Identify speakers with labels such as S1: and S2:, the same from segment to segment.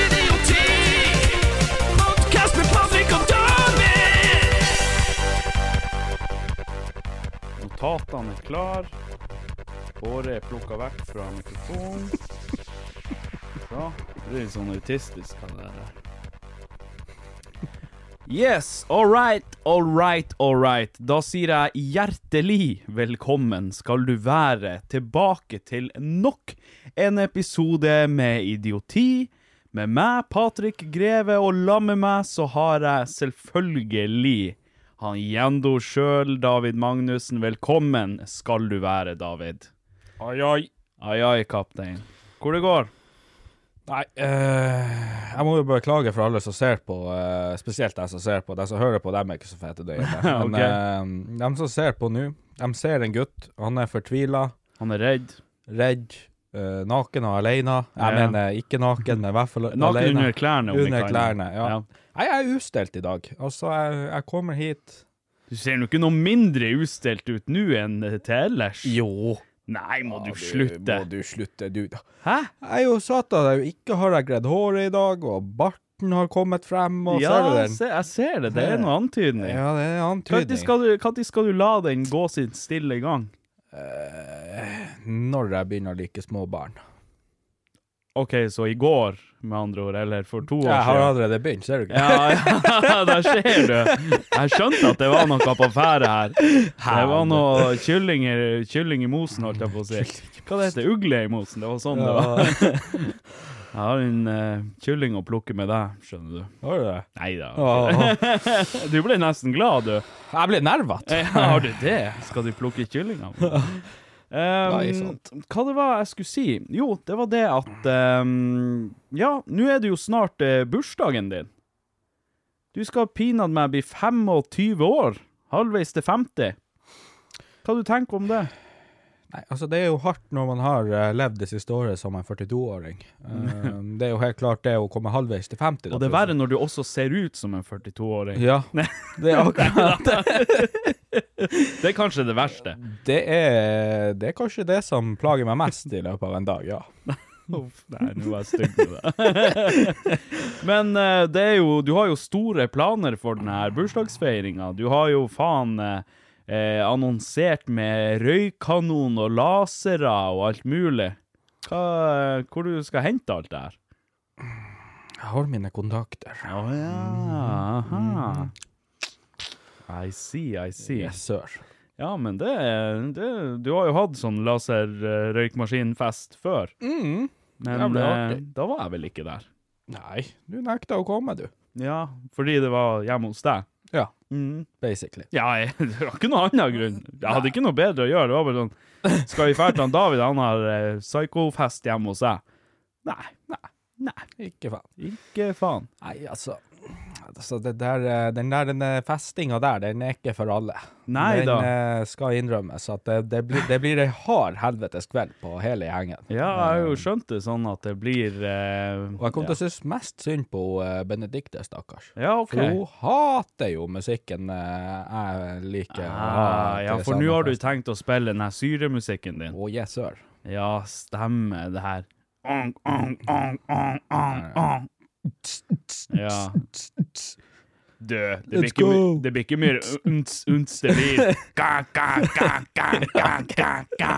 S1: Idioti! Podcast med Patrick og David!
S2: Notatene er klar. Håret er plukka vekk fra mikrofonen. Så. Det er litt sånn autistisk, han der. Yes, all right, all right, all right. Da sier jeg hjertelig velkommen skal du være tilbake til nok en episode med idioti. Med meg, Patrick Greve, og la med meg så har jeg selvfølgelig han Gjendo sjøl, David Magnussen. Velkommen skal du være, David.
S3: Oi, oi.
S2: Ai, ai, kaptein. Hvor det går?
S3: Nei, eh, jeg må jo beklage for alle som ser på, eh, spesielt de som ser på. De som hører på, dem er ikke så fete døgn. Men
S2: Ok.
S3: eh, de som ser på nå, de ser en gutt. Han er fortvila,
S2: Han er redd.
S3: redd, eh, naken og alene. Jeg
S2: Ja.
S3: mener ikke naken, men i hvert fall
S2: Naken
S3: alene.
S2: under klærne. om vi
S3: Under
S2: kan.
S3: klærne, ja. Nei, jeg er ustelt i dag. Altså, jeg, jeg kommer hit
S2: Du ser jo ikke noe mindre utstelt ut nå enn til ellers.
S3: Jo.
S2: Nei, må du slutte.
S3: Må du slutte, du.
S2: Hæ?
S3: Jeg er jo satt av deg. Ikke har jeg gredd håret i dag, og barten har kommet frem, og
S2: Ja,
S3: ser du den?
S2: se, jeg ser det. Det er noe antydning.
S3: Ja, det er en
S2: Når
S3: antydning.
S2: skal, du- når skal du la den gå sin stille gang?
S3: Når jeg begynner å like små barn.
S2: OK, så i går, med andre ord, eller for to år
S3: Jeg har
S2: siden?
S3: allerede begynt, ser du ikke?
S2: Ja, ja, der ser du. Jeg skjønte at det var noe på ferde her. Det var noe kylling, i- kylling i mosen, holdt jeg på å si. Hva det heter det? Ugle i mosen. Det var sånn det var. Jeg har en eh, kylling å plukke med deg, skjønner du.
S3: Har du det?
S2: Nei da.
S3: Åh.
S2: Du ble nesten glad, du.
S3: Jeg blir nervete.
S2: Eh, Har du det? Skal du plukke kyllinger? Um,
S3: Nei, sant.
S2: Hva det var jeg skulle si? Jo, det var det at ehm, Ja, nå er det jo snart eh, bursdagen din. Du skal pinadø meg bli 25 år. Halvveis til 50. Hva du tenker om det?
S3: Nei, altså det er jo hardt når man har eh, levd det siste året som en 42-åring. Eh, det er jo helt klart det å komme halvveis til 50. da,
S2: Og det er
S3: plutselig.
S2: verre når du også ser ut som en 42-åring.
S3: Ja, det er akkurat det.
S2: Det er kanskje det verste.
S3: Det er, det er kanskje det som plager meg mest i løpet av en dag, ja.
S2: Uff, nei, nå var jeg stygg med det. Men eh, det er jo, du har jo store planer for denne her bursdagsfeiringa. Du har jo faen eh, eh, annonsert med røykkanon og lasere og alt mulig. Hva, eh, hvor du skal hente alt det her?
S3: Jeg har mine kontakter.
S2: Å ja, aha. I see, I see.
S3: Mm. Yes, sir.
S2: Ja, men det, det Du har jo hatt sånn laser-røykmaskinfest før. Men
S3: Det ble
S2: eh,
S3: artig.
S2: da var jeg vel ikke der.
S3: Mm. Nei, du nekta å komme, du.
S2: Ja, fordi det var hjemme hos deg.
S3: Ja,
S2: Mm.
S3: basically.
S2: Ja, jeg, det var ikke noe annen grunn. Jeg hadde ikke noe bedre å gjøre. Det var bare sånn Skal vi fære til han David? Han har eh, psykofest hjemme hos deg. Nei, nei, nei.
S3: Ikke faen.
S2: Ikke faen.
S3: Nei, altså altså, det der, eh, den der den eh, festinga der, den er ikke for alle.
S2: Nei
S3: den
S2: da.
S3: eh, skal innrømmes at det, det, blir, det blir en hard helvetes kveld på hele gjengen.
S2: Ja, jeg har jo skjønt det sånn at det blir eh,
S3: Og jeg kom
S2: ja.
S3: til å synes mest synd på eh, Benedikte, stakkars.
S2: Ja, OK.
S3: For hun hater jo musikken eh, jeg liker. å ha
S2: Ah, ja,
S3: til
S2: for nå har du
S3: Sandefest.
S2: tenkt å spille den her syremusikken din.
S3: Å, yes, sir.
S2: Ja, stemmer det her. Ong, ong, ong, ong, ong, ong. Ja. Du, det blir
S3: Let's
S2: ikke,
S3: go.
S2: my- det blir ikke mer unts, unts, det blir ka, ka, ka, ka, ka, ka, ka.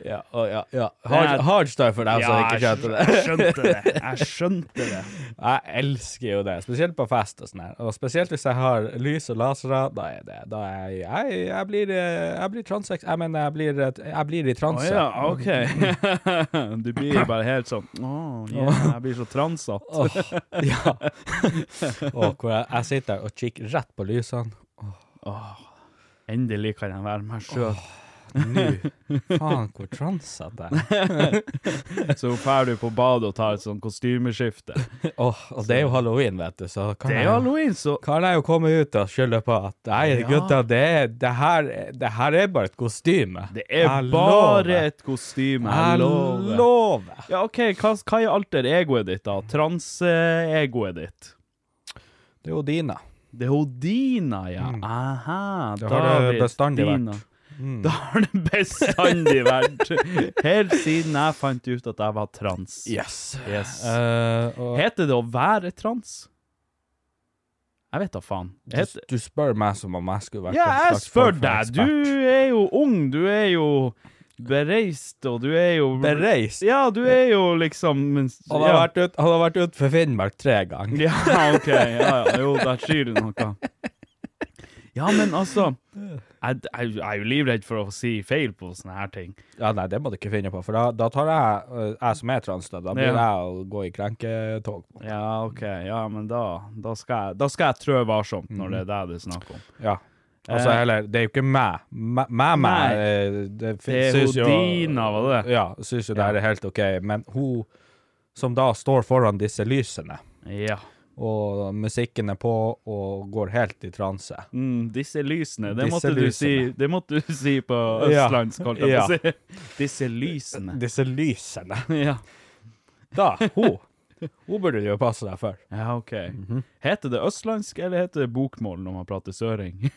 S3: Ja, å, ja, ja.
S2: Det er-
S3: Hard, hard stuff for deg som
S2: Ja,
S3: ikke
S2: jeg
S3: skjønte det.
S2: skj- Altså, skjønte det. Jeg skjønte det.
S3: Jeg elsker jo det, spesielt på fest og sånn her. Og spesielt hvis jeg har lys og lasere, da er det Da er jeg Jeg, jeg blir eh, Jeg blir transsex Jeg mener, jeg blir, eh, jeg blir i
S2: Å
S3: transe.
S2: ja, OK. Du blir bare helt sånn Å, yeah, jeg blir så transatt.
S3: Åh, ja. Åh, hvor jeg, jeg sitter og kikker rett på lysene.
S2: Endelig kan jeg være meg sjøl.
S3: Nå. Faen, hvor transete jeg er.
S2: Så drar du på badet og tar et sånn kostymeskifte.
S3: Åh, og det er jo halloween, vet du, så kan
S2: Det er
S3: jeg-
S2: jo halloween, så
S3: kan jeg jo komme ut og skylde på at Nei,
S2: Ja.
S3: gutta, det, er- det, her, det her er bare et kostyme.
S2: Det er
S3: Jeg
S2: bare
S3: lover.
S2: et kostyme.
S3: Jeg
S2: Jeg lover.
S3: lover.
S2: Ja, OK, hva, hva er alter-egoet ditt, da? Trans-egoet ditt?
S3: Det er jo dine.
S2: Det er Hodina, ja.
S3: Mm.
S2: Aha.
S3: Det har det
S2: David
S3: bestandig
S2: Dina.
S3: vært. Mm.
S2: Det har det bestandig vært. Helt siden jeg fant ut at jeg var trans.
S3: Yes.
S2: Yes.
S3: Eh, og
S2: Heter det å være trans? Jeg vet da faen.
S3: du,
S2: Heter...
S3: du spør meg som om jeg skulle vært
S2: Ja,
S3: en
S2: jeg spør
S3: slags form for
S2: deg.
S3: ekspert.
S2: Du er jo ung, du er jo bereist, og du er jo
S3: Bereist?
S2: Ja, du er jo liksom men-
S3: Han har
S2: ja.
S3: vært ut- han har vært ut for Finnmark tre ganger.
S2: Ja, OK. Ja, ja. Jo, der sier du noe. Ja, men altså Jeg, jeg, jeg er jo livredd for å si feil på sånne her ting.
S3: Ja, nei, det må du ikke finne på, for da, da tar jeg, eh, jeg som er trans, da, da blir
S2: Ja.
S3: jeg å gå i krenketog.
S2: Ja, OK. Ja, men da, da, skal, jeg, da skal jeg trø varsomt når det er det det er snakk om.
S3: Ja. Altså,
S2: Eh.
S3: heller, det er jo ikke meg. Meg, meg,
S2: Nei.
S3: meg eh, det, fin-
S2: Det er
S3: synes jo-
S2: Hodina, var det?
S3: Ja, synes jo det her er helt ok, men hun som da står foran disse lysene,
S2: Ja.
S3: og musikken er på, og går helt i transe.
S2: Mm, disse lysene, det
S3: Disse
S2: måtte du si
S3: lysene.
S2: Det måtte du si på
S3: Ja.
S2: østlandsk, holdt jeg
S3: Ja.
S2: på å si. Disse lysene.
S3: Disse lysene.
S2: Ja.
S3: Da, hun. Hun burde du jo passe deg for.
S2: Ja, OK. Heter det østlandsk, eller heter det bokmål når man prater søring?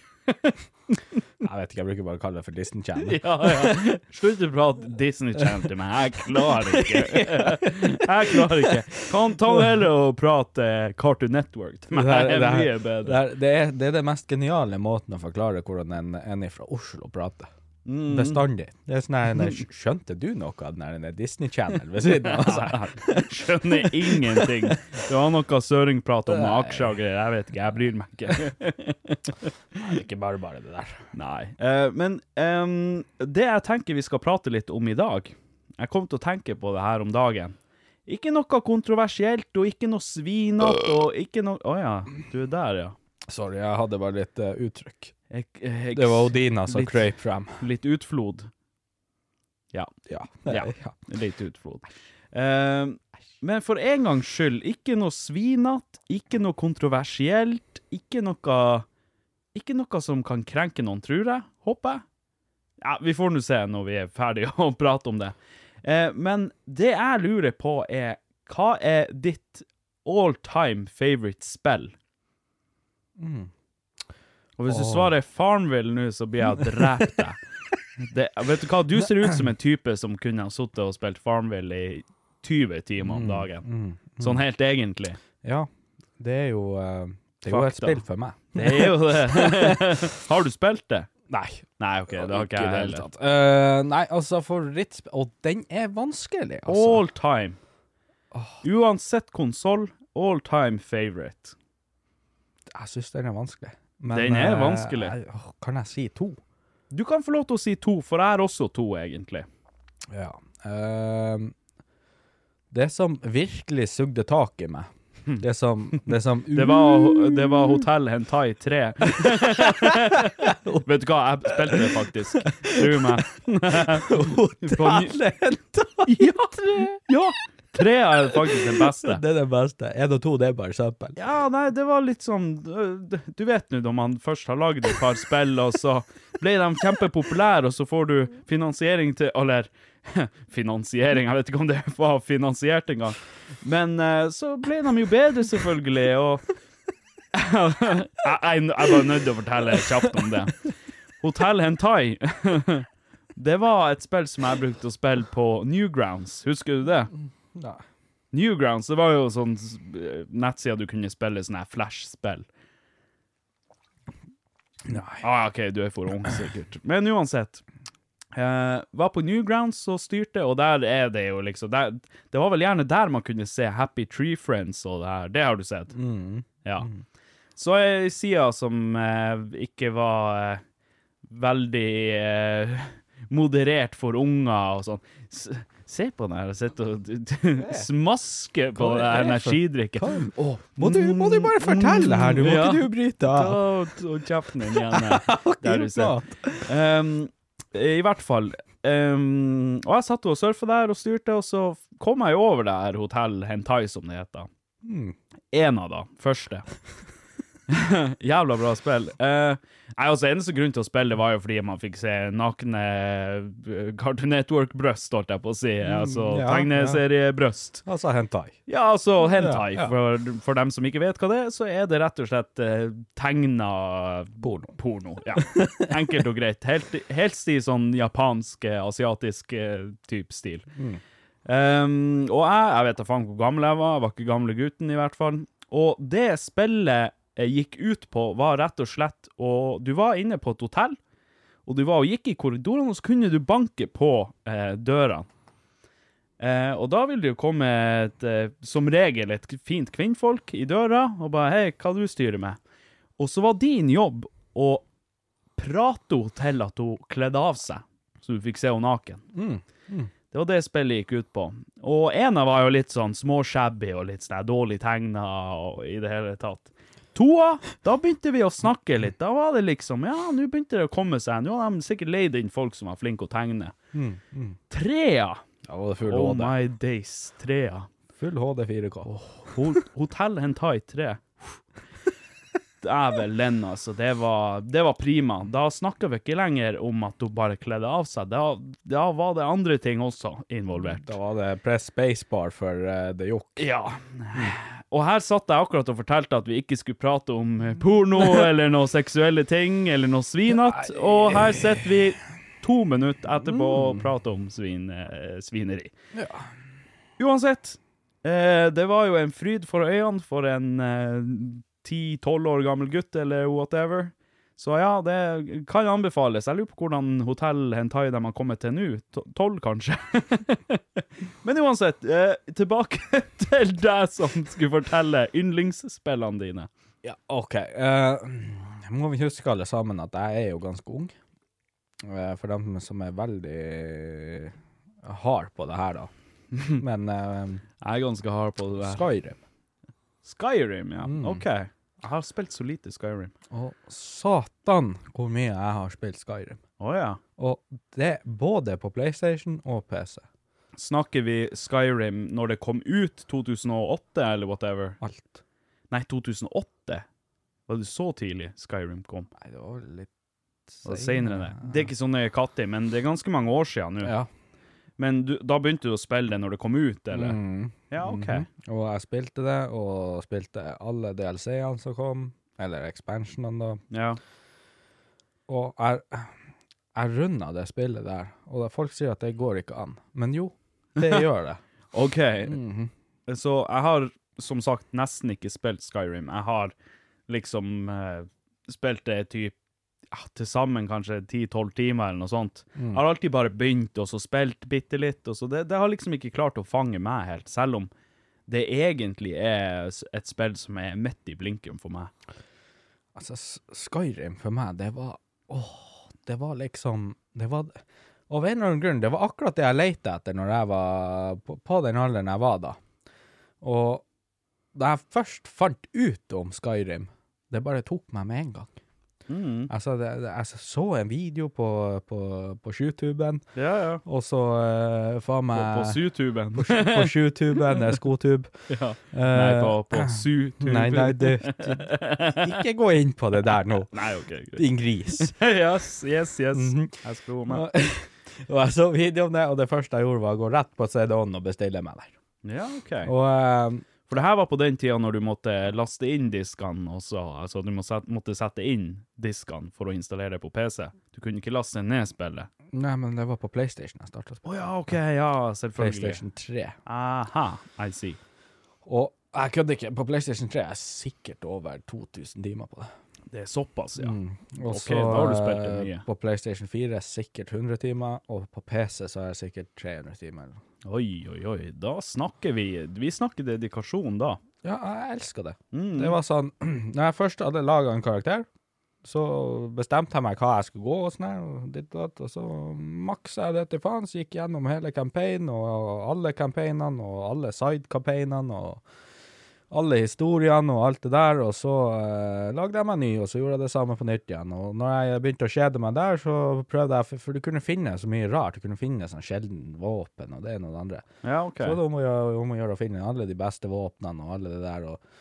S3: Jeg vet ikke, jeg bruker bare å kalle det for Disney Channel.
S2: ja, ja. Slutt å prate Disney Channel til meg. Jeg klarer ikke. Jeg klarer ikke. Kan ta heller og prate Cartoon Network til meg. Det er mye
S3: det,
S2: bedre.
S3: er, det, er, det er den mest geniale måten å forklare hvordan en, en fra Oslo prater.
S2: Mm.
S3: Bestandig. Det er sånn her, nei, skj- Skjønte du noe av den her, den Disney Channel ved siden av? Altså.
S2: Skjønner ingenting. Det var noe søringprat om aksjer og greier. Jeg vet ikke, jeg bryr meg ikke.
S3: Det er ikke bare bare det der.
S2: Nei. Eh, men ehm, det jeg tenker vi skal prate litt om i dag Jeg kom til å tenke på det her om dagen. Ikke noe kontroversielt, og ikke noe svinete, og ikke noe Å ja, du er der, ja.
S3: Sorry, jeg hadde bare litt eh, uttrykk.
S2: Ek- eh, eks-
S3: Det var Odina som
S2: litt-
S3: krøp frem.
S2: Litt utflod.
S3: Ja.
S2: Ja.
S3: ja.
S2: Litt utflod. Eh, men for en gangs skyld, ikke noe svinete, ikke noe kontroversielt, ikke noe Ikke noe som kan krenke noen, tror jeg. Håper jeg. Ja, vi får nå se når vi er ferdige å prate om det. Eh, men det jeg lurer på, er hva er ditt all time favorite spill? Mm. Og hvis du
S3: Åh.
S2: svarer Farmville nå, så blir jeg drept deg. Det, vet du hva, du ser ut som en type som kunne ha sittet og spilt Farmville i 20 timer om dagen. Sånn helt egentlig.
S3: Mm. ja. Det er jo eh, Det er jo et
S2: Fakta.
S3: spill for meg.
S2: Det er jo det. Har du spilt det?
S3: Nei.
S2: Nei, OK, det har ikke jeg heller.
S3: Eh, nei, altså, favorittspill Og den er vanskelig, altså.
S2: All time. Uansett konsoll, all time favorite.
S3: Jeg syns den er vanskelig. Men,
S2: Den er
S3: eh,
S2: vanskelig.
S3: jeg- åh, kan jeg si to?
S2: Du kan få lov til å si to, for jeg har også to, egentlig.
S3: Ja. Ehm, det som virkelig sugde tak i meg, det som, det som
S2: Hm. Det var, det var Hotell Hentai 3. Vet du hva, jeg spilte det faktisk. Tro meg. På ny-
S3: Alle hentai!
S2: Ja! ja. Tre er faktisk den beste.
S3: Det er det beste. Én og to, det er bare søppel.
S2: Ja, nei, det var litt sånn øh, Du vet nå når man først har lagd et par spill, og så ble de kjempepopulære, og så får du finansiering til Eller finansiering, jeg vet ikke om det var finansiert engang. Men øh, så ble de jo bedre, selvfølgelig, og jeg, jeg, jeg var nødt til å fortelle kjapt om det. Hotell Hentai. Det var et spill som jeg brukte å spille på Newgrounds. Husker du det?
S3: Nei.
S2: Newgrounds, det var jo sånn eh, nettside du kunne spille sånne her Flash-spill.
S3: Nei.
S2: Ah, OK, du er for ung, sikkert. Men uansett. Eh, var på Newgrounds og styrte, og der er det jo liksom der, Det var vel gjerne der man kunne se Happy Tree Friends og det her. Det har du sett?
S3: Mm.
S2: Ja. Så ei side som eh, ikke var eh, veldig eh, moderert for unger og sånn. S se på den her, jeg sitter og smasker på
S3: Hva
S2: den
S3: er
S2: her
S3: det for-
S2: energidrikka.
S3: Å, må, du, må du bare fortelle det her? Du må
S2: Ja.
S3: ikke du bryte
S2: Ta
S3: av.
S2: ta kjeften din igjen. eh, Der du ser.
S3: Prat.
S2: Um, I hvert fall. Um, og jeg satt og surfa der og styrte, og så kom jeg jo over det her hotell Hentai, som det heter.
S3: Hmm.
S2: En av da, første. Jævla bra spill. Eh, nei, altså Eneste grunn til å spille var jo fordi man fikk se nakne eh, Cartoon Network-brøst, holdt jeg på å si. altså
S3: Hmm, ja,
S2: tegneseriebrøst.
S3: Altså hentai.
S2: Ja, altså hentai.
S3: Ja, ja.
S2: For, for dem som ikke vet hva det er, så er det rett og slett eh, tegna
S3: Porno.
S2: porno. Ja. Enkelt og greit. Helt, helst i sånn japansk, eh, asiatisk eh, type stil.
S3: Mm.
S2: Um, og jeg, jeg vet da faen hvor gammel jeg var, jeg var ikke gamle gutten i hvert fall. Og det spillet eh, gikk ut på, var rett og slett Og du var inne på et hotell, og du var og gikk i korridorene, og så kunne du banke på eh, dørene. Eh, og da vil det jo komme et, eh, som regel et fint kvinnfolk i døra og bare 'Hei, hva du styrer med?' Og så var din jobb å prate henne til at hun kledde av seg, så du fikk se henne naken. Det var det spillet gikk ut på. Og ena var jo litt sånn småshabby og litt sånn her dårlig tegna og i det hele tatt. Toa, da begynte vi å snakke litt. Da var det liksom Ja, nå begynte det å komme seg. Nå har de sikkert leid inn folk som var flinke å tegne. Trea.
S3: Ja, det er full
S2: Oh
S3: HD.
S2: my days, trea.
S3: Full HD 4K.
S2: Ho- Hotell Hentai 3. Dæven, Lenn, altså. Det var, det var prima. Da snakka vi ikke lenger om at hun bare kledde av seg. Da, da var det andre ting også involvert.
S3: Da var det press spacebar for eh, The Jock.
S2: Ja. Og her satt jeg akkurat og fortalte at vi ikke skulle prate om eh, porno eller noe seksuelle ting eller noe svinete, og her sitter vi to minutter etterpå og prater om svin, eh, svineri. Uansett, eh, det var jo en fryd for øynene for en eh, ti-tolv år gammel gutt eller whatever. Så ja, det kan anbefales. Jeg lurer på hvordan hotell Hentai de har kommet til nå. To- Tolv, kanskje? Men uansett, eh, tilbake til deg som skulle fortelle yndlingsspillene dine.
S3: Ja, OK. eh, må vi huske alle sammen at jeg er jo ganske ung. Eh, for dem som er veldig hard på det her, da. Men eh,
S2: Jeg er ganske hard på det Mm. der.
S3: Skyrim
S2: Skyrim, ja. OK. Jeg har spilt så lite Skyrim.
S3: Å, satan hvor mye jeg har spilt Skyrim.
S2: Å ja.
S3: Og det både på PlayStation og PC.
S2: Snakker vi Skyrim når det kom ut 2008, eller whatever?
S3: Alt.
S2: Nei, 2008? Var det så tidlig Skyrim kom?
S3: Nei, det var litt
S2: Var det senere det? Det er ikke så nøye kattig, men det er ganske mange år siden nå.
S3: Ja.
S2: Men du, da begynte du å spille det når det kom ut, eller?
S3: Mm.
S2: Ja, OK.
S3: Og jeg spilte det, og spilte alle DLC-ene som kom, eller expansionene, da.
S2: Ja.
S3: Og jeg, jeg runda det spillet der, og da folk sier at det går ikke an. Men jo, det gjør det.
S2: OK. Mhm. Så jeg har som sagt nesten ikke spilt Skyrim. Jeg har liksom eh, spilt det typ ja, til sammen kanskje 10-12 timer eller noe sånt.
S3: Mm.
S2: Jeg har alltid bare begynt og så spilt bitte litt, og så det, det har liksom ikke klart å fange meg helt, selv om det egentlig er s- et spill som er midt i blinken for meg.
S3: Altså, S- Skyrim for meg, det var Åh, det var liksom Det var Av en eller annen grunn, det var akkurat det jeg lette etter når jeg var på, på den alderen jeg var da. Og da jeg først fant ut om Skyrim, det bare tok meg med en gang. Altså, det, det, jeg så en video på, på, på sjutuben,
S2: Ja, ja.
S3: og så eh, faen
S2: På,
S3: meg
S2: på sutuben.
S3: på sjutuben, det er skotub.
S2: ja. Nei,
S3: Eh,
S2: på, på sutuben.
S3: Nei, nei, det, ikke gå inn på det der nå,
S2: Nei, ok, greit.
S3: din gris.
S2: yes, yes, yes.
S3: Mhm.
S2: Jeg skal gå med.
S3: Og, og jeg så videoen der, og det første jeg gjorde, var å gå rett på CD-en og bestille meg der.
S2: Ja, ok.
S3: Og eh,
S2: For det her var på den tida når du måtte laste inn diskene også. Altså, du må set, måtte sette inn diskene for å installere det på PC. Du kunne ikke laste ned spillet.
S3: Nei, men det var på PlayStation jeg starta.
S2: Å ja, ok, ja, selvfølgelig.
S3: PlayStation 3.
S2: Aha, I see.
S3: Og jeg kødder ikke, på PlayStation 3 er jeg sikkert over 2000 timer på det.
S2: Det er såpass, ja.
S3: Mm. Og
S2: Ok,
S3: så
S2: da har du spilt det
S3: eh,
S2: mye.
S3: på PlayStation 4 er sikkert 100 timer, og på PC så er jeg sikkert 300 timer.
S2: Oi, oi, oi. Da snakker vi Vi snakker dedikasjon, da.
S3: Ja, jeg elsker det.
S2: Mm.
S3: Det var sånn Når jeg først hadde laga en karakter, så bestemte jeg meg hva jeg skulle gå, og sånn her, og ditt og datt, og så maksa jeg det til faens. Gikk gjennom hele campaignen, og alle campaignene, og alle sidecampaignene, og alle historiene og alt det der, og så eh, lagde jeg meg ny, og så gjorde jeg det samme på nytt igjen. Og når jeg begynte å kjede meg der, så prøvde jeg, for, for du kunne finne så mye rart. Du kunne finne sånn sjelden våpen og det ene og det andre.
S2: Ja, OK.
S3: Så det er om å gjøre, om å gjøre å finne alle de beste våpnene og alle det der. Og,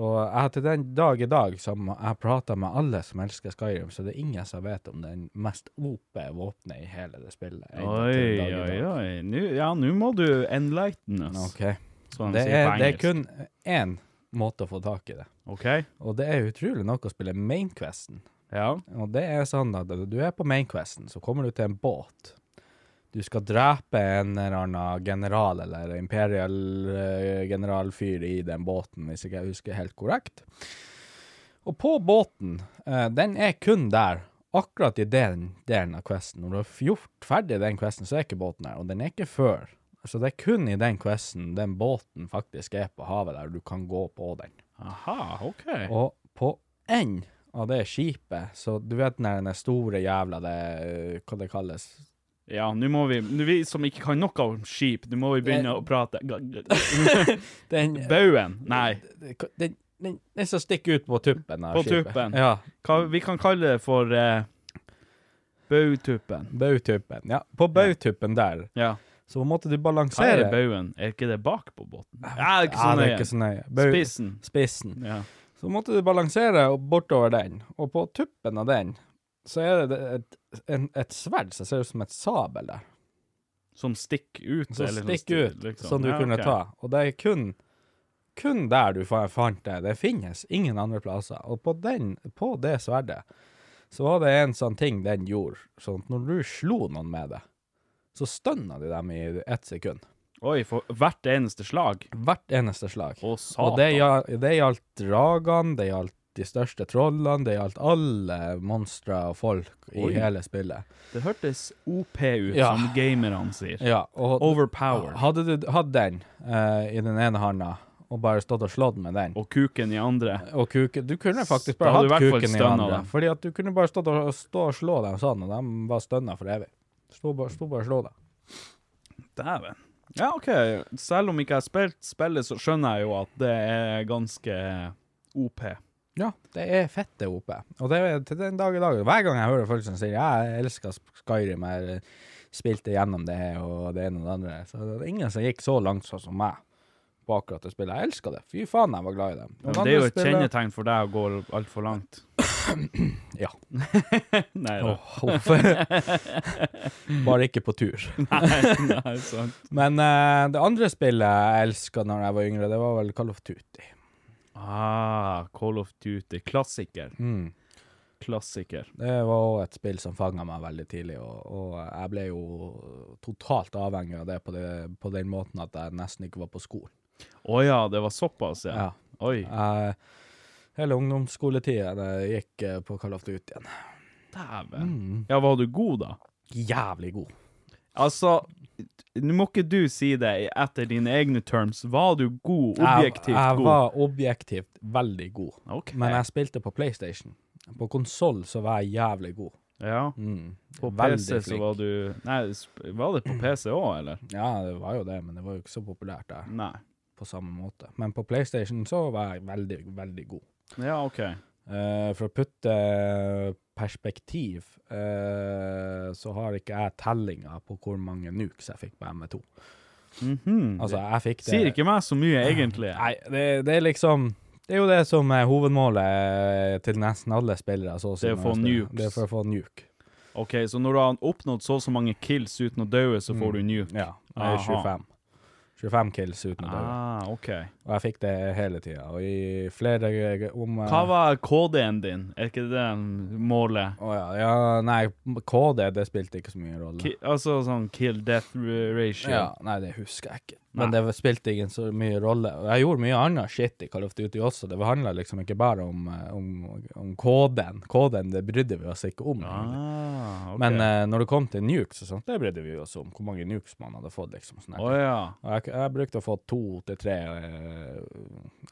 S3: og jeg, til den dag i dag som jeg prater med alle som elsker Skyrim, så det er ingen som vet om den mest OP våpenet i hele det spillet. ennå
S2: Oi,
S3: til dag i
S2: oi,
S3: dag.
S2: oi. Nu, ja, nå må du enlighten us.
S3: Ok.
S2: som de
S3: Det
S2: sier
S3: er,
S2: på
S3: det er
S2: engelsk.
S3: kun én måte å få tak i det.
S2: OK?
S3: Og det er utrolig nok å spille mainquesten.
S2: Ja.
S3: Og det er sånn at du er på mainquesten, så kommer du til en båt. Du skal drepe en eller annen general eller imperial eh, generalfyr i den båten, hvis ikke jeg husker helt korrekt. Og på båten, eh, den er kun der akkurat i den delen av questen. Når du har gjort ferdig den questen, så er ikke båten der, og den er ikke før. Så det er kun i den questen den båten faktisk er på havet der, og du kan gå på den.
S2: Aha, OK.
S3: Og på en av det skipet, så du vet den der den store jævla det, eh, Hva det kalles?
S2: Ja, nå må vi nå Vi som ikke kan noe om skip, nå må vi begynne å prate.
S3: Den,
S2: Baugen? Nei.
S3: den, den, den som stikker ut på tuppen av
S2: På
S3: skipet.
S2: tuppen.
S3: Ja,
S2: Hva, vi kan kalle det for eh, Bautuppen.
S3: bautuppen. Ja, på bautuppen der,
S2: Ja.
S3: så måtte du
S2: Hva er
S3: balansere
S2: det baugen? Er ikke det bak på båten? Ja, det er ikke
S3: Ja,
S2: så
S3: det
S2: nøye.
S3: er ikke sånn. så nøye. Bau-
S2: Spissen.
S3: Spissen.
S2: Ja.
S3: Så måtte du balansere og bortover den, og på tuppen av den så er det et, en, et sverd som ser ut som et sabel der.
S2: Som stikker ut?
S3: Så
S2: eller noe
S3: stikk
S2: sti-
S3: ut, som du
S2: Ja,
S3: kunne
S2: ok.
S3: ta. Og det er kun, kun der du fa- fant det. Det finnes ingen andre plasser. Og på, den, på det sverdet så var det en sånn ting den gjorde, sånn at når du slo noen med det, så stønna de dem i ett sekund.
S2: Oi, for hvert eneste slag?
S3: Hvert eneste slag.
S2: Å,
S3: Og det,
S2: satan.
S3: gja- det gjaldt dragene, det gjaldt de største trollene, det gjaldt alle monstre og folk i
S2: Oi.
S3: hele spillet.
S2: Det hørtes OP ut,
S3: Ja.
S2: som gamerne sier.
S3: Ja, og
S2: Overpowered.
S3: Hadde du hatt den eh, i den ene handa, og bare stått og slått med den
S2: Og kuken i andre.
S3: og kuken Du kunne faktisk
S2: Da
S3: bare
S2: hadde
S3: hatt
S2: du i hvert fall
S3: kuken i
S2: stønna
S3: andre.
S2: dem.
S3: Fordi at du kunne bare stått og, stå og slå dem sånn, og de var stønna for evig. Sto bare, sto bare og slå dem.
S2: Dæven. Ja, OK. Selv om ikke jeg har spilt spillet, så skjønner jeg jo at det er ganske OP.
S3: Ja, det er fette OP. Og det er til den dag i dag. Hver gang jeg hører folk som sier 'jeg elsker Skyrim', jeg spilte gjennom det og det ene og det andre, så det er ingen som gikk så langt sånn som meg på akkurat det spillet. Jeg elsker det. Fy faen, jeg var glad i det. Og
S2: Men det er jo
S3: andre
S2: et
S3: spillet-
S2: kjennetegn for deg å gå altfor langt.
S3: Ja.
S2: Nei da.
S3: Åh, hvorfor? Bare ikke på tur.
S2: Nei, sant.
S3: Men eh, det andre spillet jeg elska når jeg var yngre, det var vel Call of Duty.
S2: Ah, Call of Duty. Klassiker.
S3: Mm.
S2: Klassiker.
S3: Det var òg et spill som fanga meg veldig tidlig, og, og jeg ble jo totalt avhengig av det på, det på den måten at jeg nesten ikke var på skolen.
S2: Å ja, det var såpass, ja.
S3: Ja.
S2: Oi.
S3: Jeg- hele ungdomsskoletida jeg gikk eh, på Call of Duty igjen.
S2: Dæven.
S3: Mm.
S2: Ja, var du god, da?
S3: Jævlig god.
S2: Altså, nå må ikke du si det etter dine egne terms. Var du god? Objektivt
S3: jeg, jeg
S2: god?
S3: var objektivt veldig god,
S2: Ok.
S3: men jeg spilte på PlayStation. På konsoll så var jeg jævlig god.
S2: Ja. På
S3: Mm. Veldig
S2: PC så
S3: flink.
S2: var du Nei, sp- var det på PC òg, eller?
S3: Ja, det var jo det, men det var jo ikke så populært der.
S2: Nei.
S3: på samme måte. Men på PlayStation så var jeg veldig, veldig god.
S2: Ja, OK.
S3: Eh, for å putte perspektiv, eh, så har ikke jeg tellinga på hvor mange nukes jeg fikk på ME2. Altså, jeg fikk det
S2: Sier Mhm. ikke meg så mye, egentlig.
S3: Nei, det, det er liksom Det er jo det som er hovedmålet eh, til nesten alle spillere. Så å si
S2: Det er å
S3: når
S2: få
S3: de spiller.
S2: nukes.
S3: Det er for å få nuke.
S2: Ok, Så når du har oppnådd så og så mange kills uten å daue, så får du
S3: Mm.
S2: nuke?
S3: Ja. Jeg er
S2: Aha.
S3: 25. 25 kills uten å dø.
S2: Ah, ok.
S3: Og jeg fikk det hele tida. Og i flere om eh,
S2: Hva var KD-en din? Er ikke det målet?
S3: Å ja, ja. Nei, KD, det spilte ikke så mye rolle.
S2: Ki altså sånn kill death ratio.
S3: ja, nei, det husker jeg ikke. Men det spilte ikke så mye rolle. Og Jeg gjorde mye annet shit i Call of Duty også. Det handla liksom ikke bare om, eh, om, om koden. Koden det brydde vi oss ikke om. egentlig.
S2: Ah, ok.
S3: Men eh, når det kom til nukes og sånt, det brydde vi oss om. Hvor mange nukes man hadde fått, liksom. Sånn her.
S2: Å ja.
S3: Og jeg, jeg brukte å få to til tre eh,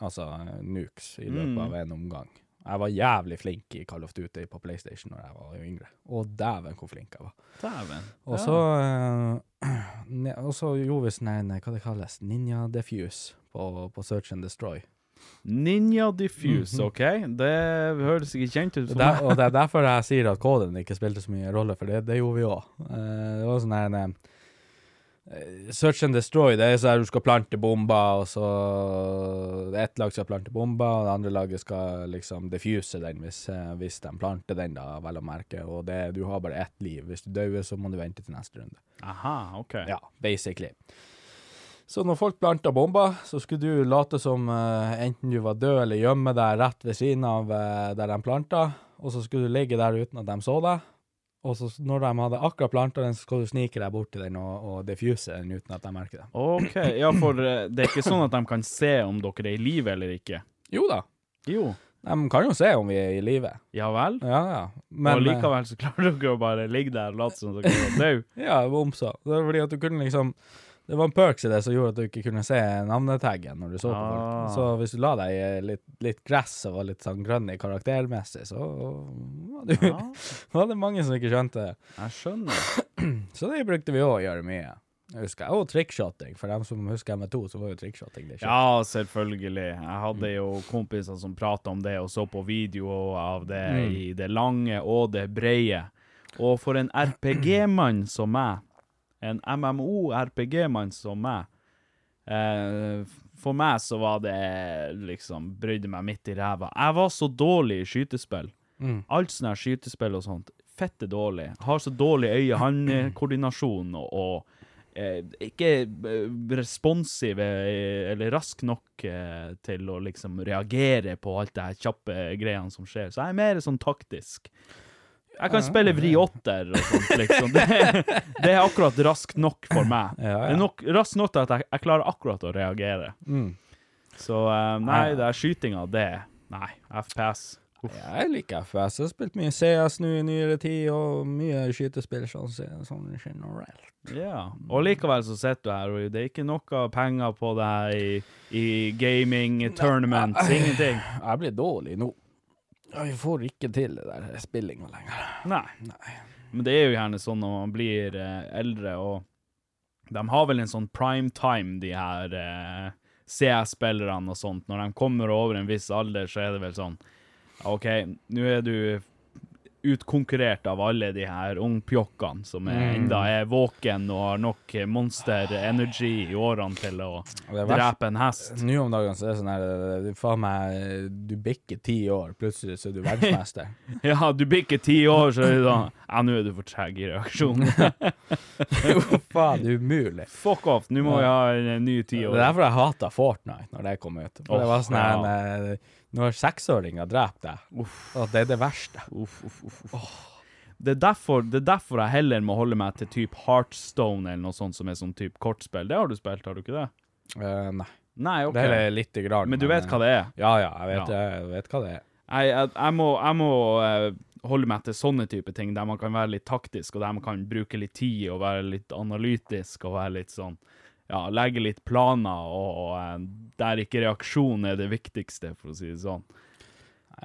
S3: altså, nukes i løpet
S2: Mm.
S3: av en omgang. Jeg var jævlig flink i Call of Duty på PlayStation når jeg var yngre. Å, dæven hvor flink jeg var.
S2: Dæven.
S3: Og så, eh, ne- og så gjorde vi sånn her, nei, hva det kalles, Ninja Defuse på, på Search and Destroy.
S2: Ninja diffuse, OK? Det høres ikke kjent ut
S3: Mhm. Det
S2: for
S3: er der,
S2: meg.
S3: og det er derfor jeg sier at koden ikke spilte så mye rolle, for det, det gjorde vi òg. det var sånn her eh, Search and destroy, det er sånn her du skal plante bomber, og så Ett lag skal plante bomber, og det andre laget skal liksom diffuse den hvis, eh, hvis de planter den, da, vel å merke. Og det, du har bare ett liv. Hvis du dør, så må du vente til neste runde.
S2: Aha, OK.
S3: Ja, basically. Så når folk planta bomber, så skulle du late som eh, enten du var død eller gjemme deg rett ved siden av eh, der de planta, og så skulle du ligge der uten at de så deg. Og så s- når de hadde akkurat planta den, så skal du snike deg bort til den og, og diffuse den uten at de merker det.
S2: OK. Ja, for eh, det er ikke sånn at de kan se om dere er i live eller ikke.
S3: Jo da.
S2: Jo.
S3: De kan jo se om vi er i live.
S2: Ja vel?
S3: Ja, ja. Men
S2: og
S3: eh,
S2: likevel så klarer dere å bare ligge der og late som dere er døde.
S3: Ja, det var omsa. Det var fordi at du kunne liksom Det var en perks i det som gjorde at du ikke kunne se navnetaggen når du så på
S2: Ah.
S3: folk. Så hvis du la deg i litt, litt gress og var litt sånn grønn i karaktermessig, så var, du,
S2: Ja,
S3: var det mange som ikke skjønte det.
S2: jeg skjønner.
S3: Så det brukte vi òg å gjøre mye. Jeg husker jeg. Og trickshotting. For dem som husker ME2, så var jo trickshotting det. shit.
S2: Ja, selvfølgelig. Jeg hadde jo kompiser som prata om det og så på video av det i det lange og det breie. Og for en RPG-mann som meg, en MMO-RPG-mann som meg eh, For meg så var det liksom Brydde meg midt i ræva. Jeg var så dårlig i skytespill. Alt sånn her skytespill og sånt. Fette dårlig. Har så dårlig øye-hånd-koordinasjon og, og eh, ikke eh, responsiv eh, eller rask nok eh, til å liksom reagere på alt det her kjappe greiene som skjer. Så jeg er mer sånn taktisk. Jeg kan spille vri åtter og sånt, liksom. Det, det er akkurat raskt nok for meg.
S3: Ja, ja.
S2: Det er nok, raskt nok til at jeg, jeg klarer akkurat å reagere.
S3: Mm.
S2: Så eh, nei, det er skytinga, det Nei, FPS. Uff.
S3: Ja, jeg liker FS. Jeg har spilt mye CS nå i nyere tid, og mye skytespill sånn, sånn generelt.
S2: Ja, og likevel så sitter du her, og det er ikke noe penger på det her i, i gaming tournaments, ingenting.
S3: Jeg blir dårlig nå. Jeg får ikke til det der spillinga lenger.
S2: Nei. Men det er jo gjerne sånn når man blir eh, eldre, og de har vel en sånn prime time, de her eh, CS-spillerne og sånt. Når de kommer over en viss alder, så er det vel sånn OK, nå er du utkonkurrert av alle de her ungpjokkene som er, enda er våken og har nok monster energy i årene til å
S3: er verst.
S2: drepe en hest.
S3: Nå om dagen så er det sånn her eh, du Faen meg, du bikker ti år, plutselig så er du verdensmester.
S2: Ja, du bikker ti år, så er det sånn Ja, nå er du for treg i reaksjonen.
S3: Hva faen, det er umulig.
S2: Fuck off, nå må vi ha en, en ny
S3: Det
S2: tiår.
S3: er derfor jeg hata Fortnite når det kom ut. For det var
S2: Åh,
S3: sånn her eh, Når seksåringer dreper deg, at det er det verste.
S2: Uff, uff, uff, uff. Det, er derfor, det er derfor jeg heller må holde meg til type Heartstone eller noe sånt som er sånn type kortspill. Det har du spilt, har du ikke det?
S3: Eh, nei.
S2: Nei, OK.
S3: Det er lite grann. eh,
S2: Men eh. du vet hva det er?
S3: Ja, ja, jeg vet, eh,
S2: Ja.
S3: Jeg vet hva det er.
S2: Jeg, jeg, jeg må, jeg må eh, holde meg til sånne type ting, der man kan være litt taktisk, og der man kan bruke litt tid og være litt analytisk og være litt sånn Ja, legge litt planer, og, og eh, der ikke reaksjon er det viktigste, for å si det sånn.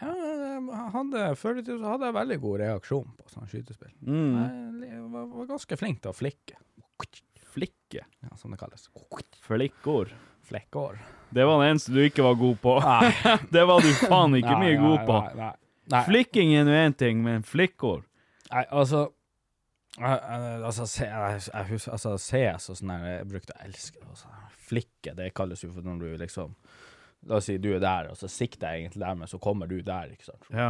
S3: Ja, jeg hadde, før i tiden så hadde jeg veldig
S2: Mm.
S3: god reaksjon på sånn skytespill. Jeg, li- var, var ganske flink til å flikke.
S2: Flikke.
S3: ja, som det kalles.
S2: Flikkord.
S3: Flekkår.
S2: Det var den eneste du ikke var god på. det var du faen Ah, ikke
S3: Nei,
S2: mye
S3: nei,
S2: god på.
S3: Nei, nei, nei.
S2: Flikking er nå én ting, men flikkord
S3: Nei, altså jeg- jeg- Altså, se, jeg, jeg husker, altså CS og sånn her, jeg brukte å elske og sånn her. Flikke, det kalles jo for når du liksom La oss si du er der, og så sikter jeg egentlig der, men så kommer du der, ikke sant?
S2: Ja.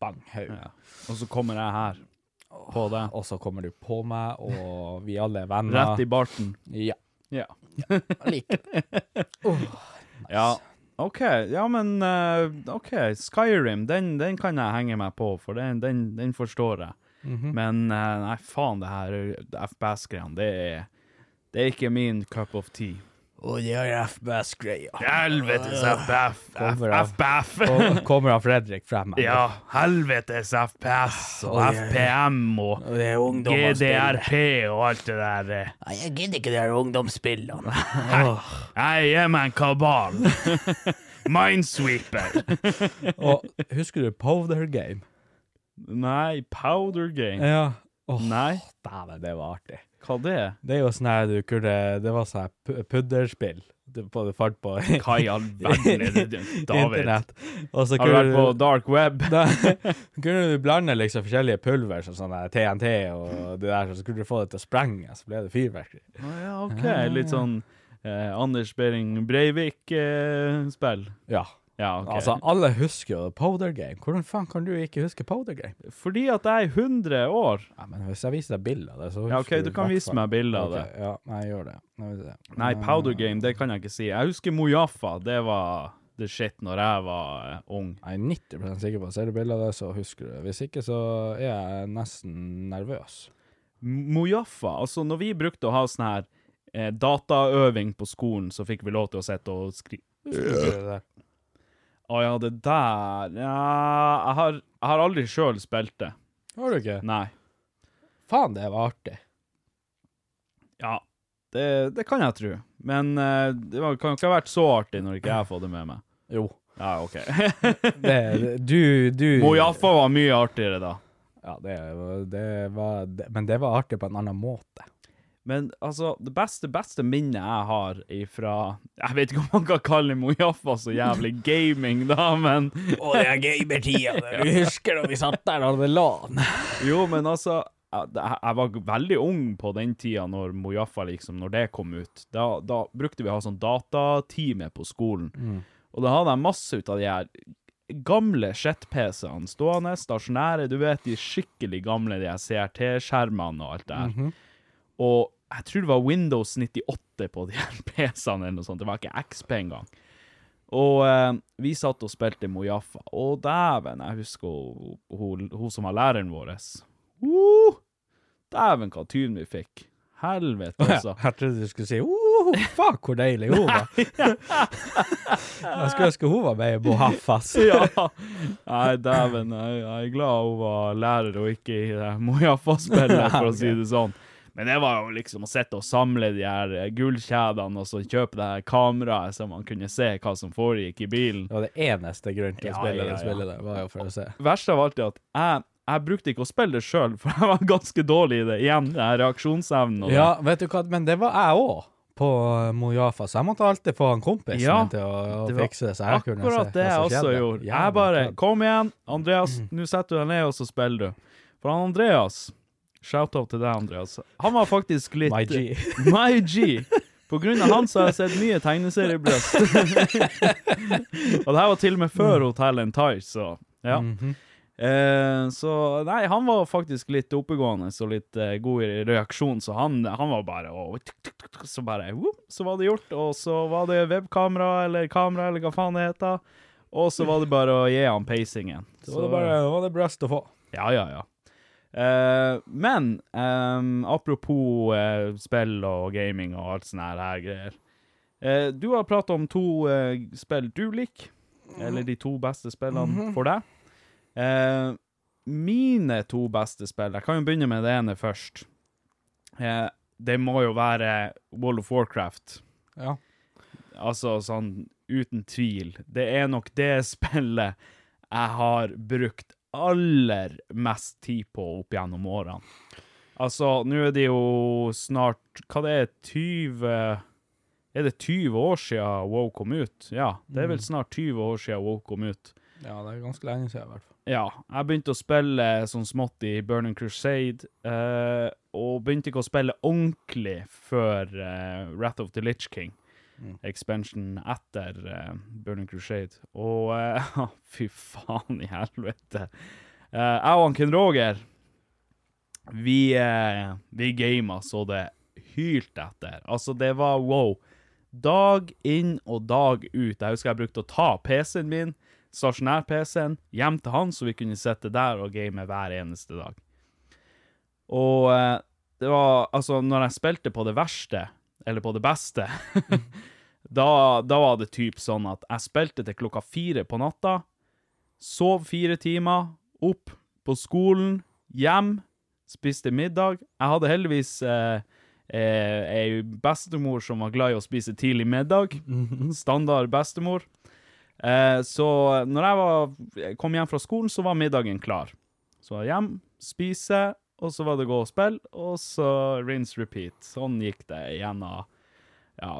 S3: Bang, høy.
S2: ja. Og så kommer jeg her. På deg.
S3: Og så kommer du på meg, og vi alle er venner.
S2: Rett i barten.
S3: Ja.
S2: Ja.
S3: Jeg liker det.
S2: Ja. OK, ja, men eh, OK, Skyrim, den, den kan jeg henge meg på, for den, den, den forstår jeg.
S3: Mhm.
S2: Men eh, nei, faen, det her FPS-greiene, det er Det er ikke min cup of tea.
S3: Og det er Ah. FBS-greia.
S2: Helvetes
S3: Kommer av-
S2: FBF!
S3: Og kommer han Fredrik frem? eller?
S2: Ja, helvetes FPS og
S3: Oi, oi, oi.
S2: FPM og
S3: Og det er ungdommer
S2: GDRP og alt det der. eh.
S3: Nei, jeg gidder ikke de her ungdomsspillene.
S2: Jeg gir meg en kabal. Minesweeper.
S3: og husker du Powder Game?
S2: Nei, Powder Game.
S3: Ja. Åh,
S2: Nei,
S3: Dæven, det var artig.
S2: hva det er?
S3: Det er jo sånn her du kunne Det var sånn her pu- pudderspill du, på, du fant på
S2: Hva i all verden er det, David?
S3: internett. Og så
S2: Har du vært på
S3: kunne du
S2: dark web?
S3: da kunne du blande liksom forskjellige pulver, som sånn her TNT og det der, så skulle du få det til å sprenge, så ble det fyrverkeri.
S2: Å ja, ok. Litt sånn eh, Anders Behring Breivik-spill.
S3: Ja.
S2: ja, ok.
S3: Altså, alle husker jo Powder Game. Hvordan faen kan du ikke huske Powder Game?
S2: Fordi at jeg er 100 år.
S3: Ja, men hvis jeg viser deg bilder av det, så
S2: Ja,
S3: husker
S2: ok, du kan
S3: i hvert
S2: vise
S3: fall.
S2: meg bilder av
S3: Ok,
S2: det.
S3: Ja, nei, jeg gjør det. Jeg vet det.
S2: Nei, Powder Game, det kan jeg ikke si. Jeg husker Mojaffa. Det var the shit når jeg var eh, ung.
S3: Jeg er 90 sikker på at ser du bilder av det, så husker du det. Hvis ikke, så er jeg nesten nervøs.
S2: Mojaffa, altså når vi brukte å ha sånn her eh, dataøving på skolen, så fikk vi lov til å sitte og skrive Å ja, det der ja, jeg, har, jeg har aldri sjøl spilt det.
S3: Har du ikke?
S2: Nei.
S3: Faen, det var artig.
S2: Ja, det, det kan jeg tro. Men eh, det var, kan ikke ha vært så artig når ikke jeg har fått det med meg.
S3: Jo.
S2: Ja, OK.
S3: Det, du, du
S2: Mojaffa var mye artigere da.
S3: Ja, det, var- det var det, Men det var artig på en annen måte.
S2: Men altså, det beste, beste minnet jeg har ifra Jeg vet ikke om man kan kalle Mojaffa så jævlig gaming, da, men
S3: Å, det er gamertida. Du husker da vi satt der og hadde LAN?
S2: Jo, men altså jeg, jeg var veldig ung på den tida når Mojaffa liksom, når det kom ut. Da, da brukte vi å ha sånn datatime på skolen. Og da hadde jeg masse ut av de her gamle shit-PC-ene stående, stasjonære, du vet de skikkelig gamle de her CRT-skjermene og alt det her. Og jeg tror det var Windows 98 på de her PC-ene eller noe sånt, det var ikke XP engang. Og eh, vi satt og spilte Mojaffa, og dæven, jeg husker hun, hun, hun som var læreren vår. Uh, dæven, hva tyn vi fikk. Helvete, altså.
S3: Jeg trodde du skulle si oh, Fuck, hvor deilig hun var. jeg skulle ønske hun var med i Bohaffas.
S2: Ja. Nei, dæven, jeg, jeg er glad hun var lærer og ikke i det Mojaffa-spillet, for å si det sånn. Men det var jo liksom å sitte og samle de her eh, gullkjedene og så kjøpe det her kameraet, så man kunne se hva som foregikk i bilen.
S3: Det var det eneste grunnen til å
S2: Ja,
S3: spille
S2: ja,
S3: det
S2: ja.
S3: spillet der, var jo for å se.
S2: Verst av alt er at jeg, jeg brukte ikke å spille det sjøl, for jeg var ganske dårlig i det. Igjen, den her reaksjonsevnen. og det.
S3: Ja, vet du hva, men det var jeg òg. På Mojafa, så jeg måtte alltid få han kompisen
S2: Ja,
S3: min til å, å
S2: det var
S3: fikse det. Så jeg kunne se
S2: Akkurat det jeg
S3: hva som
S2: også
S3: skjedde.
S2: gjorde.
S3: Jævla
S2: Jeg bare
S3: kødd.
S2: Kom igjen, Andreas, nå setter du deg ned, og så spiller du. For han Andreas Shout-out til deg, Andreas. Han var faktisk litt
S3: My G.
S2: My G. På grunn av han så har jeg sett mye tegneseriebrøst. og det her var til og med
S3: Mm.
S2: før Hotel and Thai, så ja. eh, så nei, han var faktisk litt oppegående og litt eh, god i reaksjon, så han, han var bare å, tuk, tuk, tuk, tuk, Så bare whoop, så var det gjort, og så var det webkamera eller kamera eller hva faen det heter. Og så var det bare å gi han peisingen.
S3: Så var det bare det var det brast å få.
S2: Ja, ja, ja. Eh, men ehm, apropos eh, spill og gaming og alt sånne her greier. Eh, du har prata om to eh, spill du liker, eller de to beste spillene for deg. Eh, mine to beste spill Jeg kan jo begynne med det ene først. Eh, det må jo være World of Warcraft.
S3: Ja.
S2: Altså sånn uten tvil. Det er nok det spillet jeg har brukt aller mest tid på opp gjennom årene. Altså, nå er det jo snart Hva det er 20 Er det 20 år siden WoW kom ut? Ja, det er vel snart 20 år siden WoW kom ut.
S3: Ja, det er ganske lenge siden, i hvert fall.
S2: Ja, jeg begynte å spille sånn smått i Burning Crusade, eh, og begynte ikke å spille ordentlig før eh, Wrath of the Lich King, expansion etter eh, Burning Crusade. Og eh, fy faen i helvete. Eh, jeg og han Ken Roger, vi, eh, vi gama så det hylte etter. Altså, det var wow. Dag inn og dag ut. Jeg husker jeg brukte å ta PC-en min, stasjonær-PC-en, hjem til han, så vi kunne sitte der og game hver eneste dag. Og eh, det var Altså, når jeg spilte på det verste, eller på det beste, da, da var det typ sånn at jeg spilte til klokka fire på natta, sov fire timer, opp på skolen, hjem, spiste middag. Jeg hadde heldigvis eh, eh, ei bestemor som var glad i å spise tidlig middag. Mhm. Standard bestemor. Eh, så når jeg var, kom hjem fra skolen, så var middagen klar. Så var jeg hjem, spise, og så var det gå og spille, og så rinse repeat. Sånn gikk det gjennom ja,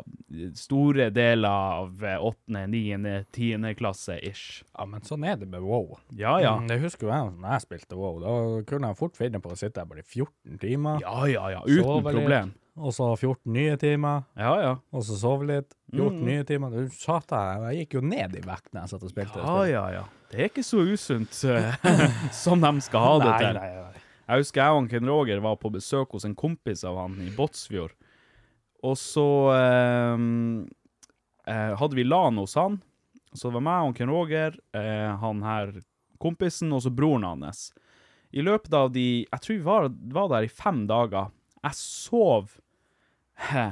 S2: store deler av eh, åttende, niende, tiende klasse-ish.
S3: Ja, men sånn er det med WoW.
S2: Ja, ja.
S3: Mm, Det husker jo jeg når jeg spilte WoW. Da kunne jeg fort finne på å sitte her bare i 14 timer.
S2: Ja, ja, ja. Uten
S3: sove litt,
S2: problem.
S3: Og så 14 nye timer,
S2: Ja, ja.
S3: og så sove litt. 14 nye timer. Du satan, jeg gikk jo ned i vekt når jeg satt og spilte. det
S2: Ja,
S3: spillet.
S2: ja, ja. Det er ikke så usunt eh, som de skal ha det til.
S3: Nei, nei, nei.
S2: Jeg husker jeg og han Ken Roger var på besøk hos en kompis av han i Båtsfjord. Og så eh, eh, hadde vi LAN hos han. Så det var meg og Ken Roger, eh, han her kompisen, og så broren hans. I løpet av de Jeg tror vi var, var der i fem dager. Jeg sov Hæ,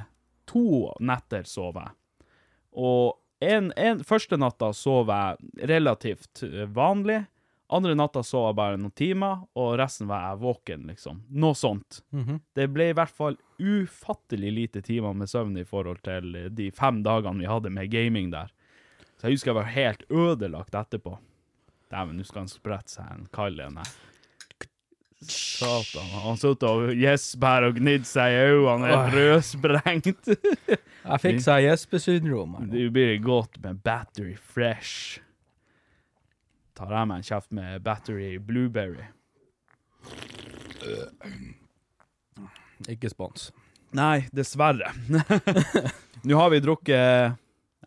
S2: To netter sov jeg. Og en, en, første natta sov jeg relativt eh, vanlig. Andre natta sov jeg bare noen timer, og resten var jeg våken, liksom. Noe sånt. Det ble i hvert fall ufattelig lite timer med søvn i forhold til eh, de fem dagene vi hadde med gaming der. Så jeg husker jeg var helt ødelagt etterpå. Dæven, nå skal han sprette seg en kald en her. Satan. Han satt og gjesper og gnidde seg i øynene, helt rødsprengt.
S3: Jeg fikk seg gjespesyndrom. her nå.
S2: Det blir godt med battery fresh. Tar jeg meg en kjeft med battery blueberry?
S3: Ikke spons.
S2: Nei, dessverre. Nå har vi drukket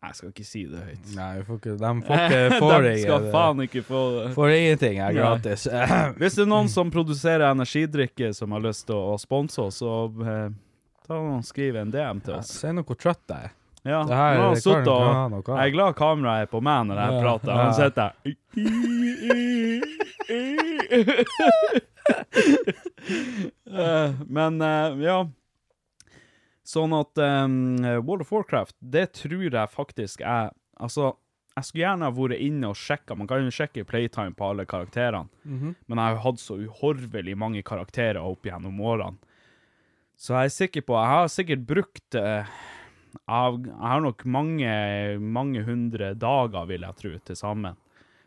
S2: Nei, jeg skal ikke si det høyt.
S3: Nei, vi får ikke, de får ikke får
S2: De skal
S3: ikke-
S2: faen ikke få det.
S3: Får ingenting her gratis.
S2: Hvis det er noen som produserer energidrikke som har lyst til å sponse oss, så eh, ta og skriv en DM til oss.
S3: Se nå hvor trøtt jeg er.
S2: Ja,
S3: Det
S2: nå
S3: her
S2: har han
S3: kan
S2: suttet
S3: du ikke ha noe
S2: og
S3: av.
S2: Jeg er glad kameraet er på meg når jeg
S3: Ja.
S2: prater. Han sitter der Eh, Men eh, ja Sånn at eh, World of Warcraft, det tror jeg faktisk er Altså, jeg skulle gjerne ha vært inne og sjekka. Man kan jo sjekke playtime på alle karakterene.
S3: Mhm.
S2: Men jeg har jo hatt så uhorvelig mange karakterer opp gjennom årene. Så jeg er sikker på Jeg har sikkert brukt eh, av, jeg har nok mange, mange hundre dager, vil jeg tro, til sammen.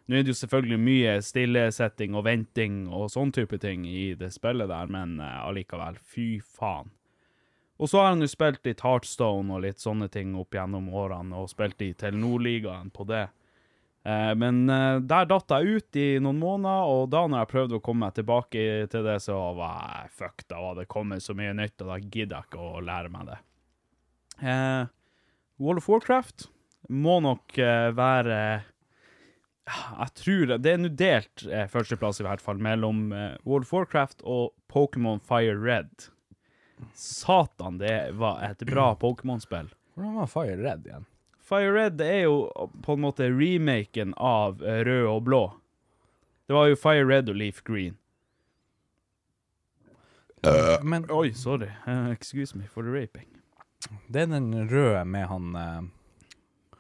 S2: Nå er det jo selvfølgelig mye stillesetting og venting og sånn type ting i det spillet der, men eh, allikevel, fy faen. Og så har han jo spilt litt Heartstone og litt sånne ting opp gjennom årene, og spilt i Telenor-ligaen på det. Eh, men eh, der datt jeg ut i noen måneder, og da når jeg prøvde å komme meg tilbake til det, så var jeg fuck, da var det kommet så mye nytt, og da gidder jeg ikke å lære meg det. Eh, World of Warcraft må nok eh, være Jeg tror det er nå delt eh, førsteplass, i hvert fall, mellom eh, World of Warcraft og Pokémon Fire Red. Satan, det var et bra Pokémon-spill.
S3: Hvordan var Fire Red igjen?
S2: Fire Red er jo på en måte remaken av eh, Rød og Blå. Det var jo Fire Red og Leaf Green.
S3: Men
S2: Oi, sorry. Eh, excuse me for the raping.
S3: det er den røde med han eh,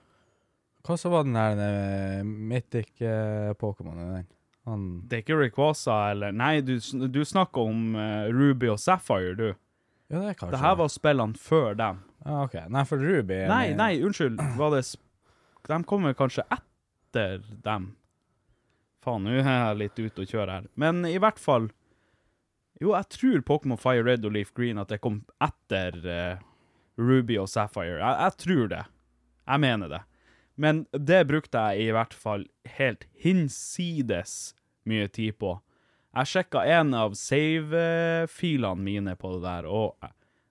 S3: Hva så var den der eh, Mythic eh, Pokémon? er den? Han
S2: Det er ikke Rayquaza eller Nei, du, sn- du snakker om eh, Ruby og Sapphire, du.
S3: Ja, det er kanskje
S2: Det her var spillene før dem.
S3: ja, OK. Nei, for Ruby er
S2: Nei,
S3: med-
S2: nei, unnskyld. Var det sp de kommer kanskje etter dem. Faen, nå er jeg litt ute å kjøre her. Men i hvert fall Jo, jeg tror Pokémon Fire Red og Leaf Green at det kom etter eh, Ruby og Sapphire. Jeg, jeg tror det. Jeg mener det. Men det brukte jeg i hvert fall helt hinsides mye tid på. Jeg sjekka en av save-filene mine på det der, og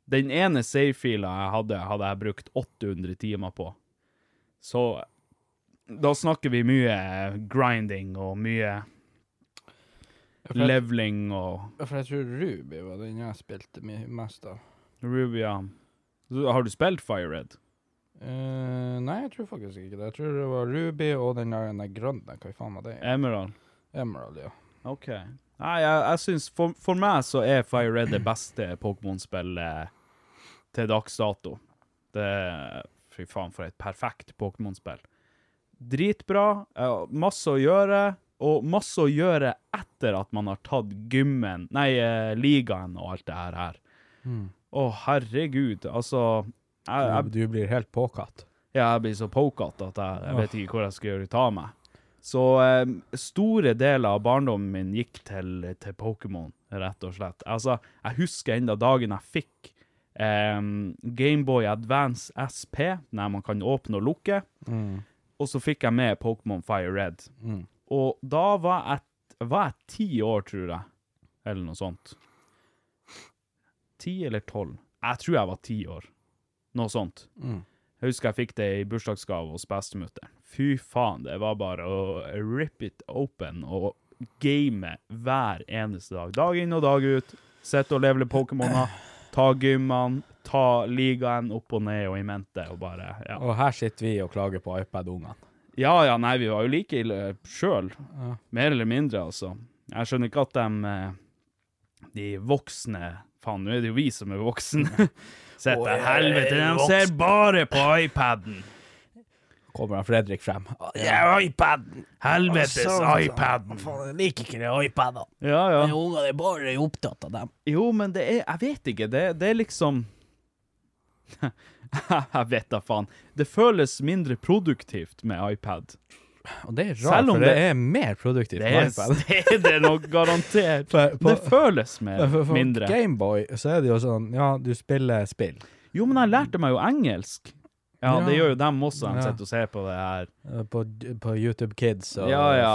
S2: den ene save-fila jeg hadde, hadde jeg brukt 800 timer på. Så da snakker vi mye grinding og mye leveling og
S3: For jeg tror Ruby var den jeg spilte mi- mest av.
S2: Ruby, ja. Du- Har du spilt Fire Red?
S3: Eh, nei, jeg tror faktisk ikke det. Jeg tror det var Ruby og den der, den der grønne, hva faen var det?
S2: Emerald?
S3: Emerald, ja.
S2: OK. Nei, jeg, jeg syns for, for meg så er Fire Red det beste Pokémon-spillet til dags dato. Det Fy faen, for et perfekt Pokémon-spill. Dritbra, eh, masse å gjøre, og masse å gjøre etter at man har tatt gymmen, nei, eh, ligaen og alt det her her. Å, herregud, altså jeg, jeg,
S3: Du blir helt påkatt.
S2: Ja, jeg blir så pokat at jeg, jeg vet ikke hvor jeg skal gjøre av meg. Så eh, store deler av barndommen min gikk til, til Pokémon, rett og slett. Altså, jeg husker enda dagen jeg fikk eh, Gameboy Advance SP, der man kan åpne og lukke, og så fikk jeg med Pokémon Fire Red. Og da var jeg, var jeg ti år, tror jeg, eller noe sånt. Ti eller tolv? Jeg tror jeg var ti år, noe sånt. Jeg husker jeg fikk det i bursdagsgave hos bestemutteren. Fy faen, det var bare å rip it open og game hver eneste dag. Dag inn og dag ut. Sitte og levele Pokémoner. Ta gymmene, ta ligaen opp og ned og i mente, og bare Ja,
S3: Og her sitter vi og klager på iPad-ungene.
S2: ja, ja nei, vi var jo like ille sjøl. Mer eller mindre, altså. Jeg skjønner ikke at de eh, De voksne Faen, nå er det jo vi som er voksne. Sett til helvete, de ser bare på iPaden.
S3: Kommer han Fredrik frem?
S2: Helvetes
S3: sånn,
S2: iPaden.
S4: Jeg liker ikke de iPadene.
S2: Ja, ja. Jo.
S4: Ungene er bare opptatt av dem.
S2: men det er Jeg vet ikke. Det, det er liksom Jeg vet da faen. Det føles mindre produktivt med iPad.
S3: Og det er
S2: Selv
S3: rart,
S2: om
S3: for det
S2: det-
S3: er mer produktivt
S2: Det
S3: med
S2: er,
S3: iPad.
S2: det er det nok garantert.
S3: For- på-
S2: det føles mer,
S3: For, for
S2: mindre.
S3: Gameboy så er det jo sånn, ja, du spiller spill.
S2: Jo, men jeg lærte meg jo engelsk. Ja,
S3: Ja.
S2: det gjør jo dem også. De
S3: Ja.
S2: sitter og ser på det her.
S3: Eh, På, på YouTube Kids og
S2: Ja, ja.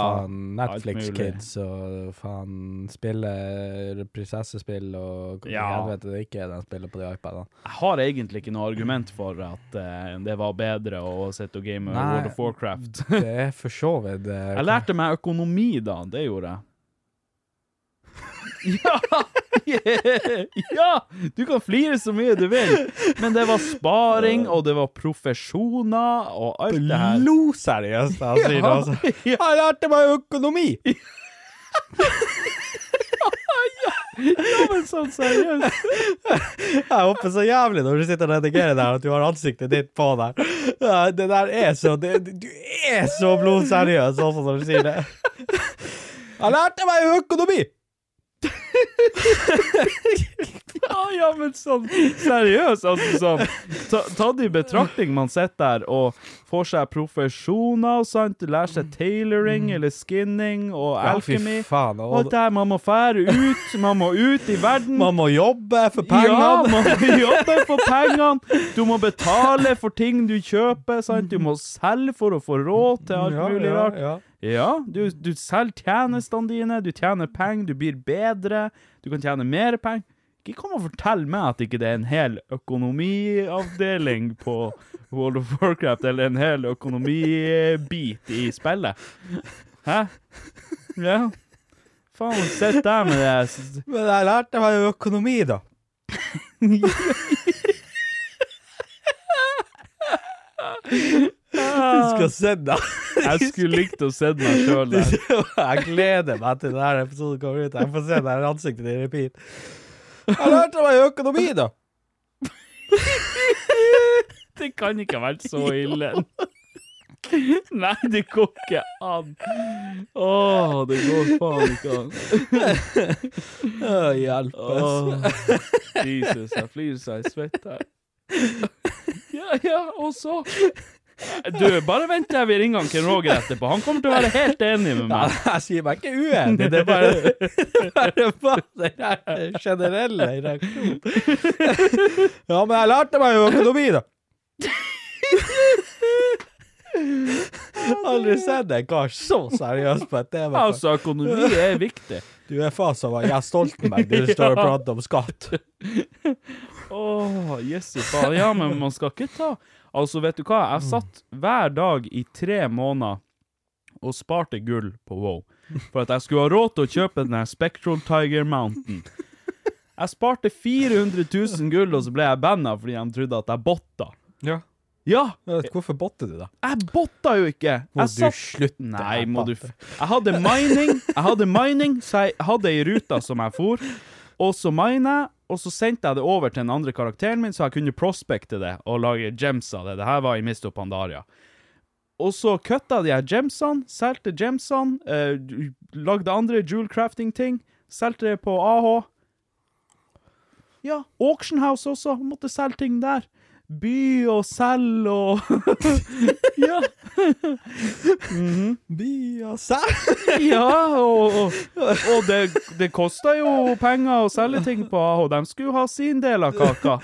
S2: Alt
S3: faen Netflix
S2: mulig.
S3: Kids og faen spiller prinsessespill og hva
S2: Ja.
S3: helvete det ikke er de spiller på de iPadene.
S2: Jeg har egentlig ikke noe argument for at eh, det var bedre å sitte og game
S3: Nei.
S2: World of Warcraft.
S3: Det er for så vidt eh,
S2: Jeg lærte meg økonomi da, det gjorde jeg. Ja! ja! Du kan flire så mye du vil, men det var sparing, og det var profesjoner, og alt det her.
S3: Lo seriøst, han sier det altså.
S2: Ja.
S3: Jeg lærte meg økonomi!
S2: Ja, men sånn seriøst.
S3: Jeg håper så jævlig når du sitter og redigerer der, at du har ansiktet ditt på der. Ja, Det der er så det, Du er så blodseriøs også når du sier det. Jeg lærte meg økonomi!
S2: Ja, ja, men sånn seriøst, altså sånn. Ta, ta det i betraktning man sitter der og får seg profesjoner, sant? Lærer seg tailoring eller skinning og
S3: Mm. Ja, fy
S2: alchemy.
S3: faen, og-
S2: og der man må fære ut, man må ut i verden.
S3: Man må jobbe for
S2: Ja,
S3: pengene.
S2: man må jobbe for pengene. Du må betale for ting du kjøper, sant? Du må selge for å få råd til alt mulig rart.
S3: ja.
S2: Ja, du, du selger tjenestene dine, du tjener penger, du blir bedre, du kan tjene mer penger. Ikke kom og fortell meg at ikke det er en hel økonomiavdeling på World of Warcraft, eller en hel økonomibit i spillet. Hæ? Ja. Faen, sitt der med det s-
S3: Men jeg lærte meg økonomi, da. Du skal se det.
S2: Jeg skulle likt å se meg sjøl der.
S3: Jeg gleder meg til denne episoden kommer ut. Jeg får se det her ansiktet ditt i repeat. Jeg lærte meg økonomi, da.
S2: Det kan ikke ha vært så ille. Nei, det går ikke an. Åh, det går faen ikke an.
S3: Å, hjelpes.
S2: Jesus, jeg flyr seg i svett her. Ja, ja, og så Du, bare vent til vi ringer han Ken Roger etterpå. Han kommer til å være helt enig med
S3: Ja,
S2: meg.
S3: jeg sier meg ikke uenig, det er bare, det er bare, bare den her generelle reaksjonen. Ja, men jeg lærte meg jo økonomi, da. Aldri sett en kar så seriøs på et tema. før.
S2: Altså, økonomi er viktig.
S3: Du er faen som han Jens Stoltenberg, du står og
S2: Ja.
S3: prater om skatt.
S2: Åh, jøsses faen. Ja, men man skal ikke ta Altså, vet du hva? Jeg satt hver dag i tre måneder og sparte gull på Wow. For at jeg skulle ha råd til å kjøpe den her Spectral Tiger Mountain. Jeg sparte 400 000 gull, og så ble jeg banna fordi de trodde at jeg botta.
S3: Ja.
S2: Ja!
S3: Hvorfor botter du, da?
S2: Jeg botta jo ikke!
S3: Må
S2: Jeg
S3: du slutte
S2: Nei,
S3: å
S2: må du f...
S3: botte.
S2: Jeg hadde mining, jeg hadde mining, så jeg hadde ei rute som jeg for, og så mina jeg, og så sendte jeg det over til den andre karakteren min, så jeg kunne prospekte det og lage gems av det. Det her var i Mist of Pandaria. Og så kutta de her gemsene, solgte gemsene, eh, du- lagde andre jewel crafting-ting, solgte det på AH. Ja, Auction House også, måtte selge ting der. By og selge og Ja. Ja, og, og, og det, det kosta jo penger å selge ting på AH. De skulle jo ha sin del av kaka.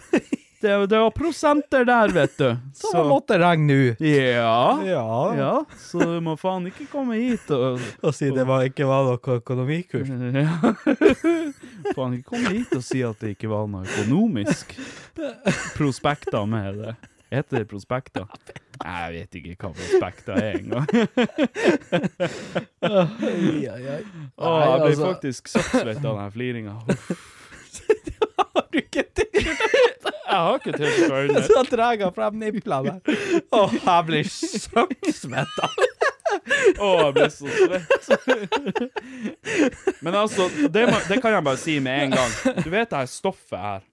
S2: Det, det var prosenter der, vet du.
S3: Så man måtte regne ut.
S2: ja.
S3: Ja.
S2: ja. Så du må faen ikke komme hit og
S3: Og si det var, ikke var noe økonomikurs.
S2: ja. Faen, ikke kom hit og si at det ikke var noe økonomisk prospekter med det. Heter det prospekter? Nei, jeg vet ikke hva prospekter er engang.
S4: Oi, oi, oi.
S2: Å,
S4: Nei,
S2: jeg ble
S4: altså.
S2: faktisk sakslitt av den fliringa. Har du ikke til Jeg har ikke til øynene.
S3: Så drar jeg frem niplene. Å, jeg blir søksmetta.
S2: Å, jeg ble så svett. Men altså, det, må, det kan jeg bare si med en gang. Du vet det her stoffet her.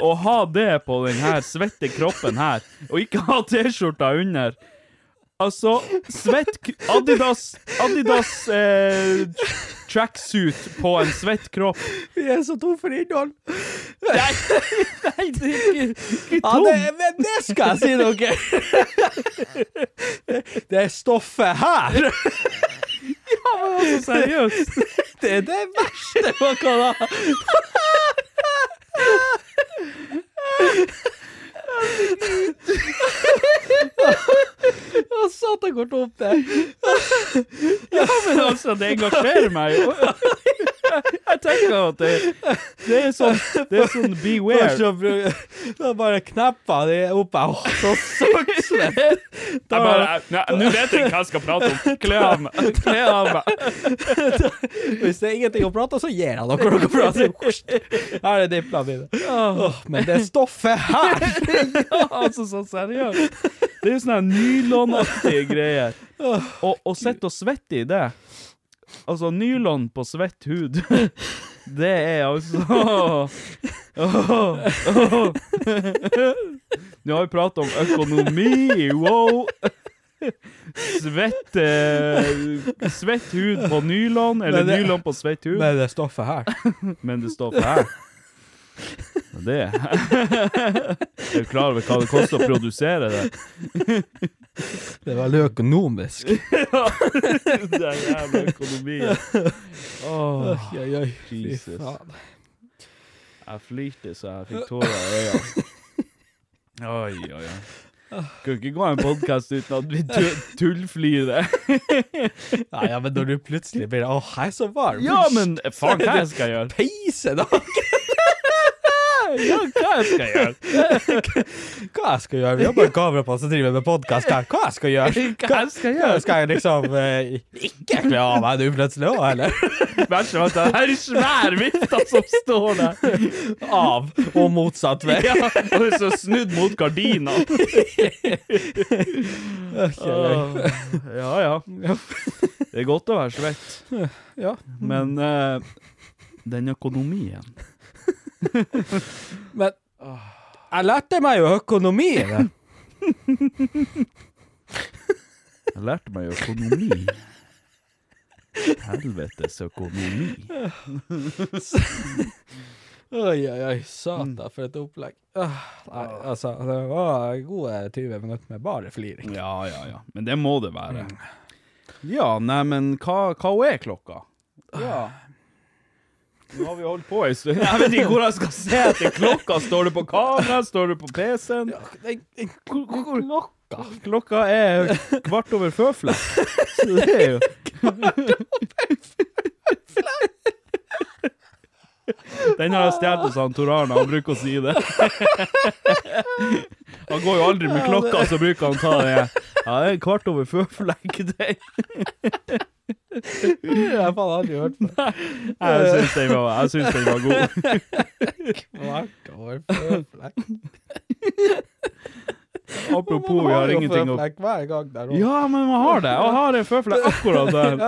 S2: Å ha det på den her svette kroppen her, og ikke ha T-skjorta under Altså, svett k- Adidas, Adidas eh, tr- tracksuit på en svett kropp
S3: Vi er så tom for innhold.
S2: Nei, nei, det er ikke, ikke
S3: Ja,
S2: tom.
S3: det, men det skal jeg si dere! Det er stoffet her!
S2: Altså, seriøst.
S3: Det er det verste man kan ha! Å, satan, går tomt der.
S2: Men altså, det engasjerer meg jo. Jeg tenker at det, det er sånn, det er sånn
S3: Først
S2: beware.
S3: så bru- Da bare kneppa de opp. Å, så søksmett!
S2: Jeg bare, nei, Nå vet jeg hva jeg skal prate om. Kle av meg. Kle av meg.
S3: Hvis det er ingenting å prate om, så gir jeg dere noe å prate om. Her er niplene mine. Åh, men det er stoffet her!
S2: Altså, sånn seriøst. Det er jo sånne her nylonaktige greier. Og å sitte og svette i det Altså, nylon på svett hud, det er altså Åh, åh. Nå har vi pratet om økonomi, wow. Svett eh, Svett hud på nylon, eller
S3: Men det-
S2: nylon på svett hud.
S3: Men det er stoffet her.
S2: Men det står for her. Og Det Er du klar over hva det koster å produsere det?
S3: Det er veldig økonomisk.
S2: Det er jævla økonomi. Åh,
S3: Oi, oi, fy
S2: Jesus.
S3: faen.
S2: Jeg flirte så jeg fikk tårer i øynene. Oi, oi, oi. Kunne ikke gå en podkast uten at vi tu- tullflirer.
S3: Nei, ja, men når du plutselig blir Åh, jeg er så varm.
S2: Ja, men faen, hva jeg skal gjøre?
S3: Peise, da!
S2: Ja, hva jeg skal gjøre?
S3: Hva jeg skal gjøre? Vi har bare kamera på oss og driver med podkast her. Hva jeg skal gjøre?
S2: Hva jeg skal gjøre?
S3: Skal jeg liksom eh, ikke kle av meg nå plutselig òg, eller?
S2: Verst av alt, det er svær vifta som står der.
S3: Av og motsatt vei.
S2: Ja, og det er så snudd mot gardina. Ja, ja. Det er godt å være svett.
S3: Ja.
S2: Men eh, den økonomien
S3: Men jeg lærte meg jo økonomi. da.
S2: Jeg lærte meg økonomi. Helvetes økonomi.
S3: Oi, oi,
S2: Mm.
S3: oi. Satan, for et opplegg. Ah, nei, altså, det var gode 20 minutter med bare fliring.
S2: Ja, ja, ja. Men det må det være. Ja, neimen, hva, hva er klokka? Ja. Nå har vi holdt på ei stund. Jeg vet ikke hvor jeg skal se etter klokka. Står du på kamera? Står du på PC-en?
S3: Den, den
S2: Klokka Klokka er kvart over føfle. Så det er jo Den har jeg stjålet hos han Tor Arne, han bruker å si det. Han går jo aldri med klokka, så bruker han ta det. Ja, det er kvart over føfle, ikke det?
S3: jeg har faen aldri hørt på.
S2: Jeg syns den var, jeg synes den var god.
S3: Kvart år føflekk.
S2: Apropos, vi har ingenting å
S3: Føflekk hver gang der også.
S2: Ja, men man har det. Jeg har en føfle akkurat der.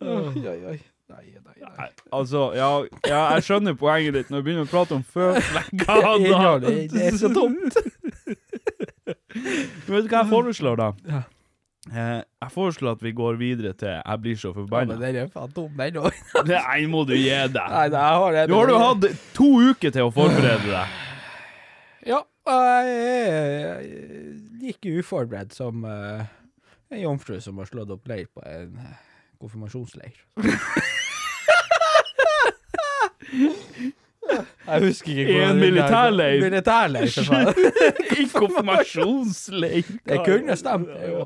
S3: Oi, oi, oi. Nei, nei, nei.
S2: Nei, Altså, ja, ja, jeg skjønner poenget ditt når du begynner å prate om føflekker. da.
S3: Innholdet, det- det er så tomt.
S2: Men Vet du hva jeg foreslår, da?
S3: Ja.
S2: Eh, Jeg foreslår at vi går videre til 'Jeg blir så
S3: Ja, men
S2: forbanna'.
S3: den er faen tom, den òg.
S2: Nei, må du gi
S3: Nei,
S2: deg.
S3: nei, jeg har det.
S2: Nå har du hatt to uker til å forberede deg.
S3: Ja, jeg er like uforberedt som eh, en jomfru som har slått opp leir på en eh, konfirmasjonsleir. Jeg husker ikke
S2: I en militærleir.
S3: Militærleir, for faen.
S2: I konfirmasjonsleik.
S3: Det kunne stemt. det er jo.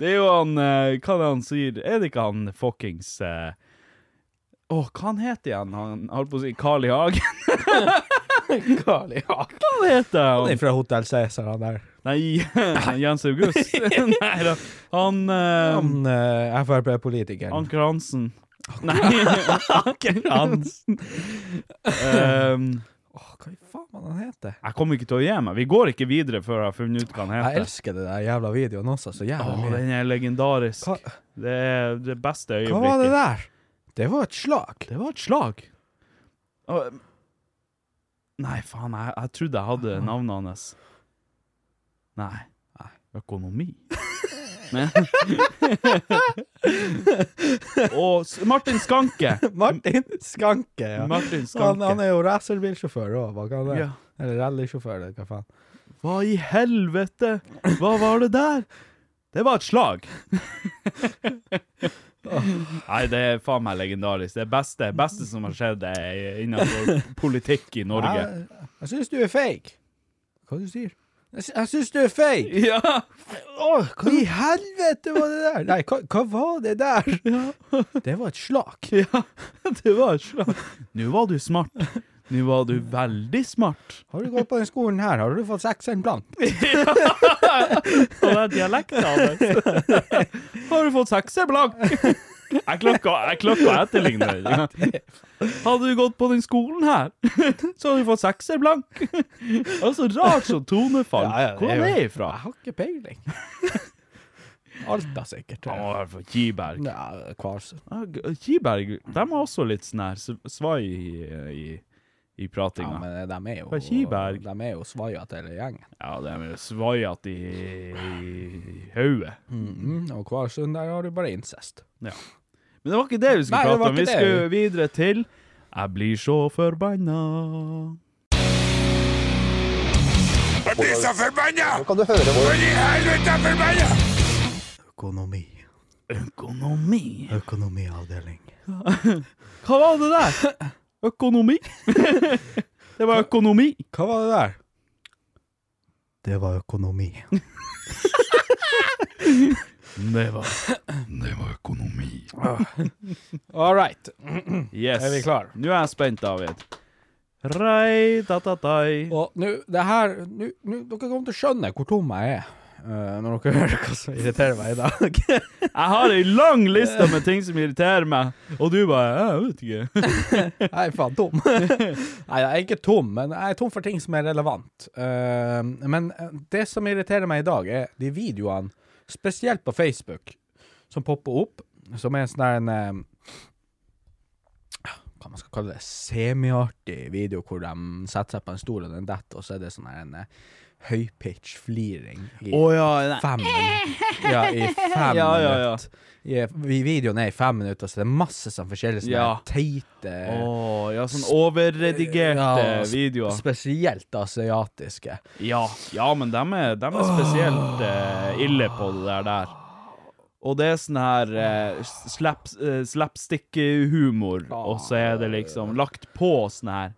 S2: Det er jo han eh, Hva er det han sier? Er det ikke han fuckings eh, Å, hva han heter igjen? Han holdt på å si Carl I. Hagen.
S3: Carl I. Hagen.
S2: Hva heter
S3: Han
S2: han?
S3: er fra Hotell Cæsar, han der.
S2: Nei, Jens August. Nei da. Han eh,
S3: Han eh, Frp-politikeren.
S2: Anker Hansen. Nei, Anker Hansen. Ehm,
S3: Åh, Hva i faen var det han heter?
S2: jeg kommer ikke til å gi meg. Vi går ikke videre før jeg har funnet ut hva han
S3: Jeg
S2: heter.
S3: elsker det der jævla videoen også, så
S2: Å,
S3: jævla mye.
S2: den er legendarisk.
S3: Hva,
S2: Det er det beste øyeblikket.
S3: hva var det der? Det var et slag.
S2: Det var et slag. Og- Nei, faen, jeg, jeg trodde jeg hadde navnet hans. Nei. Økonomi. Nei. Og S- Martin Skanke.
S3: Martin Skanke, ja.
S2: Martin
S3: Han, han
S2: Skanke.
S3: er jo racerbilsjåfør òg, hva kan det?
S2: Ja.
S3: Eller rallysjåfør, eller hva faen.
S2: Hva i helvete? Hva var det der? Det var et slag. Nei, det er faen meg legendarisk. Det beste, beste som har skjedd eh, innenfor politikk i Norge.
S3: Jeg, jeg syns du er fake. Hva du sier Jeg, sy- jeg syns du er fake!
S2: Ja!
S3: Åh, hva i helvete var det der? Nei, hva, hva var det der? Det var et slag.
S2: Ja, det var slag. Nå var du smart. Nå var du veldig smart.
S3: Har du gått på den skolen her, har du fått sekseren blankt.
S2: Og det er dialekten altså. hans. Har du fått sekser blank? Jeg klokka, jeg klokka etterligner. Hadde du gått på den skolen her, så hadde du fått sekser blank. Altså, rart sånn tonefall.
S3: Ja, ja, det er
S2: Hvor er
S3: jo-
S2: det ifra?
S3: Jeg har ikke peiling. Alta, sikkert.
S2: Han må være fra Kiberg.
S3: Ja, Kvarsund.
S2: Ja, G- Kiberg, de har også litt sånn her sv- svai i, i, i
S3: Ja,
S2: pratinga.
S3: men de er jo
S2: Fra Kiberg.
S3: De er jo svaiete, hele gjengen.
S2: Ja, de er svaiete i, i hodet.
S3: Mhm, og Kvarsund, der har du bare incest.
S2: Men det var ikke det vi skulle
S3: Nei, det
S2: prate
S3: var
S2: om. Vi
S3: ikke det.
S2: skulle videre til Jeg blir så forbanna.
S3: Økonomi.
S2: Økonomi.
S3: Økonomiavdeling.
S2: Hva var det der? Økonomi? det var økonomi.
S3: Hva var det der? Det var økonomi.
S2: Det var, det var økonomi.
S3: All right.
S2: Yes.
S3: Er vi klar?
S2: Nå er jeg spent, David. Rei, da, da, dai.
S3: Og nå, det her nå, nå, Dere kommer til å skjønne hvor tom jeg er eh, når dere hører hva som irriterer meg i dag.
S2: Jeg har ei lang liste med ting som irriterer meg, og du bare Jeg vet ikke.
S3: Jeg er faen tom. Nei, jeg er ikke tom, men jeg er tom for ting som er relevant. Eh, men eh, det som irriterer meg i dag, er de videoene, spesielt på Facebook, som popper opp, som er sånn der en eh, hva man skal kalle det, semiartig video hvor de setter seg på en stol og den detter, og så er det sånn her en eh, høypitch fliring i
S2: Å ja, nei.
S3: fem minutter. Ja, i fem
S2: Ja, ja, ja.
S3: minutter. I, I videoen er i fem minutter, så det er masse sånn forskjellige sånne
S2: Ja.
S3: teite
S2: Å, ja, sånn overredigerte
S3: Ja, sp-
S2: videoer.
S3: Spesielt asiatiske.
S2: Ja, ja men de er, dem er spesielt eh, ille på det der der. Og det er sånn her eh, slap, eh, slapstick-humor, og så er det liksom lagt på sånn her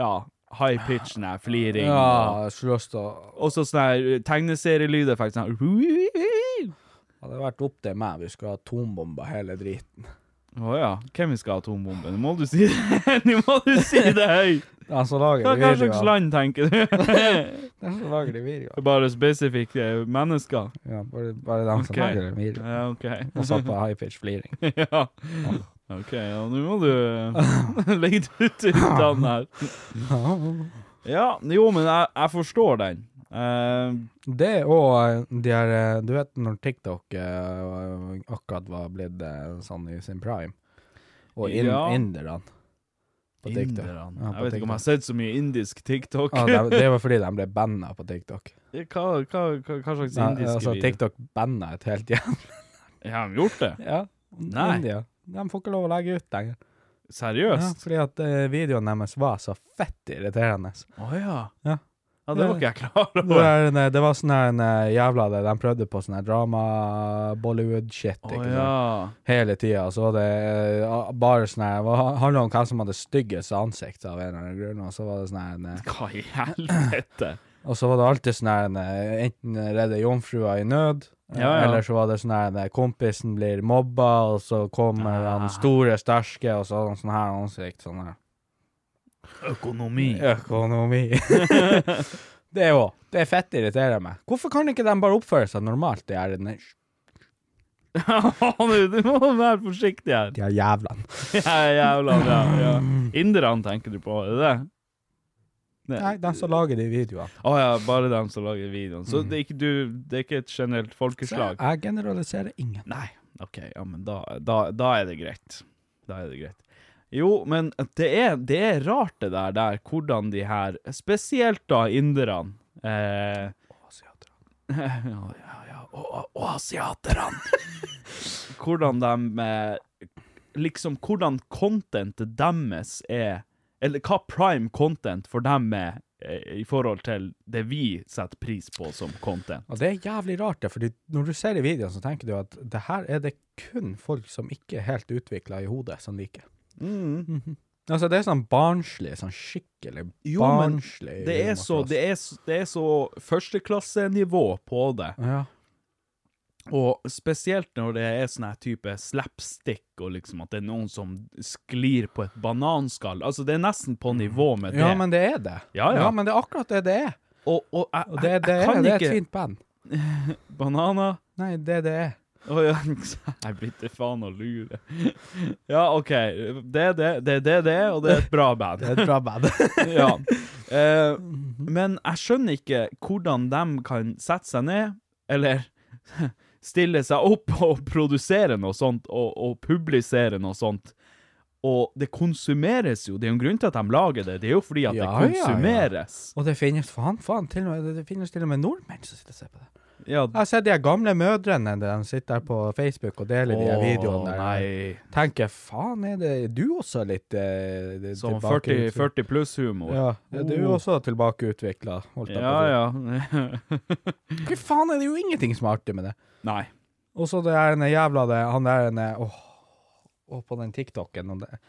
S2: Ja, high-pitchen her, fliring.
S3: Ja, slåss da.
S2: Og så sånn her tegneserielyd effekt sånn her.
S3: Hadde det vært opp til meg, vi skulle ha atombomba hele driten.
S2: Å ja. Hvem vi skal ha atombombe? Nå må du si det Nå må du si det høyt!
S3: Den som lager
S2: Hva
S3: de
S2: hva slags
S3: videoene.
S2: land tenker du?
S3: Den som lager de videoene.
S2: Bare spesifikke eh, mennesker?
S3: Ja, bare, bare den som
S2: Ok.
S3: lager de videoene.
S2: Ja, OK.
S3: Og satt på high pitch fliring.
S2: ja. OK, ja, nå må du legge det ut uten her. Ja, jo, men jeg, jeg forstår den. Eh,
S3: Det og eh, de her eh, Du vet når TikTok eh, akkurat var blitt eh, sånn i sin prime? Og in,
S2: Ja.
S3: inderne. På TikTok.
S2: inderne.
S3: Ja, på
S2: jeg vet ikke om jeg
S3: TikTok.
S2: har sett så mye indisk TikTok.
S3: Ja, det, det var fordi de ble banna på TikTok.
S2: hva, hva, hva, hva slags
S3: Nei,
S2: indiske
S3: altså,
S2: videoer?
S3: TikTok banna et helt hjem.
S2: Har de gjort det?
S3: Ja.
S2: Nei.
S3: India. De får ikke lov å legge ut lenger. Ja,
S2: Seriøst?
S3: fordi at eh, videoen deres var så fett irriterende.
S2: Å ja.
S3: Ja.
S2: Ja, det var ikke jeg klar
S3: Det
S2: over.
S3: var, det var sånn her en eh, jævla det. De prøvde på sånn her drama-Bollywood-shit.
S2: Å
S3: ikke sant?
S2: ja.
S3: hele tida. Så var det eh, bare sånn her Det handla om hvem som hadde styggest ansikt av en eller annen grunn. Og så var det sånn her en, eh,
S2: Hva i helvete?
S3: Og så var det alltid sånn her en, eh, Enten redde jomfrua i nød, eh,
S2: Ja, ja.
S3: eller så var det sånn her en, eh, Kompisen blir mobba, og så kommer
S2: Ah.
S3: han store, sterke, og så har han sånn her ansikt. Sånn her.
S2: Økonomi.
S3: Økonomi. det òg. Det er fett irriterer meg. Hvorfor kan ikke de bare oppføre seg normalt, de her, de
S2: du, du må være forsiktig her.
S3: her jævlene?
S2: Ja, jævla bra. Ja. Inderne tenker du på, er det det?
S3: Nei, de som lager de videoene.
S2: Å ja, bare dem som lager videoen. Så det, er ikke, du, det er ikke et generelt folkeslag?
S3: Jeg generaliserer ingen.
S2: Nei. OK, ja, men da, da, da er det greit. Da er det greit. Jo, men det er, det er rart det der, der, hvordan de her, spesielt da inderne eh, ja, ja, ja. Og, og, og asiaterne. hvordan de eh, Liksom hvordan contentet deres er Eller hva prime content for dem er eh, i forhold til det vi setter pris på som content.
S3: Og det er jævlig rart, det, fordi når du ser i videoen, så tenker du at det her er det kun folk som ikke er helt utvikla i hodet, som liker. Mhm. Altså, det er sånn barnslig, sånn skikkelig
S2: Jo, men
S3: barnslig
S2: det er så, det er, s- det er så førsteklassenivå på det.
S3: Ja.
S2: Og spesielt når det er sånn her type slapstick, og liksom at det er noen som sklir på et bananskall. Altså, det er nesten på nivå med det.
S3: Mm. ja, men det er det.
S2: Ja, ja.
S3: men det er akkurat det det er.
S2: Og, og jeg,
S3: Og
S2: jeg,
S3: det, det,
S2: jeg kan
S3: er, det er et
S2: ikke
S3: fint band.
S2: Bananer
S3: Nei, det det er.
S2: Å ja, jeg begynte faen å lure. Ja, OK. Det er det, det er det, det er, og det er et bra band.
S3: Det er et bra band.
S2: ja. Eh, men jeg skjønner ikke hvordan de kan sette seg ned, eller stille seg opp og produsere noe sånt, og, og publisere noe sånt. Og det konsumeres jo. Det er jo en grunn til at de lager det. Det er jo fordi at
S3: Ja, ja,
S2: det
S3: ja.
S2: konsumeres.
S3: og det finnes faen, faen, til og med, det finnes til og med nordmenn som sitter og ser på det.
S2: Ja,
S3: Jeg har sett de her gamle mødrene, de sitter der på Facebook og deler de her videoene der.
S2: Nei.
S3: tenker faen, er det du også litt eh, det-
S2: Som
S3: tilbake-
S2: 40, 40 pluss-humor.
S3: Ja, er du
S2: Oh.
S3: også tilbakeutvikla, holdt jeg
S2: ja.
S3: på å
S2: ja.
S3: si. Hva faen, er det jo ingenting som er artig med det?
S2: Nei.
S3: Og så det er den jævla det, han der den åh, åh, på den TikToken og det,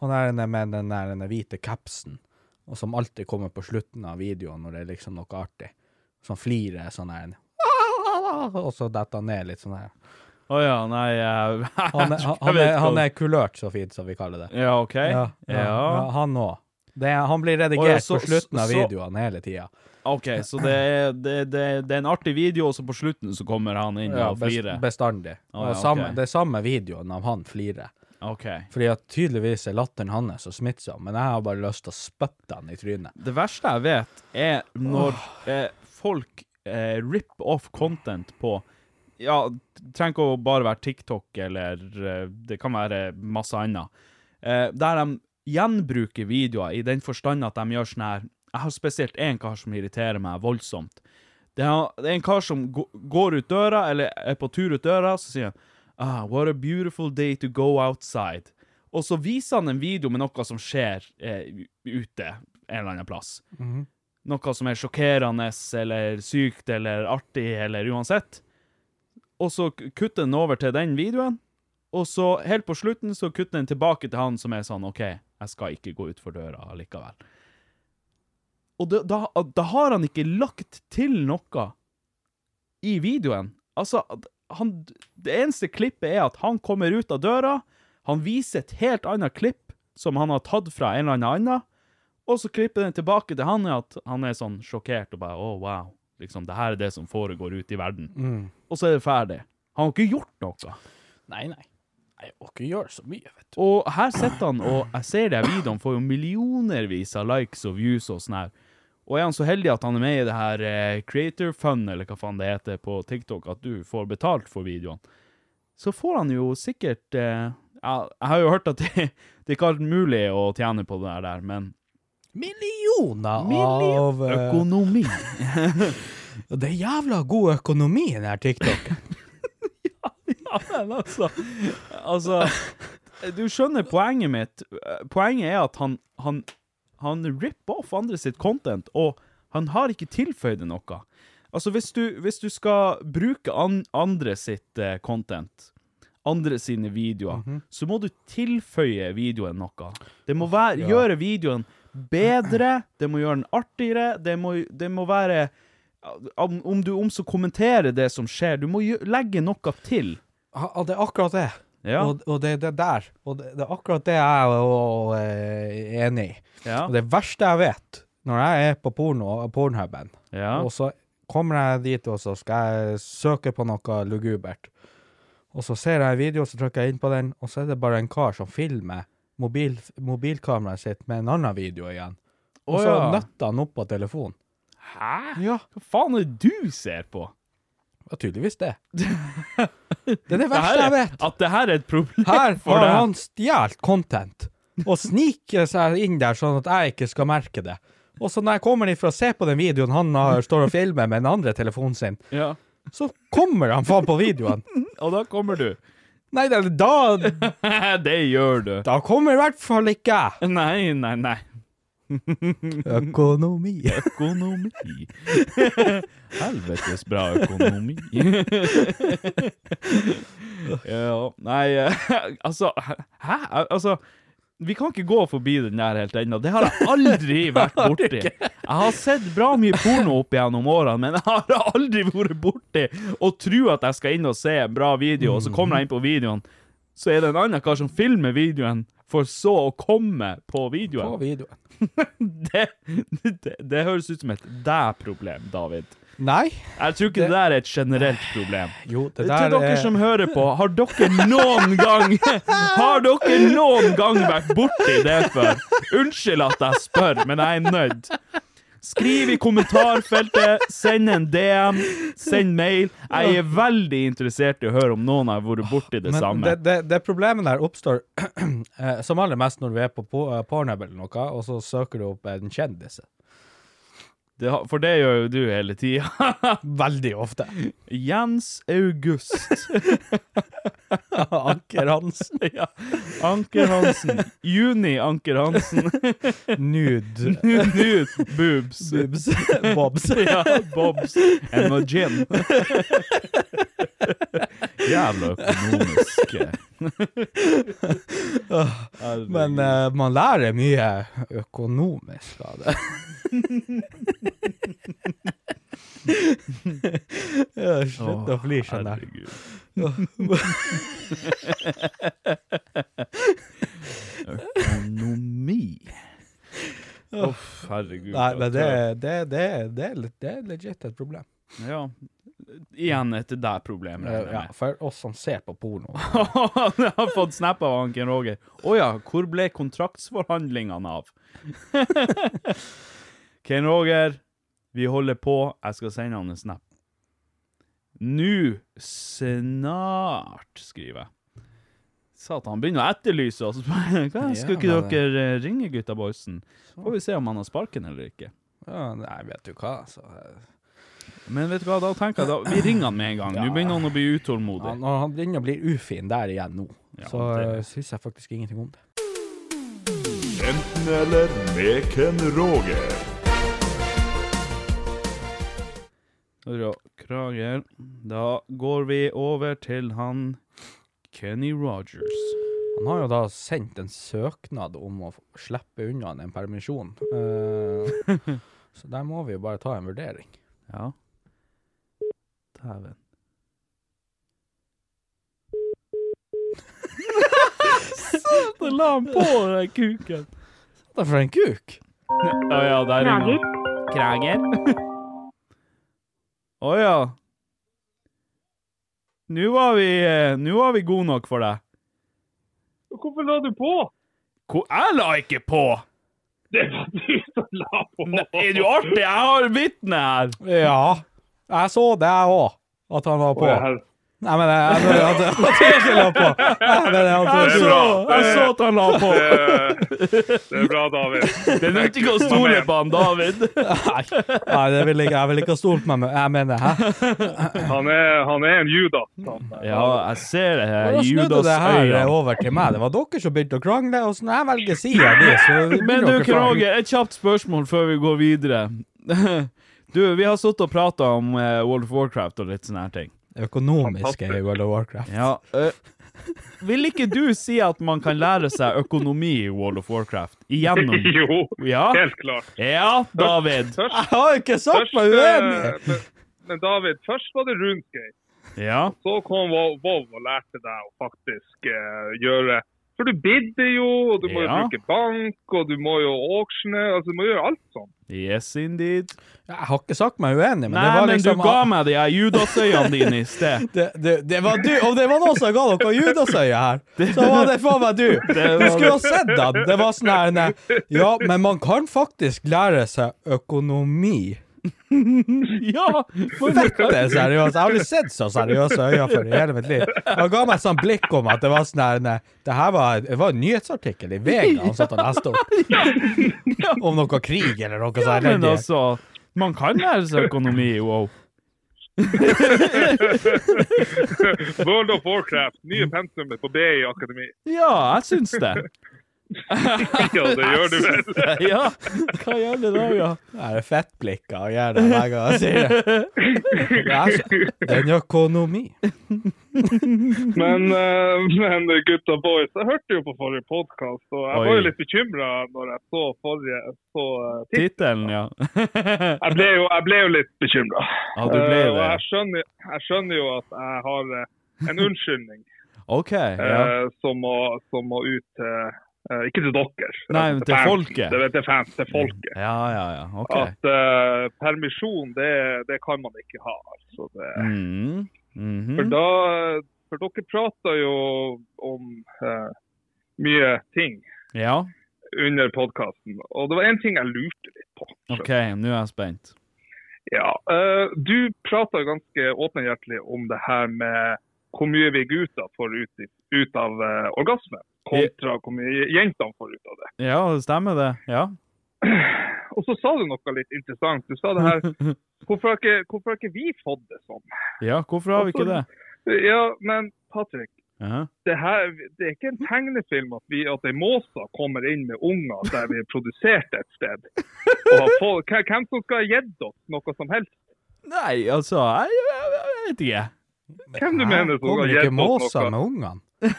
S3: Han er den med den der den hvite capsen, og som alltid kommer på slutten av videoen når det er liksom noe artig. Som flirer sånn her Og så detter han ned litt sånn her.
S2: Å ja, nei jeg-
S3: Han er,
S2: jeg
S3: han, han
S2: vet
S3: er,
S2: hva-
S3: han er kulørt, så fint som vi kaller det.
S2: Ja, OK.
S3: Ja, ja, ja, han òg. Det er- Han blir redigert
S2: Å, ja, så-
S3: på slutten av
S2: så-
S3: videoene hele tida.
S2: OK, så det er, det, det, det er en artig video, og så på slutten så kommer han inn og flirer.
S3: bestandig.
S2: Å, ja,
S3: Og samme,
S2: ok.
S3: Det er samme videoen av han flirer.
S2: OK.
S3: Fordi at tydeligvis er latteren hans så smittsom, men jeg har bare lyst til å spytte han i trynet.
S2: Det verste jeg vet, er når eh, folk eh, rip off content på Ja, det trenger ikke å bare være TikTok, eller eh, det kan være masse annet. Eh, der de gjenbruker videoer i den forstand at de gjør sånn her Jeg har spesielt én kar som irriterer meg voldsomt. Det er det er en kar som gå- går ut døra, eller er på tur ut døra, så sier han ah, What a beautiful day to go outside. Og så viser han en video med noe som skjer eh, ute en eller annen plass. Noe som er sjokkerende eller sykt eller artig eller uansett. Og så k- kutter den over til den videoen, og så helt på slutten så kutter den tilbake til han som er sånn OK, jeg skal ikke gå utfor døra likevel. Og da, da, da har han ikke lagt til noe i videoen. Altså, han, det eneste klippet er at han kommer ut av døra, han viser et helt annet klipp som han har tatt fra en eller annen annen, og så klipper den tilbake til han at han er sånn sjokkert og bare, åh, wow, liksom, det her er det som foregår ute i verden. Og så er det ferdig. Han har ikke gjort noe.
S4: Nei, nei. Jeg må ikke gjøre så mye, vet du.
S2: Og her sitter han, og jeg ser det videoen får jo millionervis av likes og views og sånn her. Og er han så heldig at han er med i det her eh, Creator Fund, eller hva faen det heter på TikTok, at du får betalt for videoen, så får han jo sikkert eh, ja, Jeg har jo hørt at det, det er ikke alt mulig å tjene på det der, men
S3: Millioner av
S2: Million-
S3: eh,
S2: Økonomi.
S3: Det er jævla god økonomi i den her TikTok.
S2: Ja, men altså Altså Du skjønner poenget mitt. Poenget er at han, han, han ripper off andre sitt content, og han har ikke tilføyd det noe. Altså, hvis du, hvis du skal bruke an, andre sitt eh, content, andre sine videoer,
S3: Mhm.
S2: så må du tilføye videoen noe. Det må være, gjøre videoen bedre, det må gjøre den artigere, det må, det må være om, om du om så kommenterer det som skjer, du må gjø- legge noe til.
S3: Ja, og det er akkurat det.
S2: Ja.
S3: Og, og det er det der. Og det, det er akkurat det jeg er og, eh, enig i.
S2: Ja.
S3: Og det verste jeg vet, når jeg er på porno, pornhuben,
S2: Ja.
S3: og så kommer jeg dit, og så skal jeg søke på noe lugubert, og så ser jeg en video, så trykker jeg inn på den, og så er det bare en kar som filmer mobil, mobilkameraet sitt med en annen video igjen. Og
S2: Å
S3: så
S2: ja.
S3: nøtter han opp på telefonen.
S2: Hæ? Hva faen er det du ser på?
S3: Ja, tydeligvis det. Det er det
S2: Det her
S3: verste jeg
S2: er,
S3: vet.
S2: at det her er et problem
S3: Her
S2: for
S3: har
S2: deg.
S3: han stjålet content og sniker seg inn der sånn at jeg ikke skal merke det. Og så når jeg kommer inn for å se på den videoen han har, står og filmer med den andre telefonen sin,
S2: Ja.
S3: så kommer han faen på videoen.
S2: Og da kommer du.
S3: Nei, da, da,
S2: det gjør du.
S3: da kommer i hvert fall ikke jeg.
S2: Nei, nei, nei.
S3: Økonomi.
S2: Økonomi. Helvetes bra økonomi. ja, nei, eh, altså Hæ? Altså, vi kan ikke gå forbi den der helt ennå. Det har jeg aldri vært borti. Jeg har sett bra mye porno opp gjennom årene, men jeg har aldri vært borti å tro at jeg skal inn og se en bra video, og så kommer jeg inn på videoen, så er det en annen kar som filmer videoen, for så å komme på videoen.
S3: På videoen.
S2: Det, det, det høres ut som et deg-problem, David.
S3: Nei.
S2: Jeg tror ikke det, der er et generelt problem.
S3: Jo, det
S2: Til
S3: der
S2: dere
S3: er-
S2: som hører på, har dere noen gang Har dere noen gang vært borti det før? Unnskyld at jeg spør, men jeg er nødt. Skriv i kommentarfeltet, send en DM, send mail. Jeg er veldig interessert i å høre om noen har vært borti det
S3: Men
S2: samme.
S3: det, det, det problemet der oppstår eh, som aller mest når du er på po- eh, Pornhub eller noe, og så søker du opp en kjendis.
S2: Det, har- for det gjør jo du hele tida.
S3: Veldig ofte.
S2: Jens August.
S3: Anker Hansen.
S2: Ja. Anker Hansen. Juni Anker Hansen.
S3: Nude.
S2: Nude boobs.
S3: Boobs. Bobs.
S2: Ja, bobs. And a gin. Jævla økonomisk. Ah,
S3: Men eh, man lærer mye økonomisk av det. ja, slutt å flire sånn der.
S2: Herregud. Økonomi. Uff, herregud.
S3: Nei, men det, det, det, det, er, litt- det er legit et problem.
S2: Ja. Igjen et deg-problem, regner jeg
S3: Ja,
S2: med.
S3: for oss som ser på porno.
S2: Jeg har fått snap av Anken Roger. Å ja, hvor ble kontraktsforhandlingene av? Ken Roger, vi holder på. Jeg skal sende han en snap. Nå snart, skriver jeg. Satan, han begynner å etterlyse oss. Hva, Skulle ikke
S3: Ja, men- Sånn.
S2: dere eh, ringe gutta boysen? Får vi se om han har sparken eller ikke.
S3: Ja, nei, vet du hva, altså.
S2: Men vet du hva, da tenker jeg da, vi ringer han med en gang. Nå begynner han å bli
S3: Ja,
S2: utålmodig.
S3: når han begynner å bli ufin der igjen nå,
S2: Ja,
S3: så
S2: det-
S3: uh, syns jeg faktisk ingenting om det.
S5: Enten eller med Ken Roger.
S2: Bra, Krager. Da går vi over til han Kenny Rogers.
S3: Han har jo da sendt en søknad om å f- slippe unna en permisjon. Eh, så der må vi jo bare ta en vurdering.
S2: Ja. Dæven. Satan, la han på den kuken.
S3: Det er for en kuk!
S2: Å ja, der ringer han. Krager. Å ja. Nå var vi eh, Nå var vi gode nok for deg.
S6: Hvorfor la du på?
S2: Hvor jeg la ikke på!
S6: Det var du som la på.
S2: Ne- Er du artig? Jeg har vitne her.
S3: Ja, jeg så det, jeg òg. At han var på.
S6: Her-
S3: Nei, men jeg jeg- at at han ikke la på. Nei, men at han
S6: Det er
S3: ikke
S6: bra.
S2: Jeg så at han la på.
S6: Det, det er bra, David.
S2: Det nytter ikke å stole på han, David.
S3: Nei, det vil jeg, jeg vil ikke ha stolt meg med. Jeg mener, hæ?
S6: Han er, han er en judas. han.
S2: Ja, jeg ser det her.
S3: Da snudde
S2: Judas
S3: det her
S6: eh,
S2: øyne.
S3: over til meg. Det var dere som begynte å krangle, og så når jeg velger sida di, så
S2: Men du,
S3: begynner dere krangle.
S2: Krager, et kjapt spørsmål før vi går videre. Du, vi har sittet og prata om eh, World of Warcraft og litt sånne her ting.
S3: Økonomiske i World of Warcraft.
S2: Ja, eh, Vil ikke du si at man kan lære seg økonomi i World of Warcraft? Igjennom
S6: Jo,
S2: Ja,
S6: helt klart.
S2: ja David.
S6: Først,
S3: Ah, Jeg har ikke sagt
S6: først
S3: meg uenig!
S6: eh, men- Men David, først var det Runescape.
S2: Ja.
S6: Så kom Vov Vov og lærte deg å faktisk eh, gjøre For du bidder jo, og du må jo
S2: Ja.
S6: bruke bank, og du må jo auctione altså Du må gjøre alt sånn.
S2: Yes, indeed.
S3: Jeg har ikke sagt meg uenig, men
S2: Nei,
S3: det var
S2: men
S3: liksom
S2: du ga meg de her Judas-øynene dine i sted.
S3: det, det, det var du, om det var noen som ga noe judasøye her, så var det faen meg du.
S2: var
S3: Du skulle ha sett den. Det var sånn her nei, Ja, men man kan faktisk lære seg økonomi.
S2: Ja!
S3: Altså, Fette seriøst. Jeg har aldri sett så seriøse øyne før i hele mitt liv. Han ga meg sånn blikk om at det var sånn her nei, Det her var, det var en nyhetsartikkel i VG han satt og leste opp. Om noe krig eller noe sånt.
S2: Men
S3: elendig.
S2: altså, man kan lære seg økonomi, wow.
S6: World of Warcraft, nye pensumet på BI Akademi.
S2: Ja, jeg syns det.
S6: Ja, det gjør du vel?
S2: Ja, hva gjør det da, ja?
S3: Det er fettblikka og gjør det hver gang jeg sier det. Det er så- En økonomi.
S6: Men, eh, men gutta boys, jeg hørte jo på forrige podkast, og jeg var
S2: Oi.
S6: jo litt bekymra når jeg så forrige så, eh, titt.
S2: Tittelen, ja.
S6: Jeg ble jo, jeg ble jo litt bekymra.
S2: Ja, du ble
S6: Eh, og
S2: det.
S6: jeg skjønner, jeg skjønner jo at jeg har eh, en unnskyldning
S2: OK. ja.
S6: eh, som, må, som må ut til eh, Ikke til dere.
S2: Nei, men til
S6: fansen.
S2: folket.
S6: Det, til fans, til folket.
S2: Ja, ja, ja. OK.
S6: At eh, permisjon, det, det kan man ikke ha. Altså, det,
S2: Mm. mhm.
S6: for, da, for dere prater jo om eh, mye ting
S2: Ja,
S6: under podkasten, og det var én ting jeg lurte litt på.
S2: OK, nå er jeg spent.
S6: Ja, eh, Du prata ganske åpenhjertelig om det her med hvor mye vi gutter får ut, i- ut av eh, orgasme, kontra hvor mye jentene får ut av det.
S2: Ja, det stemmer det. Ja.
S6: Og så sa du noe litt interessant. Du sa det her Hvorfor har ikke, hvorfor har ikke vi fått det sånn?
S2: Ja, hvorfor har vi ikke det? Uh-huh.
S6: Ja, men Patrick.
S2: Ja.
S6: Det, her, det er ikke en tegnefilm at, vi, at ei måse kommer inn med unger der vi er produsert et sted. Og har fått, hvem- hvem som skal ha gitt oss noe som helst?
S2: Nei, altså Jeg, jeg, jeg vet ikke.
S6: Hvem du
S3: Hæ?
S6: mener som
S3: Kommer
S6: har
S3: ikke
S6: gitt oss
S3: måser
S6: noe?
S3: med ungene?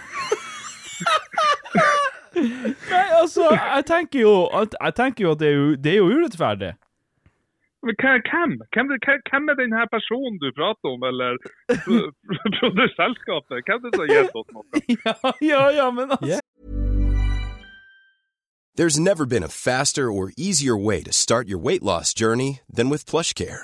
S2: Nei, altså, jeg tenker jo at, jeg tenker jo at det, er jo, det er jo urettferdig.
S6: Men hva- hvem? Hvem, hvem- hvem er den her personen du prater om, eller pro- produsentselskapet? Hvem er det som har gitt oss noe?
S2: Ja, ja, ja, men altså
S3: Ja.
S7: There's never been a faster or easier way to start your weight loss journey than with PlushCare.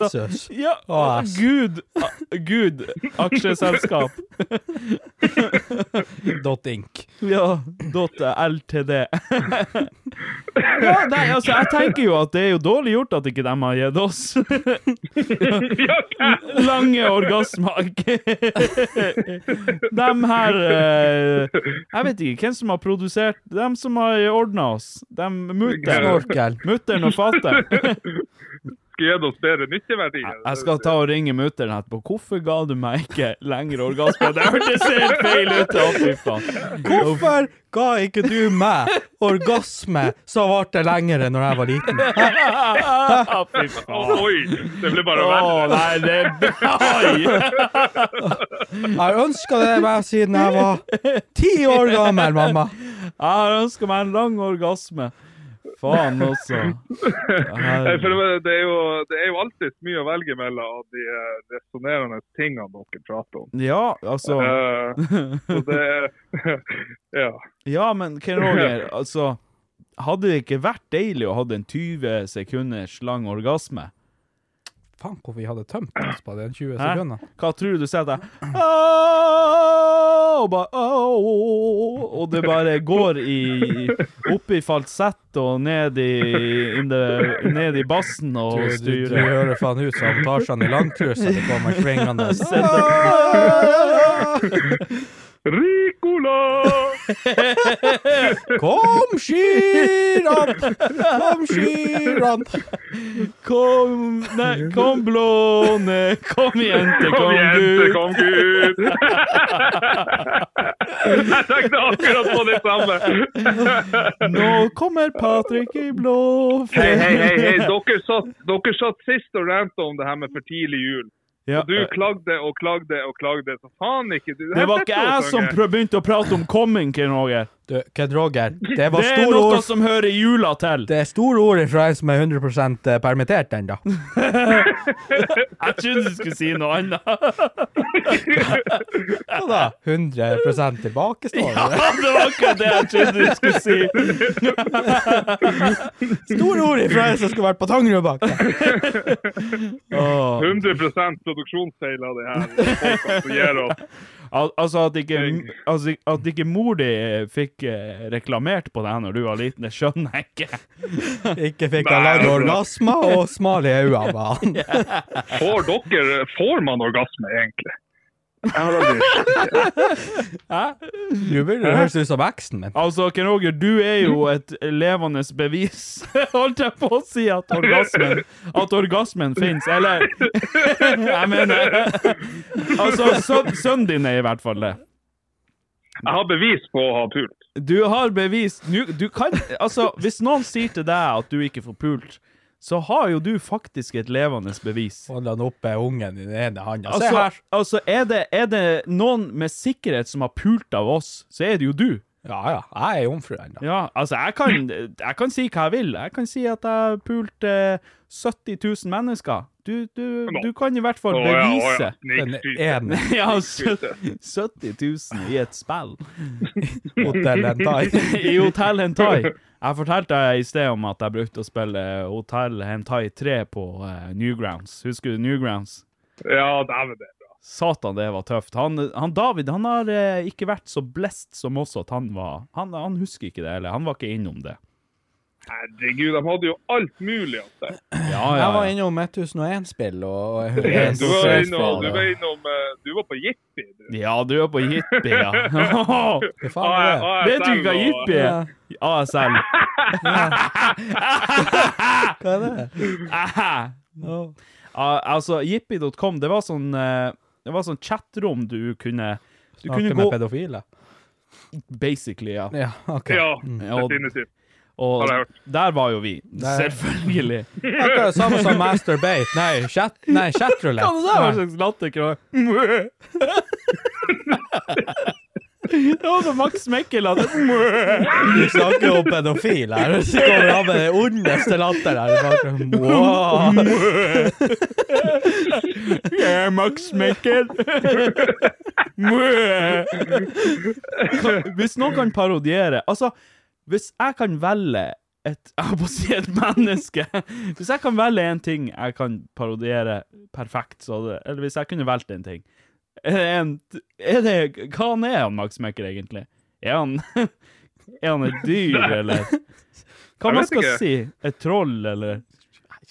S3: Jesus.
S2: Ja,
S3: Å, ass.
S2: Gud, a- Gud, aksjeselskap.
S3: Dot inc.
S2: Ja, dot LTD. Ja, nei, altså, jeg tenker jo at det er jo dårlig gjort at ikke de har gitt oss lange orgasmer. De her eh, Jeg vet ikke hvem som har produsert Dem som har ordna oss. De mutter'n
S6: Snorkel.
S2: Mutteren og fatter'n.
S6: Skal gi oss bedre nytteverdi.
S2: Jeg skal ta og ringe mutter'n etterpå. Hvorfor ga du meg ikke lengre orgasme? Det hørtes helt feil ut! Å, fy faen.
S3: Hvorfor ga ikke du meg orgasme som varte lengre når jeg var liten?
S2: Å, fy faen.
S6: Oi! Det ble bare
S2: Å,
S6: verre.
S2: nei, det er bra!
S3: Jeg har ønska det meg siden jeg var ti år gammel, mamma.
S2: Jeg har ønska meg en lang orgasme. Faen også.
S6: Nei, for det- det, er jo, det er jo alltid mye å velge mellom av de resonnerende tingene dere prater om.
S2: Ja, altså
S6: Eh, så det Ja.
S2: Ja, men Ken Roger, altså Hadde det ikke vært deilig å ha en 20 sekunders lang orgasme?
S3: Faen, hvor vi hadde tømt oss på den 20
S2: Hæ?
S3: sekunder.
S2: Hva tror du du sier til deg? «Au!» Og bare «Au!» Og det bare går i opp i falsett og ned i, in the, ned i bassen
S3: Du,
S2: og
S3: du, du
S2: styrer.
S3: hører faen ut som Tarzan i langtruse. Det kommer svingende.
S6: Ricola!
S3: Kom, skyramp! Kom, skyramp!
S2: Kom, nei, kom blåne, kom jente, kom,
S6: Kom jente,
S2: gutt.
S6: kom Gud! Jeg tenkte akkurat på det samme.
S2: Nå kommer Patrick i blå
S6: Hei, hei, hei, hei. Dere, satt, dere satt sist og ranta om det her med for tidlig jul.
S2: Ja,
S6: Og du klagde og klagde og klagde. Så faen ikke du.
S2: det var ikke jeg som prøv- begynte å prate om coming, Ken Roger.
S3: Du, Ked Roger, det var
S2: Det er
S3: store
S2: noe
S3: ord.
S2: som hører jula til.
S3: Det er store ord fra en som er 100 permittert ennå.
S2: Jeg trodde du skulle si noe annet.
S3: Hva da? 100 tilbakestående?
S2: Ja, det var ikke det jeg trodde du skulle si.
S3: Store ord fra en som skulle vært på Tangerudbakken!
S6: 100 produksjonsfeil av det her. folkene som gir oss.
S2: Al altså, at ikke, altså at ikke mor di fikk eh, reklamert på deg når du var liten, det skjønner jeg ikke.
S3: Ikke fikk han lagd orgasmer og smal i øynene på han.
S6: Får dere Får man orgasme, egentlig? Jeg har aldri
S3: Nå begynner det å høres ut som eksen min.
S2: Altså, Ken Roger, du er jo et levende bevis, holdt jeg på å si, at orgasmen, at orgasmen fins. Eller Jeg mener Altså, sø- sønnen din er i hvert fall det.
S6: Jeg har bevis på å ha pult.
S2: Du har bevis nu, Du kan Altså, hvis noen sier til deg at du ikke får pult, så har jo du faktisk et levende bevis.
S3: Holder han oppe ungen i den ene handa. Se
S2: Altså,
S3: her!
S2: altså er, det, er det noen med sikkerhet som har pult av oss, så er det jo du.
S3: Ja ja, jeg er jomfru ennå.
S2: Ja, altså, jeg kan, jeg kan si hva jeg vil. Jeg kan si at jeg pulte 70 000 mennesker. Du, du, du kan i hvert fall
S6: Å, ja, å, ja.
S2: bevise
S3: Den
S6: Snikskryt.
S3: ene
S2: Ja, sø- 70 000 i et spill.
S3: hotell en tar.
S2: I Hotell Hentai. Jeg fortalte deg i sted om at jeg brukte å spille Hotell Hentai 3 på eh, Newgrounds. Husker du Newgrounds?
S6: Ja, dæven det. er bra.
S2: Satan, det var tøft. Han, han David han har eh, ikke vært så blest som oss at han var. Han, han husker ikke det, eller han var ikke innom det.
S6: Herregud, de hadde jo alt mulig altså. av det.
S2: Ja, ja,
S3: Jeg var
S2: ja.
S3: innom 1001-spill og
S6: Du var
S3: 101
S6: innom, du var
S3: spill.
S6: innom eh, Du var på Jippi, du.
S2: Ja, du er på jippi, ja.
S3: Hva faen er det?
S2: Vet du ikke hva jippi
S3: Ja.
S2: er? ASL.
S3: Hva er det?
S2: Aha.
S3: Å.
S2: Ah, Altså, jippi.com, det var sånn eh, Det var sånn chatrom du kunne Du kunne
S3: Snakke med
S2: gå
S3: pedofile?
S2: Basically, ja. Mm.
S3: Ja, OK.
S6: Ja,
S2: Ja, og-
S6: definitivt.
S2: Og
S6: Har jeg hørt.
S2: der var jo vi.
S3: Der-
S2: Selvfølgelig.
S3: Akkurat samme som masturbate. Nei, chat, nei chatroulette.
S2: Hva var det der? Hva slags latterkråk? Det var som Max Mekkel at
S3: Du snakker om pedofil her, og så kommer han med den ondeste latteren her. Bare, wow.
S2: Jeg er Max Mekkel. Kan- Hvis noen kan parodiere Altså, hvis jeg kan velge et Jeg holdt på å si et menneske. Hvis jeg kan velge en ting jeg kan parodiere perfekt, så hadde Eller hvis jeg kunne valgt en ting Er det en er det, Hva han er han Max Mekkel, egentlig? Er han Er han et dyr, eller? Hva
S6: Jeg
S2: man
S6: vet
S2: skal
S6: ikke.
S2: si? Et troll, eller?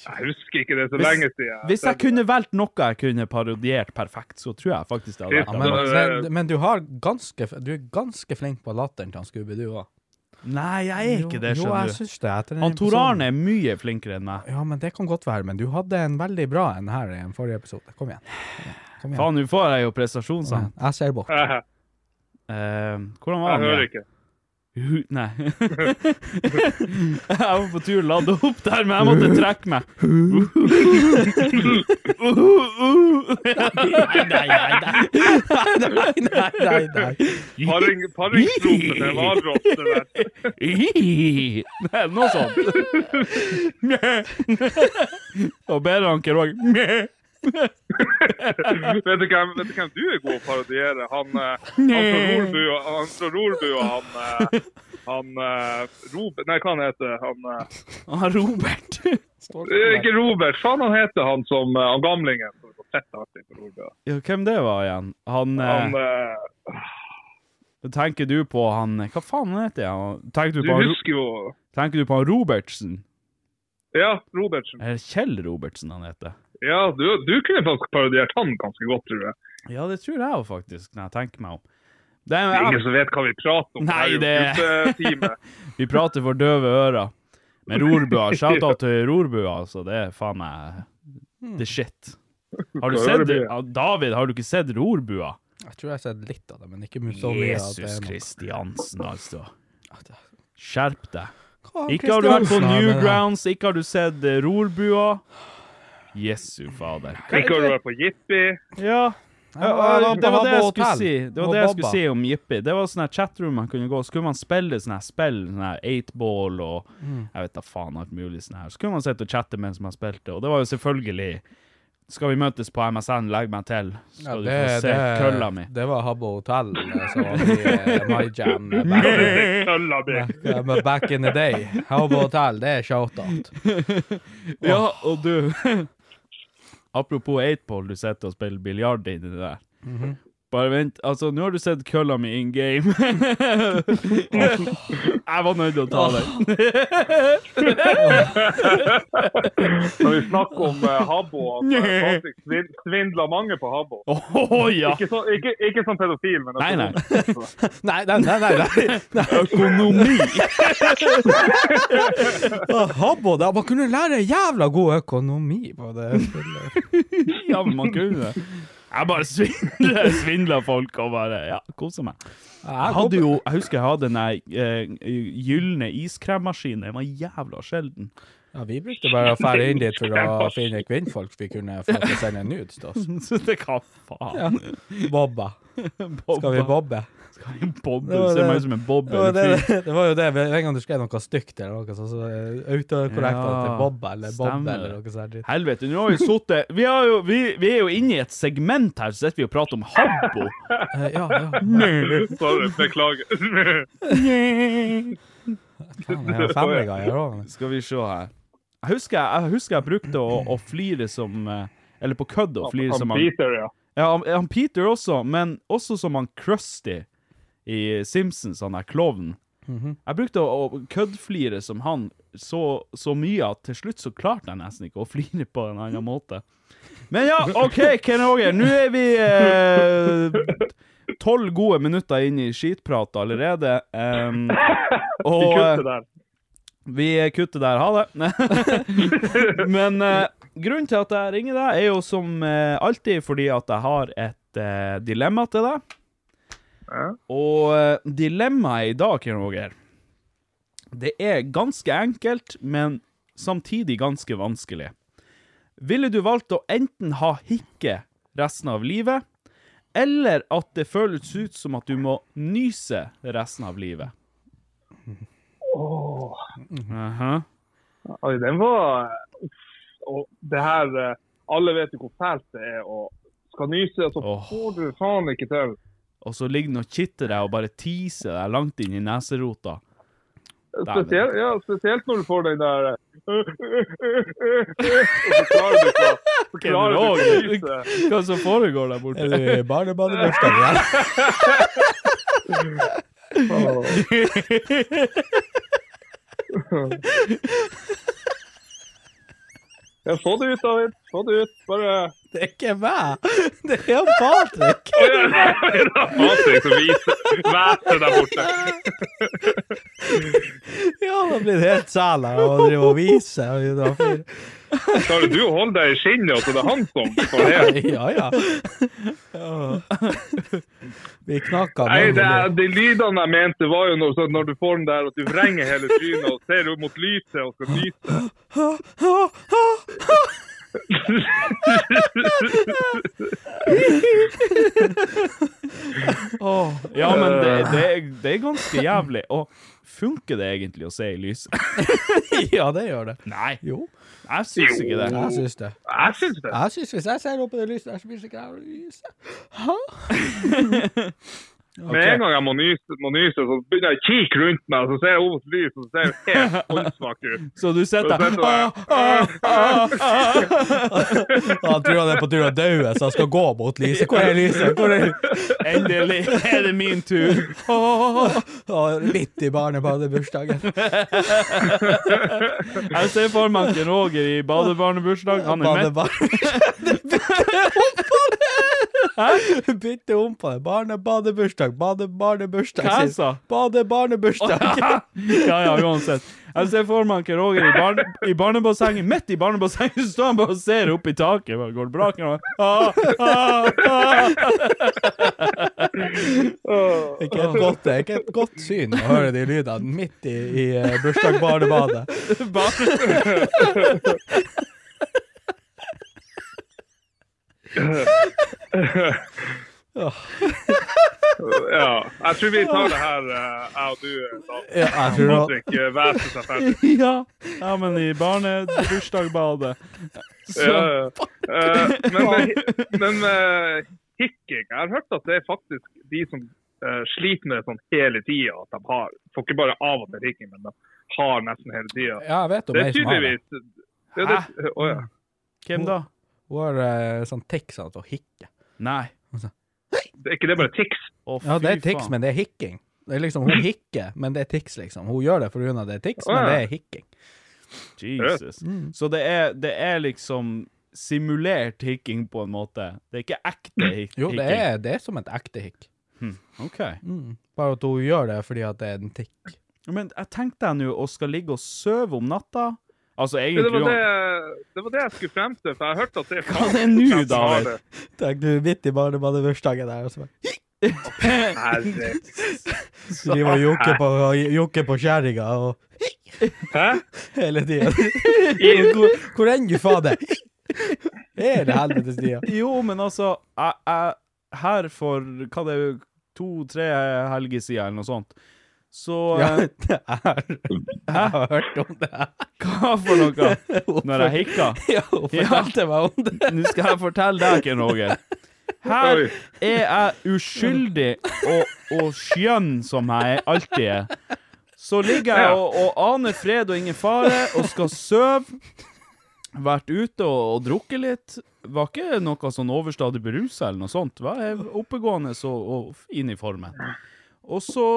S6: Jeg husker ikke det er så
S2: Hvis-
S6: lenge siden.
S2: Hvis jeg kunne valgt noe jeg kunne parodiert perfekt, så tror jeg faktisk det hadde
S3: Ja,
S2: vært
S3: men,
S2: det.
S3: men, men du, har ganske, du er ganske flink på latteren til han Scooby, du òg.
S2: Nei, jeg er ikke det,
S3: Jo,
S2: skjønner
S3: jeg
S2: du.
S3: syns det. Etter den
S2: Han Tor
S3: episoden.
S2: Arne er mye flinkere enn meg.
S3: Ja, men det kan godt være, men du hadde en veldig bra en her i en forrige episode. Kom igjen. Kom igjen. Kom igjen.
S2: Faen, altså. nå får jeg jo prestasjonsangst.
S3: Jeg ser bort.
S6: Eh,
S2: Eh, hvordan var
S6: Jeg
S2: han?
S6: hører
S2: igjen?
S6: ikke.
S2: Hu- Nei. jeg var på tur å lade opp der, men jeg måtte trekke meg.
S1: Nei, nei, nei,
S3: Nei, nei, nei, nei.
S6: Paring, paringsrotet til hvalross. det der.
S2: Nei, Noe sånt. Og bedre han ikke Roger.
S6: Vet du hvem, vet du hvem du er god å parodiere? Han, eh, han fra Nordbu og han, fra Nordbu, og han, eh, han eh, Robert Nei, hva han heter han? eh,
S2: Han Robert.
S6: Eh, Ikke Robert, faen han heter han som eh, han gamlingen. som var fett artig på Nordbu.
S2: Ja, hvem det var igjen? Han,
S6: Han,
S2: eh,
S6: eh,
S2: Tenker du på han eh, Hva faen heter han? Tenker du
S6: du
S2: på han,
S6: husker jo
S2: tenker du på han Robertsen?
S6: Ja, Robertsen.
S2: Eller Kjell Robertsen han heter.
S6: Ja, du, du kunne faktisk parodiert han ganske godt, tror jeg.
S2: Ja, det tror jeg jo faktisk, når jeg tenker meg om. Det er,
S6: Det er ingen som vet hva vi prater om.
S2: Nei,
S6: det
S2: det-
S6: er jo gutetime.
S2: vi prater for døve ører. Men rorbua, shout-out til rorbua, altså. Det er faen meg
S3: Hmm.
S2: the shit. Har du sett det? Ja, David, har du ikke sett rorbua?
S3: Jeg tror jeg har sett litt av det, men ikke så mye. at det er
S2: Jesus
S3: noe.
S2: Kristiansen, altså. Skjerp deg.
S3: Hva har
S2: Ikke har du vært på
S3: Kristiansen av med det?
S2: Newgrounds, ikke har du sett eh, rorbua. Jesu fader.
S6: Ikke har du vært på jippi.
S2: Ja.
S3: Jeg var- jeg var på
S2: Det var det jeg
S3: Habbo
S2: skulle
S3: Hotel.
S2: si Det var
S3: Og
S2: det jeg skulle
S3: Bobba.
S2: si om Jippi. Det var sånn her chatroom man kunne gå, så kunne man spille sånne her spill, sånn her eightball og
S3: Mm.
S2: jeg vet da faen alt mulig sånn her. Så kunne man sitte og chatte mens man spilte, og det var jo selvfølgelig Skal vi møtes på MSN, legg meg til,
S3: Ja,
S2: skal du få
S3: det,
S2: se kølla mi.
S3: det, det var Habbo Hotel eh, som var i eh, My Jam eh, back,
S6: Kølla mi.
S3: eh, men back in the day. Habbo Hotel, det er shout-out.
S2: Ja, og du Apropos eightball, du sitter og spiller biljard inni det der.
S3: Mhm.
S2: Bare vent, altså, nå har du sett kølla mi in game. jeg var nødt til å ta den.
S6: Når vi snakker om eh, Habbo, at eh, Patrick svin- svindler mange på Habbo.
S2: Å ja!
S6: Ikke, så, ikke, ikke som pedofil, men altså,
S2: Nei, nei.
S3: Nei, nei, nei. nei, nei.
S2: Økonomi!
S3: Ah, Habbo, da. Man kunne lære jævla god økonomi på det spillet.
S2: Ja, men man kunne det. Jeg bare svindler, svindler folk og bare ja, koser meg. Jeg, hadde jo, jeg husker jeg hadde den der, eh, gylne iskremmaskinen. Den var jævla sjelden.
S3: Ja, vi brukte bare å fære inn dit for å finne kvinnfolk vi kunne få til å sende nudes til oss.
S2: Så det hva faen?
S3: Ja. Bobba.
S2: Bobba.
S3: Skal vi bobbe?
S2: Skal vi bobbe?
S3: Det var
S2: Ser meg
S3: det-
S2: ut som en
S3: Det
S2: bob
S3: var, det,
S2: eller fyr.
S3: det var jo det, hver gang du skrev noe stygt eller noe sånt, så eh, autokorrekta det til
S2: Ja,
S3: Bobba eller
S2: stemmer
S3: Bobbe
S2: det.
S3: eller noe sånt. dritt.
S2: Helvete, nå har vi sittet vi, har jo- vi, vi er jo inne i et segment her, så sitter vi og prater om Habbo.
S3: Eh, Ja, ja.
S6: Sorry, beklager.
S3: Faen, jeg har Family Guy her også.
S2: Skal vi se her. Jeg husker jeg, jeg, husker jeg brukte å, å flire som eh, Eller på kødd å flire som
S6: Han
S2: han
S6: Peter, ja.
S2: Ja, han, han Peter også, men også som han Krusty i Simpsons, han er klovnen. Jeg brukte å, å køddflire som han så, så mye at til slutt så klarte jeg nesten ikke å flire på en annen måte. Men ja, OK, Ken Roger, nå er vi tolv gode minutter inn i skitprat allerede. em, og eh,
S6: Vi kutter der.
S2: vi kutter der, ha det. Men eh, grunnen til at jeg ringer deg, er jo som eh, alltid fordi at jeg har et eh, dilemma til deg.
S6: Ja.
S2: Og eh, dilemmaet i dag, Ken Roger, Det er ganske enkelt, men samtidig ganske vanskelig. Ville du valgt å enten ha hikke resten av livet, eller at det føles ut som at du må nyse resten av livet?
S6: Åh.
S2: Aha.
S6: Oi, den var uff, Og det her eh, Alle vet jo hvor fælt det er å skal nyse, og så får du det faen ikke til.
S2: Og så ligger den og kitter deg og bare tiser deg langt inn i neserota.
S6: Spesielt, ja, spesielt når du får den der eh, Og så klarer du ikke å så klarer du ikke å nyse.
S2: Hva som foregår der borte?
S3: Er du i barne- barnebursdagen igjen?
S6: Ja, få det ut, David. Få det ut. Bare
S3: Det er ikke meg! Det er Patrick!
S6: Patrick som viser væset der borte.
S3: Ja, da blir det helt sæl her å drive og vise. og da fyr.
S6: Klarer du å holde deg i skinnet, og så det er han som får det?
S3: Ja, ja. Vi knakka
S6: Nei, det er, de lydene jeg mente, var jo når, sånn når du får den der at du vrenger hele trynet og ser opp mot lyset og skal nyse.
S2: Åh, ja, men det,
S6: Eh.
S2: det, er, det er ganske jævlig. Og funker det egentlig å se i lyset?
S3: Ja, det gjør det.
S2: Nei.
S3: Jo.
S2: Jeg syns ikke det.
S3: Jeg syns det.
S6: Jeg syns det.
S3: Jeg syns hvis jeg ser opp i det lyset der, så blir det ikke jeg å lyse. Hæ?
S6: Med en gang jeg må nyse, må nyse så begynner jeg å kikke rundt meg, og så ser jeg over til lyset, og så ser jeg helt håndsvak ut.
S2: Så du sitter
S6: Så
S2: der
S6: sitter jeg-
S3: Han tror han er på tur til å daue, så han skal gå mot lyset. Hvor er lyset? Hvor er
S2: Endelig er det min tur!
S3: Åh, åh, Midt i barnebarnebursdagen.
S2: Jeg ser for meg ikke Roger i badebarnebursdag. Han er mett.
S3: Barnebarn... Bytte om på det. Barnebadebursdag, badebarnebursdag.
S2: Hva jeg sa?
S3: Badebarnebursdag.
S2: Ja, ja, uansett. Jeg ser for meg ikke Roger i, barne, i barnebassenget. Midt i barnebassenget så står han bare og ser opp i taket. Bare, Går det bra? Kan han- Ah, ah, ah.
S3: Ikke et godt, det er ikke et godt syn å høre de lydene midt i, i eh, bursdag barnebadet.
S2: Barn-
S6: Ja. Jeg tror vi tar det her, eh, jeg og du, David.
S3: Ja, jeg tror det.
S6: Patrick eh, væser seg ferdig.
S2: Ja. ja, men i barnebursdagbadet
S6: Ja,
S2: Så
S6: ja. Eh, men men eh, hikking Jeg har hørt at det er faktisk de som eh, sliter med det sånn hele tida. At de har Får ikke bare av og til hikking, men de har nesten hele tida.
S3: Ja, jeg vet om
S6: Det
S3: ei
S6: er
S3: som har det.
S6: tydeligvis ja, det, å, ja.
S2: Hvem da?
S3: Hun har eh, sånn tics av å hikke.
S2: Nei.
S6: Det Er ikke det bare tics?
S2: Å, fy
S3: Ja, det er tics,
S2: faen.
S3: men det er hikking. Det er liksom, Hun hikker, men det er tics, liksom. Hun gjør det for grunn av det er tics, men det er hikking.
S2: Jesus.
S6: Mm.
S2: Så det er, det er liksom simulert hikking på en måte? Det er ikke ekte hik- hikking?
S3: Jo, det er, det er som et ekte hikk. Mm.
S2: Hm, OK.
S3: Bare at hun gjør det fordi at det er en tikk.
S2: Men jeg tenkte jeg nå å skal ligge og sove om natta Altså
S6: Det
S2: egentlig
S6: var det,
S2: uan-
S6: det var det jeg skulle frem til, for jeg har hørt at det er
S2: Hva er det nå,
S6: faktisk de som har
S2: David?
S6: det.
S3: Tenk, du er midt i barnebadebursdagen der, altså. og så bare
S6: Herregud.
S3: driver og jokker på, jokker på kjerringa og
S6: Hæ?
S3: hele tida. Hvor, hvor enn du fader Er det helvetes tida?
S2: Jo, men altså jeg, jeg, Her for hva det er to-tre helger siden eller noe sånt Så
S3: Ja,
S2: eh,
S3: det er Jeg har hørt om det.
S2: hva for noe når jeg hikka?
S3: Ja, hun fortalte meg om det.
S2: Nå skal jeg fortelle deg, Ken Roger. Her
S6: Oi.
S2: er jeg uskyldig og, og skjønn som jeg alltid er. Så ligger jeg og, og aner fred og ingen fare og skal sove. Vært ute og, og drukket litt. Var ikke noe sånn overstadig berusa eller noe sånt. Var jeg oppegående og, og fin i formen. Og så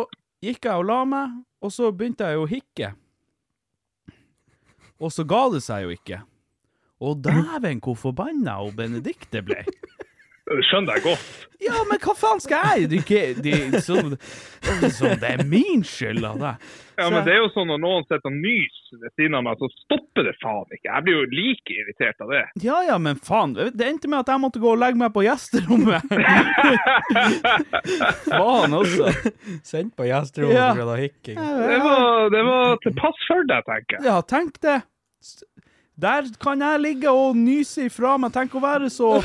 S2: gikk jeg og la meg, og så begynte jeg å hikke. Og så ga det seg jo ikke. Og dæven, hvor forbanna hun Benedikte ble.
S6: Det skjønner jeg godt.
S2: Ja, men hva faen skal jeg? Det er ikke, det, som, som det er min skyld av det.
S6: Ja, men det er jo sånn når noen sitter og nyser ved siden av meg, så stopper det faen ikke. Jeg blir jo like irritert av det.
S2: Ja, ja, men faen. Det endte med at jeg måtte gå og legge meg på gjesterommet. faen altså. også.
S3: Sendt på gjesterommet
S2: Ja.
S3: pga. hikking.
S6: Det var, det var til pass for deg, tenker jeg.
S2: Ja, tenk det. S- Der kan jeg ligge og nyse ifra meg. Tenk å være så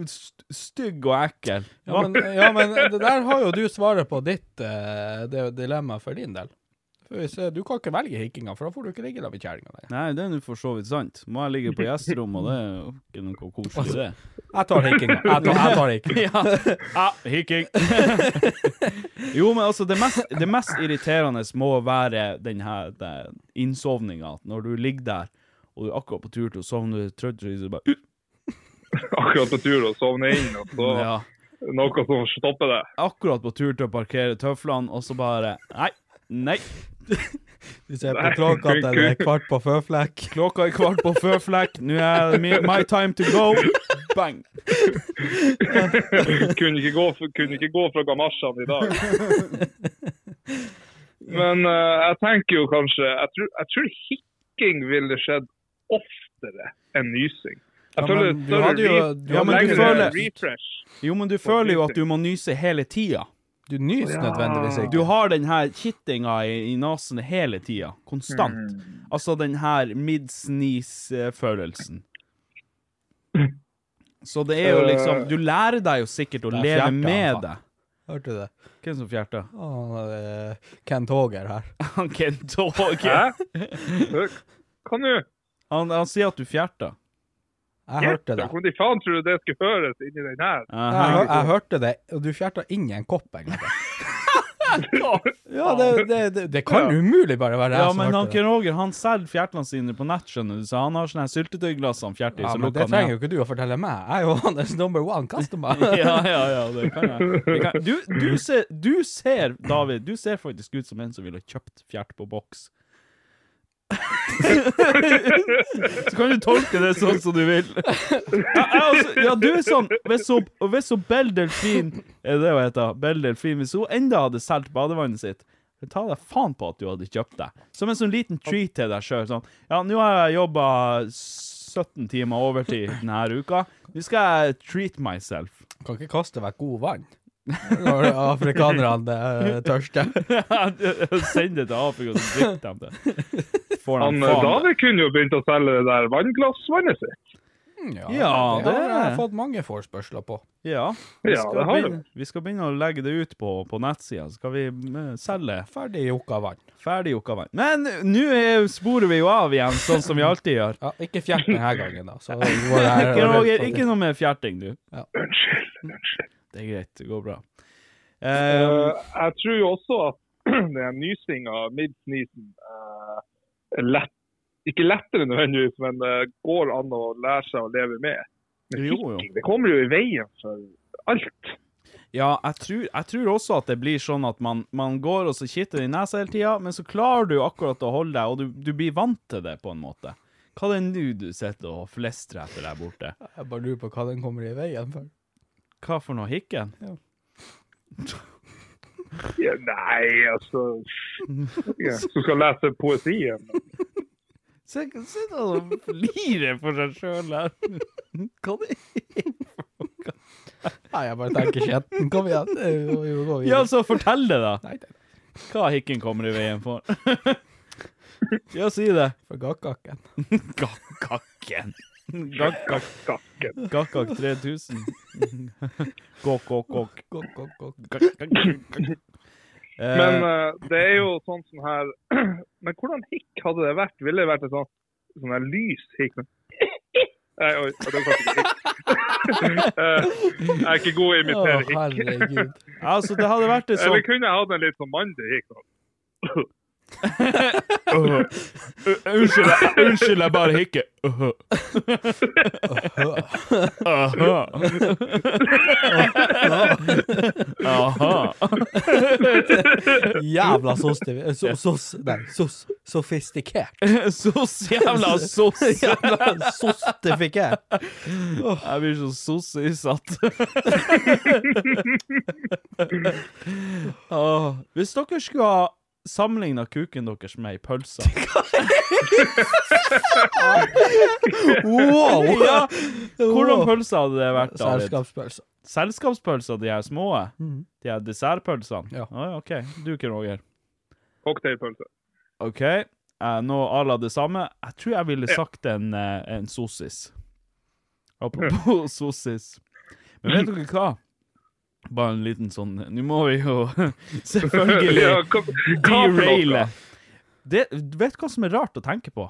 S2: st- stygg og ekkel.
S3: Ja men, ja, men det der har jo du svaret på ditt eh, det dilemma for din del. For hvis, eh, du kan ikke velge hikkinga, for da får du ikke ligge der med kjerringa lenger.
S2: Nei, det er nå for så vidt sant. Må jeg ligge på gjesterommet, og det er jo ikke noe koselig, det.
S3: Jeg tar hikkinga. Jeg tar, jeg tar
S2: Ja.
S3: hikkinga.
S2: Ah, hikking. Jo, men altså, det mest, det mest irriterende må være den her det- innsovninga. Når du ligger der, og du er akkurat på tur til å sovne, du er trøtt, og så liksom bare
S6: Akkurat på tur og sovne inn, og så
S2: Ja.
S6: noe som stopper det.
S2: Akkurat på tur til å parkere tøflene, og så bare Nei. Nei.
S3: Du ser på klokka at det er kvart på føflekk.
S2: Klokka er kvart på føflekk. Nå er det mi- my time to go. Bang.
S6: kunne, ikke gå, kunne ikke gå fra gamasjene i dag. Men eh, jeg tenker jo kanskje Jeg tror, jeg tror hikking ville skjedd oftere enn nysing. Jeg
S2: Ja,
S6: føler
S2: men
S6: det
S2: du
S6: er
S2: hadde
S6: større
S2: jo-
S6: re-
S2: ja, men du
S6: lengre
S2: føler-
S6: refresh.
S2: Jo, men du føler jo at du må nyse hele tida.
S3: Du nyser
S6: Ja. nødvendigvis ikke.
S2: Du har den her kittinga i, i nesen hele tida. Konstant.
S3: Mm.
S2: Altså den her mid-sneeze-følelsen. Så det er jo
S3: Øh,
S2: liksom Du lærer deg jo sikkert å
S3: Der fjerta
S2: leve
S3: han,
S2: med
S3: faen.
S2: det.
S3: Hørte du det?
S2: Hvem som fjerta?
S3: Å, det er Kent Håger her.
S2: Han Kent Åge.
S6: Hæ? Hva nå?
S2: Han, han sier at du fjerta.
S3: Jeg hørte det.
S6: Hvordan de faen tror du det skulle føres inn i den her?
S3: Jeg, hø- jeg hørte det, og du fjerta inn i en kopp, egentlig. Ja, det, det, det, det kan umulig bare være jeg
S2: Ja,
S3: som
S2: men han
S3: hørte det.
S2: Ken Roger han selger fjertlene sine på nett, skjønner du, så han har sånne her syltetøyglass han fjerter i,
S3: Ja,
S2: så
S3: men
S2: lukker
S3: det
S2: han
S3: trenger
S2: igjen.
S3: jo ikke du å fortelle meg. Jeg er jo hans number one customer.
S2: ja, ja, ja, det kan jeg. Det kan. Du, du, ser, du ser, David, du ser faktisk ut som en som ville kjøpt fjert på boks. så kan du tolke det sånn som du vil. Ja, jeg også- ja du er sånn Hvis hun- hvis hun Bell Delfin Er det hun heter? Bell Delfin Hvis hun enda hadde solgt badevannet sitt Ta deg faen på at du hadde kjøpt det. Som en sånn liten treat til deg sjøl. Sånn. Ja, nå har jeg jobba 17 timer overtid denne uka. Nå skal jeg treat myself.
S3: Kan ikke kaste vekk god vann. Når afrikanerne er tørste.
S2: Send det til Afrika, så drikker de det. Får de
S6: Han, eh,
S2: faen-
S6: David kunne jo begynt å selge det der vannglassvannet sitt.
S3: Ja,
S2: Ja,
S3: det
S2: det
S3: har
S2: er-
S3: jeg fått mange forespørsler på.
S2: Ja. Vi
S6: Ja,
S2: skal,
S6: det har du.
S2: begynne, vi skal begynne å legge det ut på, på nettsida. Skal vi eh, selge
S3: Ferdig jokka vann.
S2: ferdig jokka vann? Men nå er- sporer vi jo av igjen, sånn som vi alltid gjør.
S3: Ja, ikke fjert denne gangen, da. Så går det her-
S2: Ikke, Roger, ikke noe mer fjerting, du.
S3: Ja.
S2: Det er greit. Det går bra.
S6: Eh,
S2: Eh,
S6: jeg tror jo også at den nysinga, midsnisen, uh, lett, ikke lettere nødvendigvis, men eh, går an å lære seg å leve med. Men
S2: Jo, jo.
S6: hikking, det kommer jo i veien for alt.
S2: ja, jeg tror, jeg tror også at det blir sånn at man, man går og så kitter det i nesa hele tida, men så klarer du akkurat å holde deg, og du, du blir vant til det på en måte. Hva er det nå du sitter og flestrer etter der borte?
S3: Jeg bare lurer på hva den kommer i veien for.
S2: Hva for noe hikken?
S6: Ja, nei, altså ja, Du skal lese poesien.
S2: Se, se da, han flirer for seg sjøl her. Hva det er?
S3: Nei, jeg bare tenker skjetten. Kom igjen. Jo, jo, gå
S2: Ja,
S3: videre.
S2: så fortell det, da.
S3: Nei, det er
S2: Hva hikken kommer i veien for? Ja, si det.
S3: for gakkakken.
S2: Gakkakken. Gakkak
S6: Kakken.
S2: gakkak 3000. Gokk, gokk, gokk.
S3: Gokk, gokk, gokk.
S2: Gakkak. Eh,
S6: Men eh, det er jo sånn som her Men hvordan hikk hadde det vært? Ville det vært en sånn, sånn her lys hikk? men- Nei, oi, det var faktisk ikke hikk. Eh, jeg er ikke god i å
S3: Å,
S6: imitere hikk.
S3: herregud.
S2: altså, det hadde vært et
S6: Eller
S2: sånt
S6: kunne jeg hatt en litt sånn mandig hikk? sånn.
S2: Åh. U- Unnskyld, jeg- unnskyld, jeg bare hikker. Uh-huh. Åh. Aha. Aha.
S3: Jævla sos, eh, so- sos, nei, sos, sofistikert.
S2: Sos, jævla sos.
S3: Jævla sostifikert.
S2: Jeg blir så sossisatt. Åh. Hvis dere skulle ha sammenligna kuken deres med ei pølse
S3: Wow!
S2: Ja. Hvordan pølse hadde det vært, David?
S3: Selskapspølse.
S2: Selskapspølser, de her små?
S3: Mhm.
S2: De her dessertpølsene? Mm. Ja. OK. Du, Ken Roger.
S6: Cocktailpølse.
S2: OK. Eh, nå à la det samme. Jeg tror jeg ville sagt en, eh, en sossis. Apropos sossis. Men vet dere hva? Bare en liten sånn Nå må vi jo
S6: Ja,
S2: selvfølgelig
S6: hva- hva for noe?
S2: deraile. Det, vet du hva som er rart å tenke på?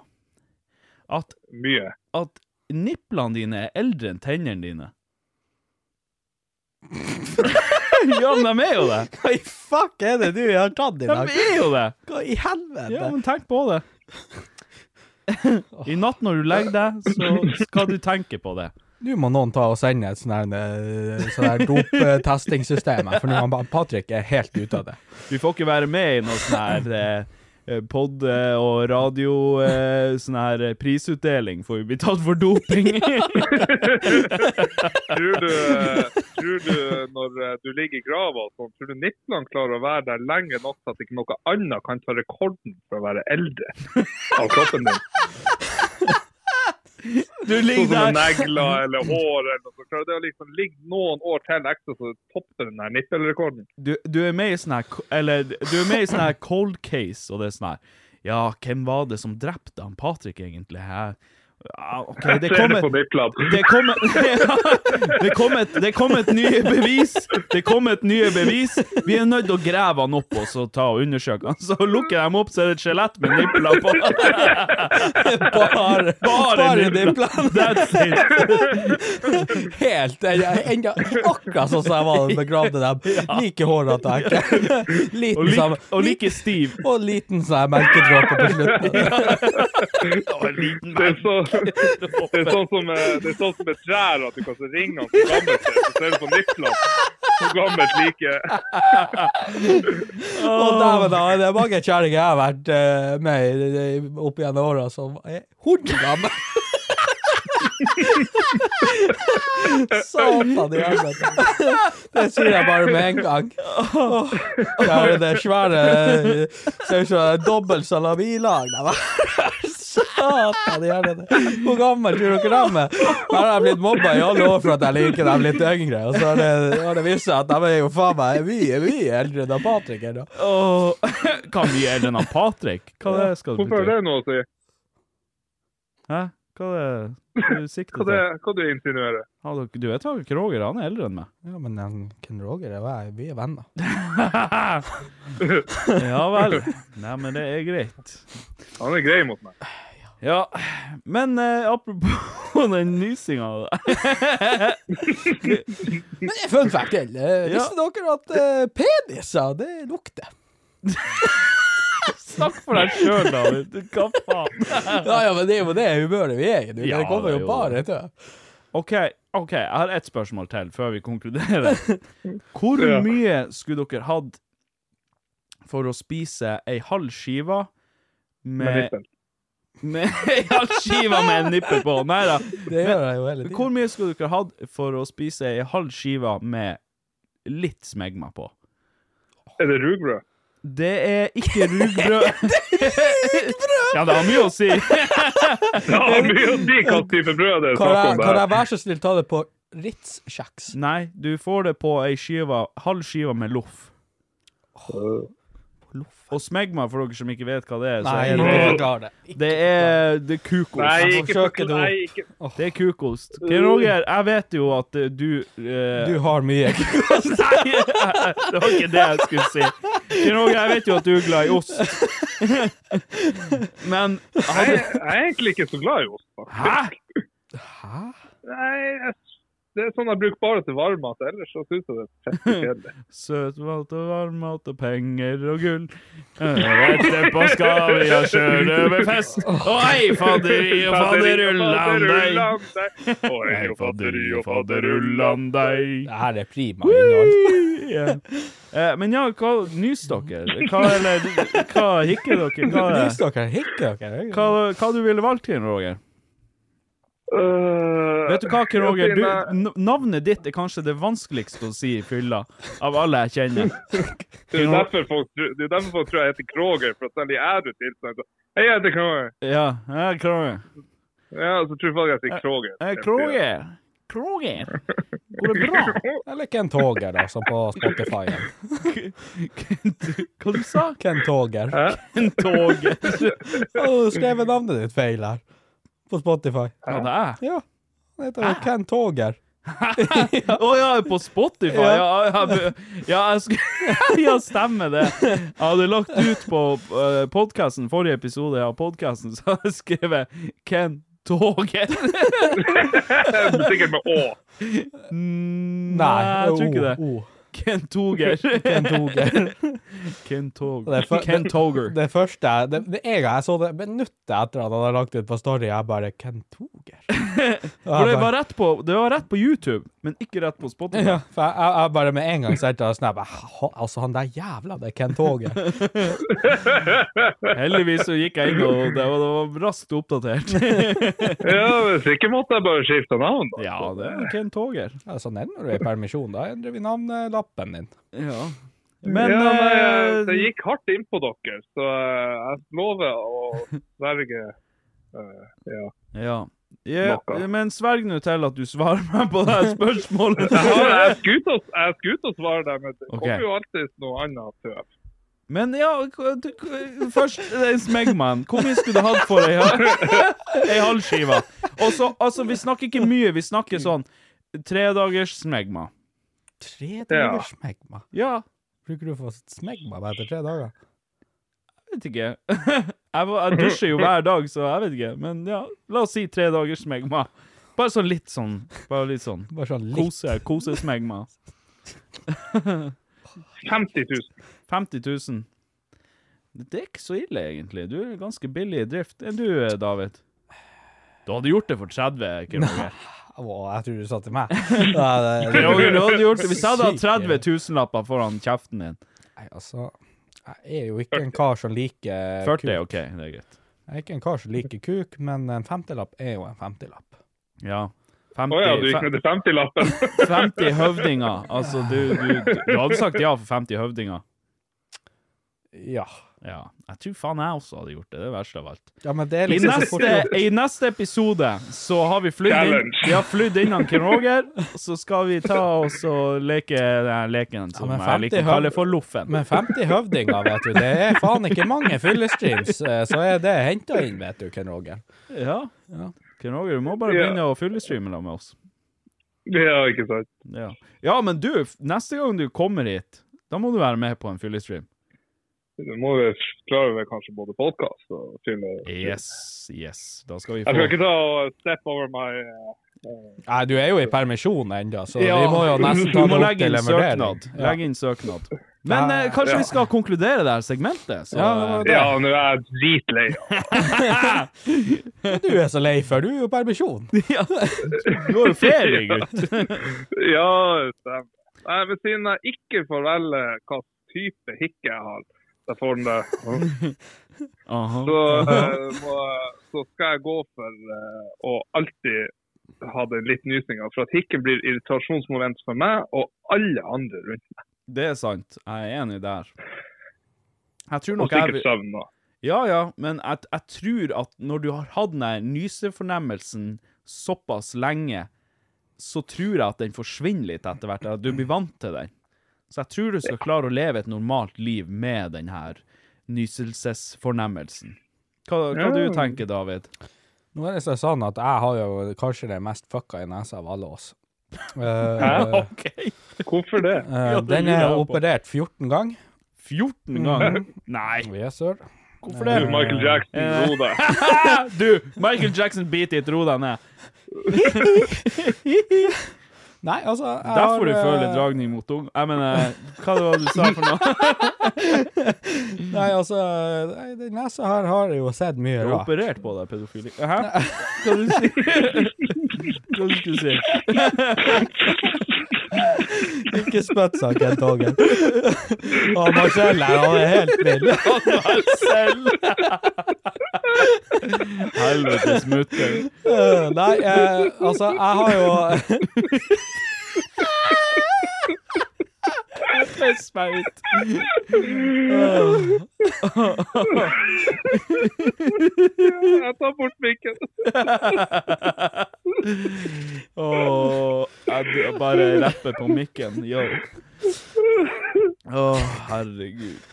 S2: At,
S6: Mye.
S2: at nipplene dine er eldre enn tennene dine. ja, men de er jo det.
S3: Hva i fuck er det du har tatt i
S2: De
S3: dag?
S2: er jo det.
S3: Hva i helvete?
S2: Ja, men tenk på det. I natt når du legger deg, så skal du tenke på det.
S3: Nå må noen ta og sende et sånn her, eh, sånn her doptestingssystem, her, for nå er Patrick er helt ute av det.
S2: Du får ikke være med i noe sånn her eh, pod eh, og radio eh, Sånn her eh, prisutdeling for å bli tatt for doping.
S6: Tror du, eh, tror du når eh, du ligger i grava og sånn, tror du Nipland klarer å være der lenge nok til at ikke noe annet kan ta rekorden for å være eldre av kroppen din?
S2: Du ligger
S6: Sånn
S2: der.
S6: som negler eller hår eller noe. så Klarer det å liksom ligge noen år til ekstra så topper den der nippelrekorden?
S2: Du, du er med i sånn her ko- Eller du er med i sånn her cold case, og det er sånn her Ja, hvem var det som drepte han Patrick, egentlig? Her? Ja, OK, det
S6: Flere
S2: kommer
S6: på Nipland.
S2: Det kom, det, kom et, det kom et nye bevis. Det kom et nye bevis. Vi er nødt til å grave han opp og så ta og undersøke han. Så lukker de opp, så er det et skjelett med nipler på.
S3: Bare, bare nipplene.
S2: That's it.
S3: Helt jeg- jeg- enda, Akkurat sånn som jeg var da jeg begravde dem. Like hårete og ekle.
S2: Og,
S3: Liten
S2: lik,
S3: som
S2: og like stiv.
S3: Og liten som jeg melkedråpe på slutten.
S6: Det er, så, det, er sånn som, eh, det er sånn som et trær, at du kan så ringe han så gammelt er, så ser du på Nipland hvor gammelt like
S3: Og dæven, da, det er mange kjerringer jeg har vært eh, med i- i- opp gjennom åra som er hundegammel. Satan i helvete. Det sier jeg bare med en gang. Åh, Ja, det er det svære Ser ut som en dobbel salamilag. det var. Satan i helvete. Hvor gammel tror dere de er? Her har jeg blitt mobba i alle år for at jeg liker dem litt yngre, og så har det, har det vist seg at de er jo faen meg mye, mye eldre enn Patrick ennå.
S2: Og, hva mye er den av Patrick? Hva det skal det
S6: Hvorfor har
S2: bety?
S6: det noe å si?
S2: Hæ? Hva det du sikter
S6: Hva, det,
S2: til?
S6: hva du insinuerer?
S2: Ja, du- Du vet hva Kroger han er eldre enn meg.
S3: Ja, men han, Ken Roger og jeg, vi er venner.
S2: Ja vel. Nei, men det er greit.
S6: Han er grei mot meg.
S2: Ja, men eh, apropos den nysinga
S3: Men fun fact, eller?
S2: Ja.
S3: Visste dere at eh, peniser, det lukter?
S2: Snakk for deg sjøl, David. Hva faen?
S3: Ja, ja, men det er jo det humøret vi er i. nå.
S2: Ja,
S3: det kommer
S2: det er
S3: jo
S2: jo
S3: bare til.
S2: OK, ok, jeg har ett spørsmål til før vi konkluderer. Hvor
S6: Ja.
S2: mye skulle dere hatt for å spise ei halv skive
S6: Med
S2: med
S6: nippel.
S2: med- Ei halv skive med en nippel på? Nei da.
S3: Det gjør jeg jo hele tiden.
S2: Hvor mye skulle dere hatt for å spise ei halv skive med litt smegma på?
S6: Er det rugbrød?
S2: Det er ikke rugbrød. ja, det har mye å si.
S6: Ja, mye å si hva type brød det er
S3: Kan
S6: snakk
S3: jeg,
S6: om
S3: kan jeg
S6: der.
S3: være så snill ta det på Ritz-kjeks?
S2: Nei, du får det på ei skive, halv skive med loff. Og smegma, for dere som ikke vet hva det er. Så
S3: Nei,
S2: er
S3: jeg
S2: det,
S3: ikke forklar det. Altså,
S2: det er det er kukost.
S6: Nei,
S3: Jeg
S6: ikke
S3: forsøker
S6: forkl-
S3: det
S6: Nei, ikke
S2: Det er kukost. Ken Roger, jeg vet jo at eh, du eh,
S3: Du har mye.
S2: Nei, det var ikke det jeg skulle si. Ken Roger, jeg vet jo at du er glad i ost. Men
S6: Nei,
S2: hadde
S6: Jeg er egentlig ikke så glad i ost. da.
S2: Hæ?
S6: Nei, jeg det er sånn jeg bruker bare til varmmat. Ellers så syns jeg det er fett kjedelig.
S2: Søtmat og varmmat og penger og gull. Eh, Etterpå skal vi ha sjørøverfest. Å ei, fadderi og fadderullan deg.
S6: Å ei,
S2: fadderi og fadderullan deg.
S3: Det her er prima innhold.
S2: Ja. Eh, Men ja, hva nyser dere? Hva, eller, hva hikker dere? Hva,
S3: Nyser dere? Hikker dere?
S2: hva, hva du ville valgt til, Roger?
S6: Øh,
S2: Vet du hva, Ken eh, Roger? Du, n- navnet ditt er kanskje det vanskeligste å si i fylla av alle jeg kjenner.
S6: Det er jo derfor folk tror- det er jo derfor folk tror jeg heter Kroger, for at selv i æru tilstand så Hei, jeg heter Kroger.
S2: Ja, jeg er Kroger.
S6: Ja, så tror folk jeg sier Kroger.
S2: Jeg er Eh, Kroger. Kroger. Går det bra?
S3: Eller Kent Håger, da, som på Spotify.
S2: Hva du sa
S3: Kent Håger.
S2: Kent Håger.
S3: Å, skrev jeg navnet ditt feil her. På Spotify.
S2: Ja, det er
S3: Ja. Han heter jo Kent Håger.
S2: Å ja, på Spotify? Ja, ja, jeg- ja, jeg sk- ja stemmer det. Jeg hadde lagt ut på uh, podkasten, forrige episode av podkasten, så hadde jeg skrevet Ken Toget.
S6: Sikkert med Å.
S2: Nei, Oh. jeg tror
S3: O,
S2: ikke det.
S3: O.
S2: Ken Toger.
S3: Kent Håger.
S2: Ken
S3: Det,
S2: Toger.
S3: er fø-
S2: Ken Toger.
S3: det første det, det en gang jeg så det minuttet etter at han hadde lagt ut på Story, jeg bare Kent Håger?
S2: For det var, rett på, det var rett på YouTube, men ikke rett på Spotify.
S3: Ja, for jeg, jeg, jeg bare med en gang sendte jeg en snap. Jeg, "Ha- Altså, han der jævla, det er Kent Håger.
S2: Heldigvis så gikk jeg inn, og det var, det var raskt oppdatert.
S6: Ja, hvis ikke måtte jeg bare skifte navn, da.
S2: Ja, det er Ken Toger.
S3: Ja, sånn er det når du er i permisjon. Da endrer vi navnelappen din.
S2: Ja.
S6: Men,
S2: Men
S6: ja, nei,
S2: eh,
S6: jeg- det gikk hardt inn på dere, så eh, jeg lover å sverge eh, Ja.
S2: Ja. Ja,
S6: Noe.
S2: men sverg nå til at du svarer meg på det her spørsmålet.
S6: Jeg har- jeg skulle til å- jeg skulle til å svare deg, men det
S2: Ok.
S6: kommer jo alltid noe annet tøv.
S2: Men ja, k- du- k- først eh, Smegman. Hvor mye skulle du hatt for ei hal- ei halv skive? Og så, altså, vi snakker ikke mye, vi snakker
S6: Mm.
S2: sånn tredagers Smegma.
S3: Tre dager smegma.
S2: Ja,
S3: Bruker du å få smegma bare etter tre dager?
S2: jeg vet ikke. Jeg, var- jeg dusjer jo hver dag, så jeg vet ikke. Men ja, la oss si tre dagers Smegma. Bare sånn litt sånn. Bare litt sånn.
S3: Bare sånn litt.
S2: Kose, kose Smegma.
S6: 50 000.
S2: 50 000. Det er ikke så ille, egentlig. Du er ganske billig i drift. Er du, eh, David? Du hadde gjort det for 30 kroner.
S3: Å, jeg tror du sa til meg. Nei,
S2: Du
S3: det-
S2: hadde gjort det. Hvis jeg hadde hatt
S3: Sykt,
S2: 30 000-lapper foran kjeften din
S3: Nei, altså, jeg er jo ikke en kar som liker
S2: 40 er
S3: kuk.
S2: OK, det er greit.
S3: Jeg er ikke en kar som liker kuk, men en femtilapp er jo en femtilapp.
S2: Ja.
S6: Å ja,
S2: 50,
S6: du gikk
S2: fe-
S6: ned til 50-lappen?
S2: 50 høvdinger. Altså, du, du, du, du hadde sagt ja for 50 høvdinger.
S3: Ja.
S2: Ja. Jeg tror faen jeg også hadde gjort det. Det er det verste av alt.
S3: Ja, men det er
S2: I
S3: liksom så fort
S2: neste,
S3: gjort.
S2: I neste episode så har vi flydd inn,
S6: Challenge.
S2: vi har flydd inn han Ken Roger, og så skal vi ta oss og leke den leken som
S3: men
S2: jeg liker
S3: 50
S2: å kalle for Loffen.
S3: Men 50 høvdinger, vet du, det er faen ikke mange fyllestreams, eh, så er det henta inn, vet du, Ken Roger.
S2: Ja.
S3: Ja.
S2: Ken Roger, du må bare
S6: Ja.
S2: begynne å fyllestreame da med oss.
S6: Ja, ikke sant.
S2: Ja. ja, men du, f- neste gang du kommer hit, da må du være med på en fyllestream.
S6: Du må jo klare vel kanskje både podkast og film. Jeg
S2: Yes, yes. Da skal vi
S6: skal
S2: få
S6: ikke ta og step over my eh,
S3: Nei, du er jo i permisjon ennå, så
S2: Ja,
S3: vi må jo nesten ta
S2: Du må
S3: det opp
S2: legge
S3: til
S2: inn
S3: en vurdering.
S2: søknad. Legge inn søknad. Men
S3: Ja.
S2: eh, kanskje
S6: Ja.
S2: vi skal konkludere det her segmentet? Så,
S3: Ja, det
S6: Ja, nå er jeg dritlei.
S3: Du er så lei for, du er jo i permisjon.
S2: ja. Du har jo ferie, gutt.
S6: Ja, stemmer. Nei, men siden jeg ikke får velge hva type hikke jeg har, så jeg får den der,
S2: Aha.
S6: så, eh, må, jeg- så skal jeg gå for eh, å alltid ha den litt nysninga. For at hikken blir irritasjonsmoment for meg og alle andre rundt meg.
S2: Det er sant. Jeg er enig der. Jeg tror
S6: Og
S2: nok jeg
S6: sikkert søvn òg.
S2: Ja, ja, men jeg, jeg tror at når du har hatt den der nysefornemmelsen såpass lenge, så tror jeg at den forsvinner litt etter hvert. At du blir vant til den. Så jeg tror du skal klare å leve et normalt liv med den her nyselsesfornemmelsen. Hva, hva du tenker du, David?
S3: Nå er det så sånn at jeg har jo kanskje det mest fucka i nesa av alle oss. Eh,
S2: OK!
S6: Hvorfor det?
S3: eh,
S2: Ja, det
S3: den
S2: lurer
S3: er
S2: jeg på.
S3: operert 14 ganger.
S2: 14 ganger? Nei,
S3: Yes, sir.
S2: hvorfor det?
S6: Du, Michael Jackson,
S2: eh,
S6: ro deg.
S2: Du, Michael Jackson, beat it, ro deg ned.
S3: Nei, altså jeg har,
S2: Derfor du
S3: eh,
S2: føler dragning mot ung... Jeg mener, hva var det du sa for noe?
S3: Nei, altså nei, Den nesa her har jeg jo sett mye
S2: Du har
S3: rart.
S2: operert på deg, pedofili. Hæ? Hva du sier Hva du skulle si?
S3: Ikke spytt, sa Kent Åge. Og Marcel her, han er helt vill.
S2: Helvetes mutter.
S3: Eh, Nei, eh, altså, jeg har jo
S2: Jeg Piss meg ut.
S6: Jeg tar bort mikken.
S2: Åh, jeg b- bare rapper på mikken, yo. Å, herregud.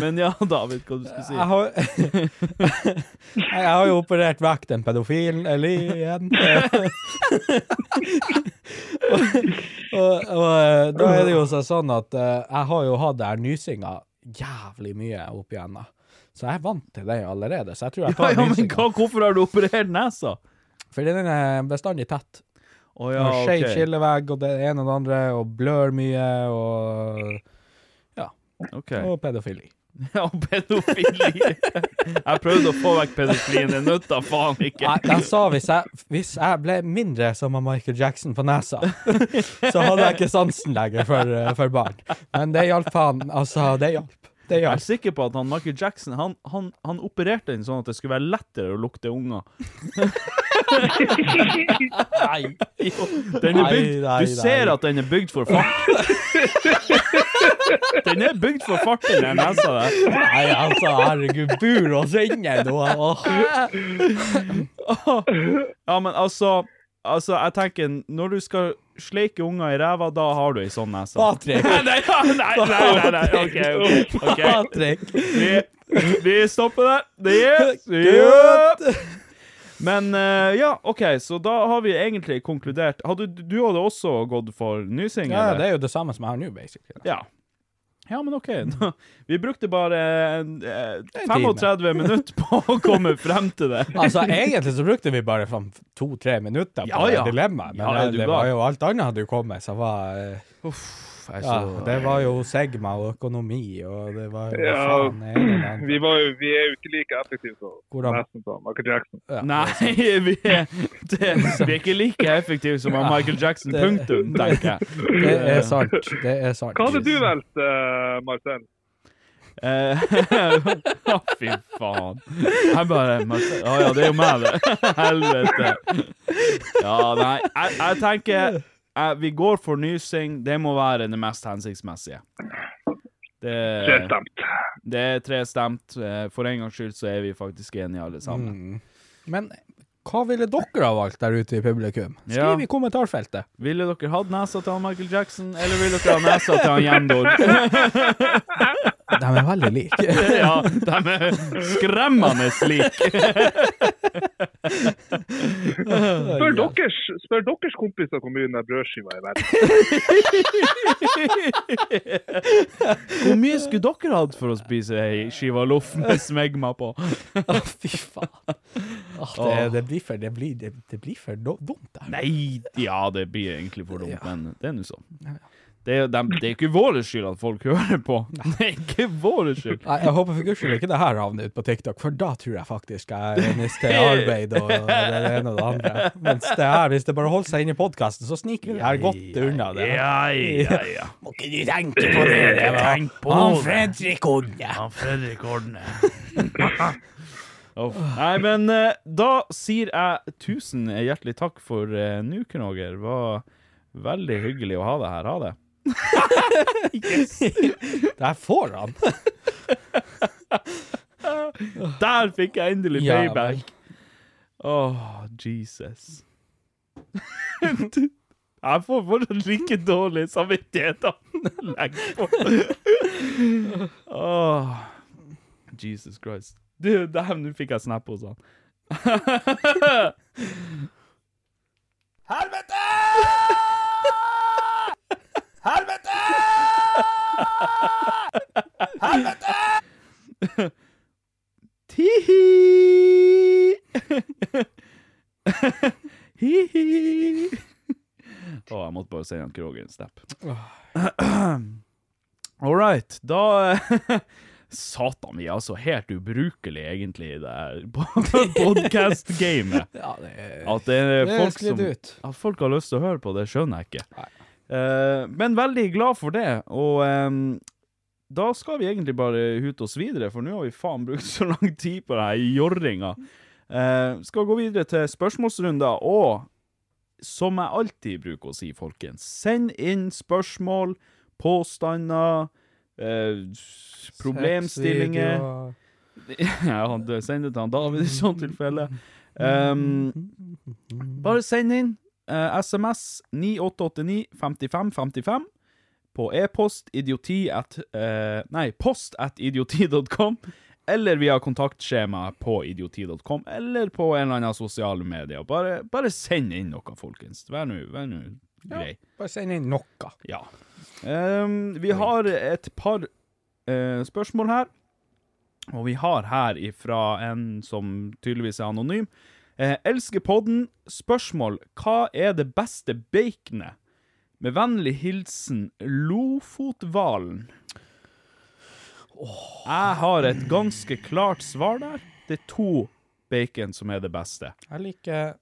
S2: Men ja, David, hva du skulle si?
S3: Jeg har, jeg har jo operert vekk den pedofilen Elien. og, og, og eh, da er det jo så sånn at eh, jeg har jo hatt den nysinga jævlig mye opp igjennom. Så jeg er vant til det allerede. Så jeg tror jeg
S2: Ja,
S3: tar
S2: ja, men
S3: nysinga.
S2: hva, hvorfor har du operert nesa?
S3: Fordi den er bestandig tett.
S2: Å ja,
S3: Når skeiv
S2: ok.
S3: skillevegg og det ene og det andre, og blør mye, og Ja. Og pedofili.
S2: Ja, og pedofili. Jeg prøvde å få vekk pedofilien, det nytta faen ikke.
S3: Nei, de sa hvis jeg, hvis jeg ble mindre som han Michael Jackson på nesa, så hadde jeg ikke sansen lenger for, eh, for barn. Men det hjalp faen. Altså, det hjalp. Det
S2: Jeg er
S3: hjalp.
S2: sikker på at han Michael Jackson Han, han, han opererte den sånn at det skulle være lettere å lukte unger.
S3: Nei.
S2: Jo, den er
S3: Nei,
S2: bygd,
S3: nei,
S2: du ser
S3: nei.
S2: at den er bygd for fart. Den er bygd for fart, den der nesa der.
S3: Nei, altså, herregud, bur oss inne nå. Åh.
S2: Ja, men altså Altså, jeg tenker, når du skal sleike unger i ræva, da har du ei sånn nese.
S3: Patrick.
S2: Nei, nei, nei, nei, nei, nei. OK, OK. ok.
S3: Patrick.
S2: Vi, vi stopper der. Det gjøres.
S3: Gutt.
S2: Men eh, ja, OK, så da har vi egentlig konkludert. Hadde, du hadde også gått for nysing?
S3: Ja,
S2: eller?
S3: det er jo det samme som jeg har nå, basically.
S2: Ja. Ja, men OK. da- Vi brukte bare en, eh,
S3: time.
S2: 35 minutter på å komme frem til det.
S3: Altså, egentlig så brukte vi bare sånn to-tre minutter på
S2: Ja, ja.
S3: det dilemmaet, men
S2: Ja, er
S3: eh,
S2: du
S3: det
S2: gal?
S3: var jo alt annet hadde jo kommet, så var eh,
S2: jeg er
S3: ja,
S2: så-
S3: Det var jo Segma og økonomi, og det var jo
S6: Ja,
S3: hva faen er det der?
S6: vi, var, jo- vi er jo ikke like effektive som
S3: Hvordan?
S6: nesten som Michael Jackson.
S2: Nei, vi er, det, vi er ikke like effektive som han Michael Jackson,
S3: det-
S2: punktum, tenker jeg.
S3: Det er sant. Det er sant.
S6: Hva hadde du valgt, eh, Marcel?
S2: Eh, Å, fy faen. Jeg bare Marcel- Å ja, det er jo meg, det. Helvete. Ja, nei, jeg, jeg tenker eh, Vi går for nysing. Det må være det mest hensiktsmessige. Det,
S6: Det er stemt.
S2: det er tre stemt. Eh, For en gangs skyld så er vi faktisk enige alle sammen.
S3: Mm. Men hva ville dere ha valgt der ute i publikum?
S2: Ja.
S3: Skriv i kommentarfeltet.
S2: Ville dere hatt nesa til han Michael Jackson, eller ville dere ha nesa til han Jendor?
S3: De er veldig like.
S2: ja, de er skremmende like.
S6: Spør, deres, spør deres kompiser hvor mye den der brødskiva er verdt.
S2: Hvor mye skulle dere hatt for å spise ei skive loff med smegma på?
S3: Å, Fy faen. Åh, det, det blir for, det blir, det, det blir for do- dumt, det her.
S2: Nei, ja, det blir egentlig for dumt, men det er nå sånn. Det er, jo dem- det er ikke vår skyld at folk hører på. Det er ikke vår skyld.
S3: Nei, jeg håper for guds skyld ikke det her havner ut på TikTok, for da tror jeg faktisk jeg mister arbeid og det ene og det andre. Mens det her, hvis det bare holder seg inne i podkasten, så sniker vi her godt unna det.
S2: Ja, ja, ja.
S3: Må ikke du tenke på det? det var
S2: Tenk på
S3: han
S2: det.
S3: Fredrik Odne.
S2: Han Fredrik Ordne. Uff. Nei, men eh, da sier jeg tusen hjertelig takk for uh, nå, Knoger. Det var veldig hyggelig å ha deg her. Ha det.
S3: Der får han.
S2: Der fikk jeg endelig
S3: Ja,
S2: payback! Åh, Jesus. Jeg får fortsatt like dårlig samvittighet av legg på. Åh, Jesus Christ. Du, dæven, nå fikk jeg snap sånn. hos han.
S3: Helvete!
S2: Tihi! Hihi! Å, jeg måtte bare sende han Kroger en snap. All right, da Satan, vi er altså helt ubrukelige, egentlig, i det her podcast-gamet.
S3: Ja, det-
S2: At det er
S3: det er
S2: folk
S3: sklidd
S2: som At folk har lyst til å høre på, det skjønner jeg ikke. Eh, men veldig glad for det, og ehm, da skal vi egentlig bare hute oss videre, for nå har vi faen brukt så lang tid på det her jorringa. Eh, skal gå videre til spørsmålsrunder, og som jeg alltid bruker å si, folkens, send inn spørsmål, påstander, eh, problemstillinger
S3: Sexvideoer.
S2: ja, han dø- send det til han David i sånt tilfelle. Um, bare send inn eh, SMS 9889 55 55 på e-post idioti at eh, Nei, post at idioti.com, eller via kontaktskjema på idioti.com, eller på en eller annen sosiale medier. Bare, bare send inn noe, folkens. Vær nå vær nå grei.
S3: Bare send inn noe.
S2: Ja. Ehm, vi har et par eh, spørsmål her. Og vi har her ifra en som tydeligvis er anonym. Eh, elsker podden. Spørsmål Hva er det beste baconet? Med vennlig hilsen Lofothvalen. Jeg har et ganske klart svar der. Det er to bacon som er det beste.
S3: Jeg liker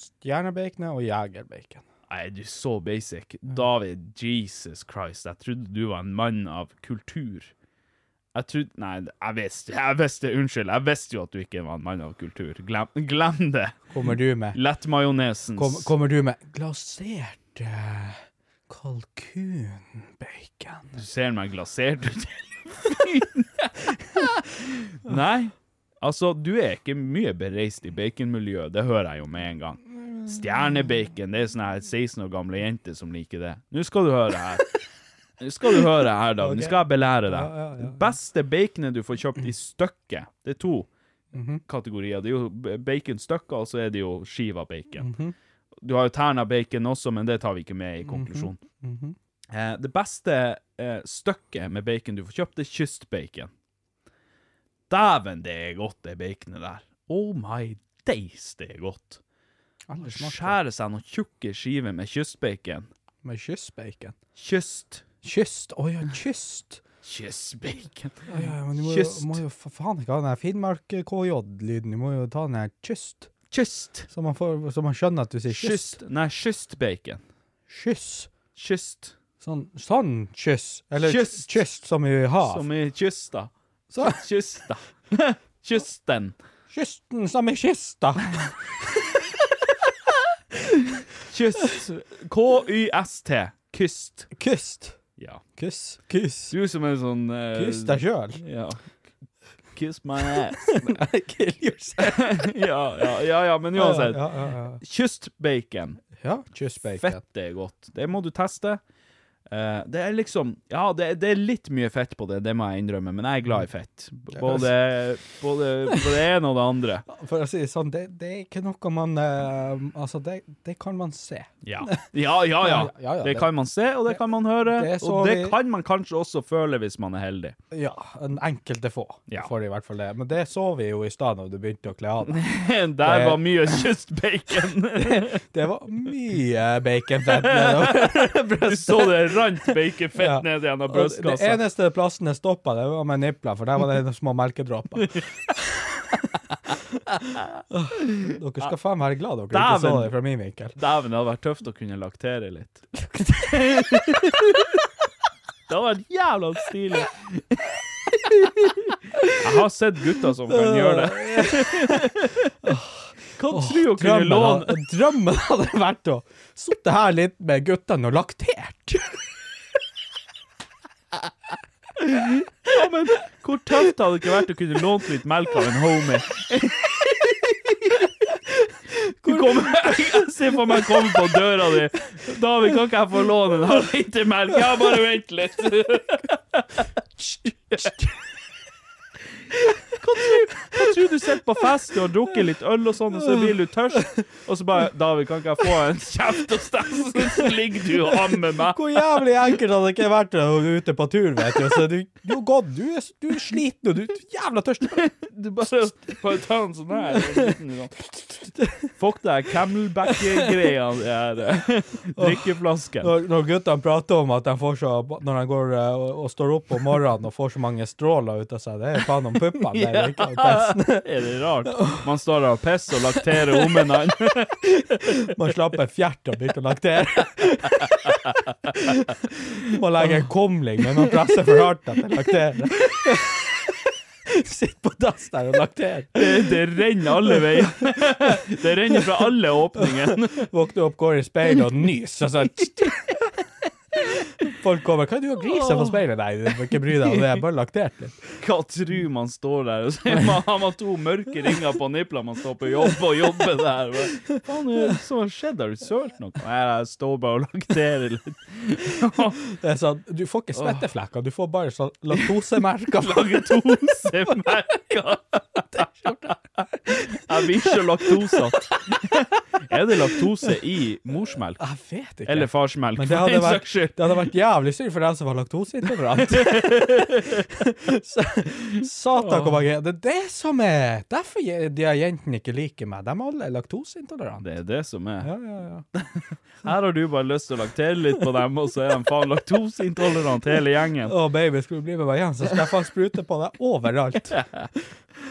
S3: stjernebaconet og jegerbacon.
S2: Nei, du er så basic. David, Jesus Christ, jeg trodde du var en mann av kultur. Jeg trodde Nei, jeg visste, jeg visste Unnskyld, jeg visste jo at du ikke var en mann av kultur. Glem, glem det.
S3: Kommer du med-
S2: Lett majonesens.
S3: Kom, kommer du med glasert eh, kalkunbacon?
S2: Du ser meg glasert ut. Nei. Altså, du er ikke mye bereist i baconmiljøet, det hører jeg jo med en gang. Stjernebacon, det er sånne her 16 år gamle jenter som liker det. Nå skal du høre her. Nå skal du høre her, da.
S3: Ok.
S2: Nå skal jeg belære deg.
S3: Ja, ja, ja.
S2: Det beste baconet du får kjøpt i stykket, det er to
S3: Mhm.
S2: kategorier. Det er jo b- baconstykker, og så er det jo skiva bacon.
S3: Mhm.
S2: Du har jo terna bacon også, men det tar vi ikke med i konklusjonen.
S3: Mhm.
S2: Eh, det beste eh, stykket med bacon du får kjøpt, er kystbacon. Dæven, det er godt, det baconet der. Oh my days, det er godt. Skjære seg noen tjukke skiver med kystbacon.
S3: Med kyssbacon?
S2: Kyst.
S3: Kyst? Å ja, kyst.
S2: Kyssbacon.
S3: Ja, ja, men du må,
S2: Kyst.
S3: jo, må jo for faen ikke ha den der Finnmark-KJ-lyden. Du må jo ta den der kyst.
S2: Kyst.
S3: Så man, får, så man skjønner at du sier kyst.
S2: Kyst. Nei, kystbacon.
S3: Kyss.
S2: Kyst.
S3: Sånn, sånn kyss. Eller
S2: Kyst.
S3: kyst, som i hav.
S2: Som i kysta.
S3: Så-
S2: Kysta. Kysten.
S3: Kysten som i kista.
S2: Kyst. K-y-s-t. Kyst.
S3: Kyst.
S2: Ja.
S3: Kyss. Kyss.
S2: Du som er sånn eh,
S3: Kyss deg sjøl.
S2: Ja. Kiss my ass.
S3: Kill yourself.
S2: ja, ja, ja, ja, men uansett.
S3: Ja, ja, ja, ja.
S2: Kystbacon.
S3: Ja, kyssbacon.
S2: Fettet er godt. Det må du teste. Eh, det er liksom Ja, det, det er litt mye fett på det, det må jeg innrømme, men jeg er glad i fett. B- Både, både på det ene og det andre.
S3: For å si det sånn, det, det er ikke noe man eh, Altså, det, det kan man se.
S2: Ja. Ja, ja, Ah, ja.
S3: Ja, ja, ja,
S2: Det
S3: det-
S2: kan man se, og det kan man høre.
S3: Det så
S2: Og det
S3: vi-
S2: kan man kanskje også føle hvis man er heldig.
S3: Ja, en enkelte få
S2: Ja.
S3: får i hvert fall det. Men det så vi jo i stad når du begynte å kle av deg.
S2: Der var mye kystbacon.
S3: Det var mye baconfett nedover
S2: Du så det rant baconfett
S3: Ja.
S2: ned igjen av
S3: Og Den
S2: brystkassa.
S3: eneste plassen jeg stoppa, det var med nipler, for der var det små melkedråper. Dere skal faen være glad dere ikke så
S2: Dæven.
S3: det fra min vinkel.
S2: Dæven, det hadde vært tøft å kunne laktere litt. det hadde vært jævla stilig. Jeg har sett gutter som kan gjøre det. Hva tror du å kunne
S3: Drømmen
S2: låne
S3: hadde, drømmen hadde vært å sitte her litt med guttene og laktert.
S2: Ja, men hvor tøft hadde det ikke vært å kunne lånt litt melk av en homie? Du kommer, jeg ser for meg komme på døra di. 'David, kan ikke jeg få låne en halv liter melk?' Ja, bare vent litt. Hva tror du sitter på fest og drukker litt øl og sånn, og så blir du tørst, og så bare 'David, kan ikke jeg få en kjeft hos deg?' Så ligger du og ammer meg.
S3: Hvor jævlig enkelt hadde det ikke vært å være ute på tur, vet du. Og Så du, du er gått, du er, du er sliten, og du er jævla tørst.
S2: Du bare bare tar en sånn her. og en liten sånn. Fuck deg, camelback-greia der. Drikkeflaske.
S3: Når, når guttene prater om at de får så Når de går eh, og, og står opp om morgenen og får så mange stråler ut av seg, det er jo faen om puppene. Det er jo ikke om pesten.
S2: Er det rart? Man står og pisser og lakterer omene.
S3: Man slapper fjert og begynner å laktere. Man legger en kumling, men man presser for hardt at den lakterer. Sitt på dass der og lakter.
S2: Det, det renner alle veier. Det renner fra alle åpninger.
S3: Våkner opp, går i speilet og nyser. og sånn. Folk kommer 'Hva er det du har glisa på speilet?' Nei, du må ikke bry deg om det, jeg har bare laktert liksom. litt.
S2: Hva tror man står der og sier? Man har man to mørke ringer på niplene, man står på jobb og jobber der. Hva faen er det som har skjedd? Har du sølt noe? Nei, jeg står bare og lakterer litt.
S3: Det er sånn, Du får ikke svetteflekker, du får bare sånn laktosemerker.
S2: Laktosemerker. Jeg blir ikke laktosatt. Er det laktose i morsmelk?
S3: Jeg vet ikke.
S2: Eller farsmelk,
S3: Men det
S2: for
S3: hadde
S2: den
S3: vært,
S2: saks skyld.
S3: det hadde vært jævlig synd for den som var laktoseintolerant. Så- Satan, hvor mange Det er det som er Derfor je- de her jentene ikke liker meg. De alle er laktoseintolerante.
S2: Det er det som er.
S3: Ja, ja, ja.
S2: Her har du bare lyst til å laktere litt på dem, og så er de faen laktoseintolerant hele gjengen.
S3: Å, baby, skal du bli med meg igjen, så skal jeg faen sprute på deg overalt.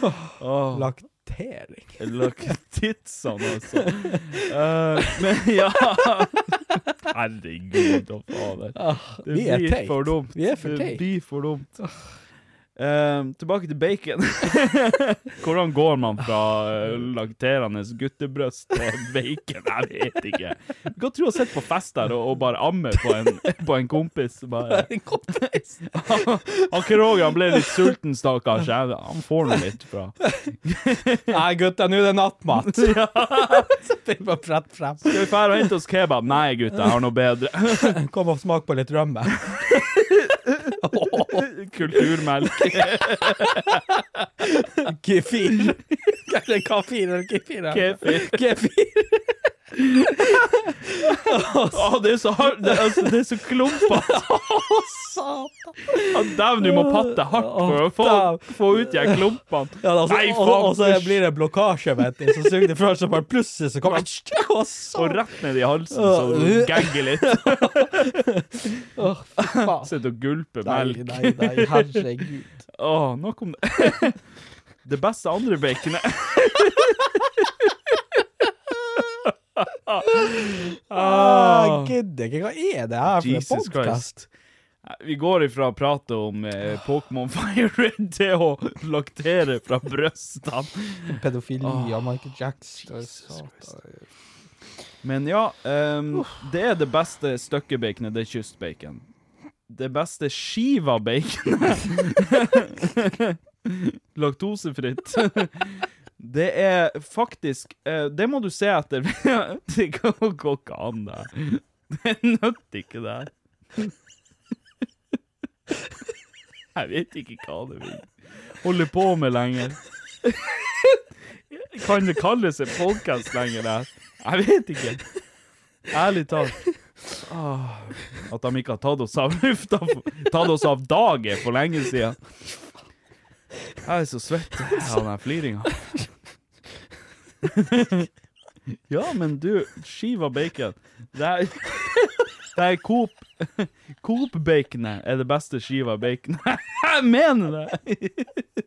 S2: Åh,
S3: Laktering.
S2: Laktitsene, altså. Eh, men ja Herregud og fader. Det
S3: Ah, vi er
S2: blir
S3: teit.
S2: for dumt.
S3: Vi er for
S2: Det
S3: teit.
S2: blir for dumt. Eh, tilbake til bacon. Hvordan går man fra eh, lakterende guttebrøst til bacon? Jeg vet ikke. Hva tror du har sett på fest der og, og bare ammer på en, på en kompis? Bare. Han Kroger han ble litt sulten, stakkars. Jeg- Han får nå litt bra.
S3: Nei, gutta, nå er det nattmat.
S2: Ja.
S3: Så blir man brett frem.
S2: Skal vi fære og hente oss kebab? Nei, gutter, jeg har noe bedre.
S3: Kom og smak på litt rømme.
S2: Kulturmelk.
S3: Kefir. Eller Kefir eller kefir.
S2: Kefir.
S3: Kefir.
S2: Å, det er så hardt. Det, er- altså, det er så klumpete.
S3: Å, satan.
S2: Ja, Dæven, du må patte hardt for å få, få ut de her klumpene.
S3: Ja, altså,
S2: Nei,
S3: og, og så
S2: faen.
S3: blir det blokkasje, vet du. Så suger det fra seg, bare plutselig så kommer det Å,
S2: Og
S3: satan.
S2: rett ned i halsen, så du gagger litt.
S3: Å, fy faen.
S2: Sitter og gulper
S3: Nei,
S2: melk.
S3: nei, nei, herregud.
S2: Å, nok om det. Det beste andre baconet.
S3: Ah, jeg gidder ikke. Hva er det her for en
S2: Jesus
S3: podkast?
S2: Christ. Vi går ifra å prate om eh, Pokémon Fire Red til å laktere fra brystene.
S3: Pedofili og Michael Jackson. Satan.
S2: Men ja, ehm, det er det beste støkkebaconet, det er kystbacon. Det beste skiva baconet Laktosefritt. Det er faktisk eh, Det må du se etter. Det går går ikke an, det. Det nøtter ikke det her. Jeg vet ikke hva det vil holde på med lenger. Kan det kalles en podkast lenger, det her? Jeg vet ikke. Ærlig talt. Åh, at de ikke har tatt oss av lufta for- Tatt oss av dagen for lenge siden. Jeg er så svett av den fliringa. Ja, men du, skiva bacon Det er, det er Coop Coop-baconet er det beste skiva bacon. Jeg mener det!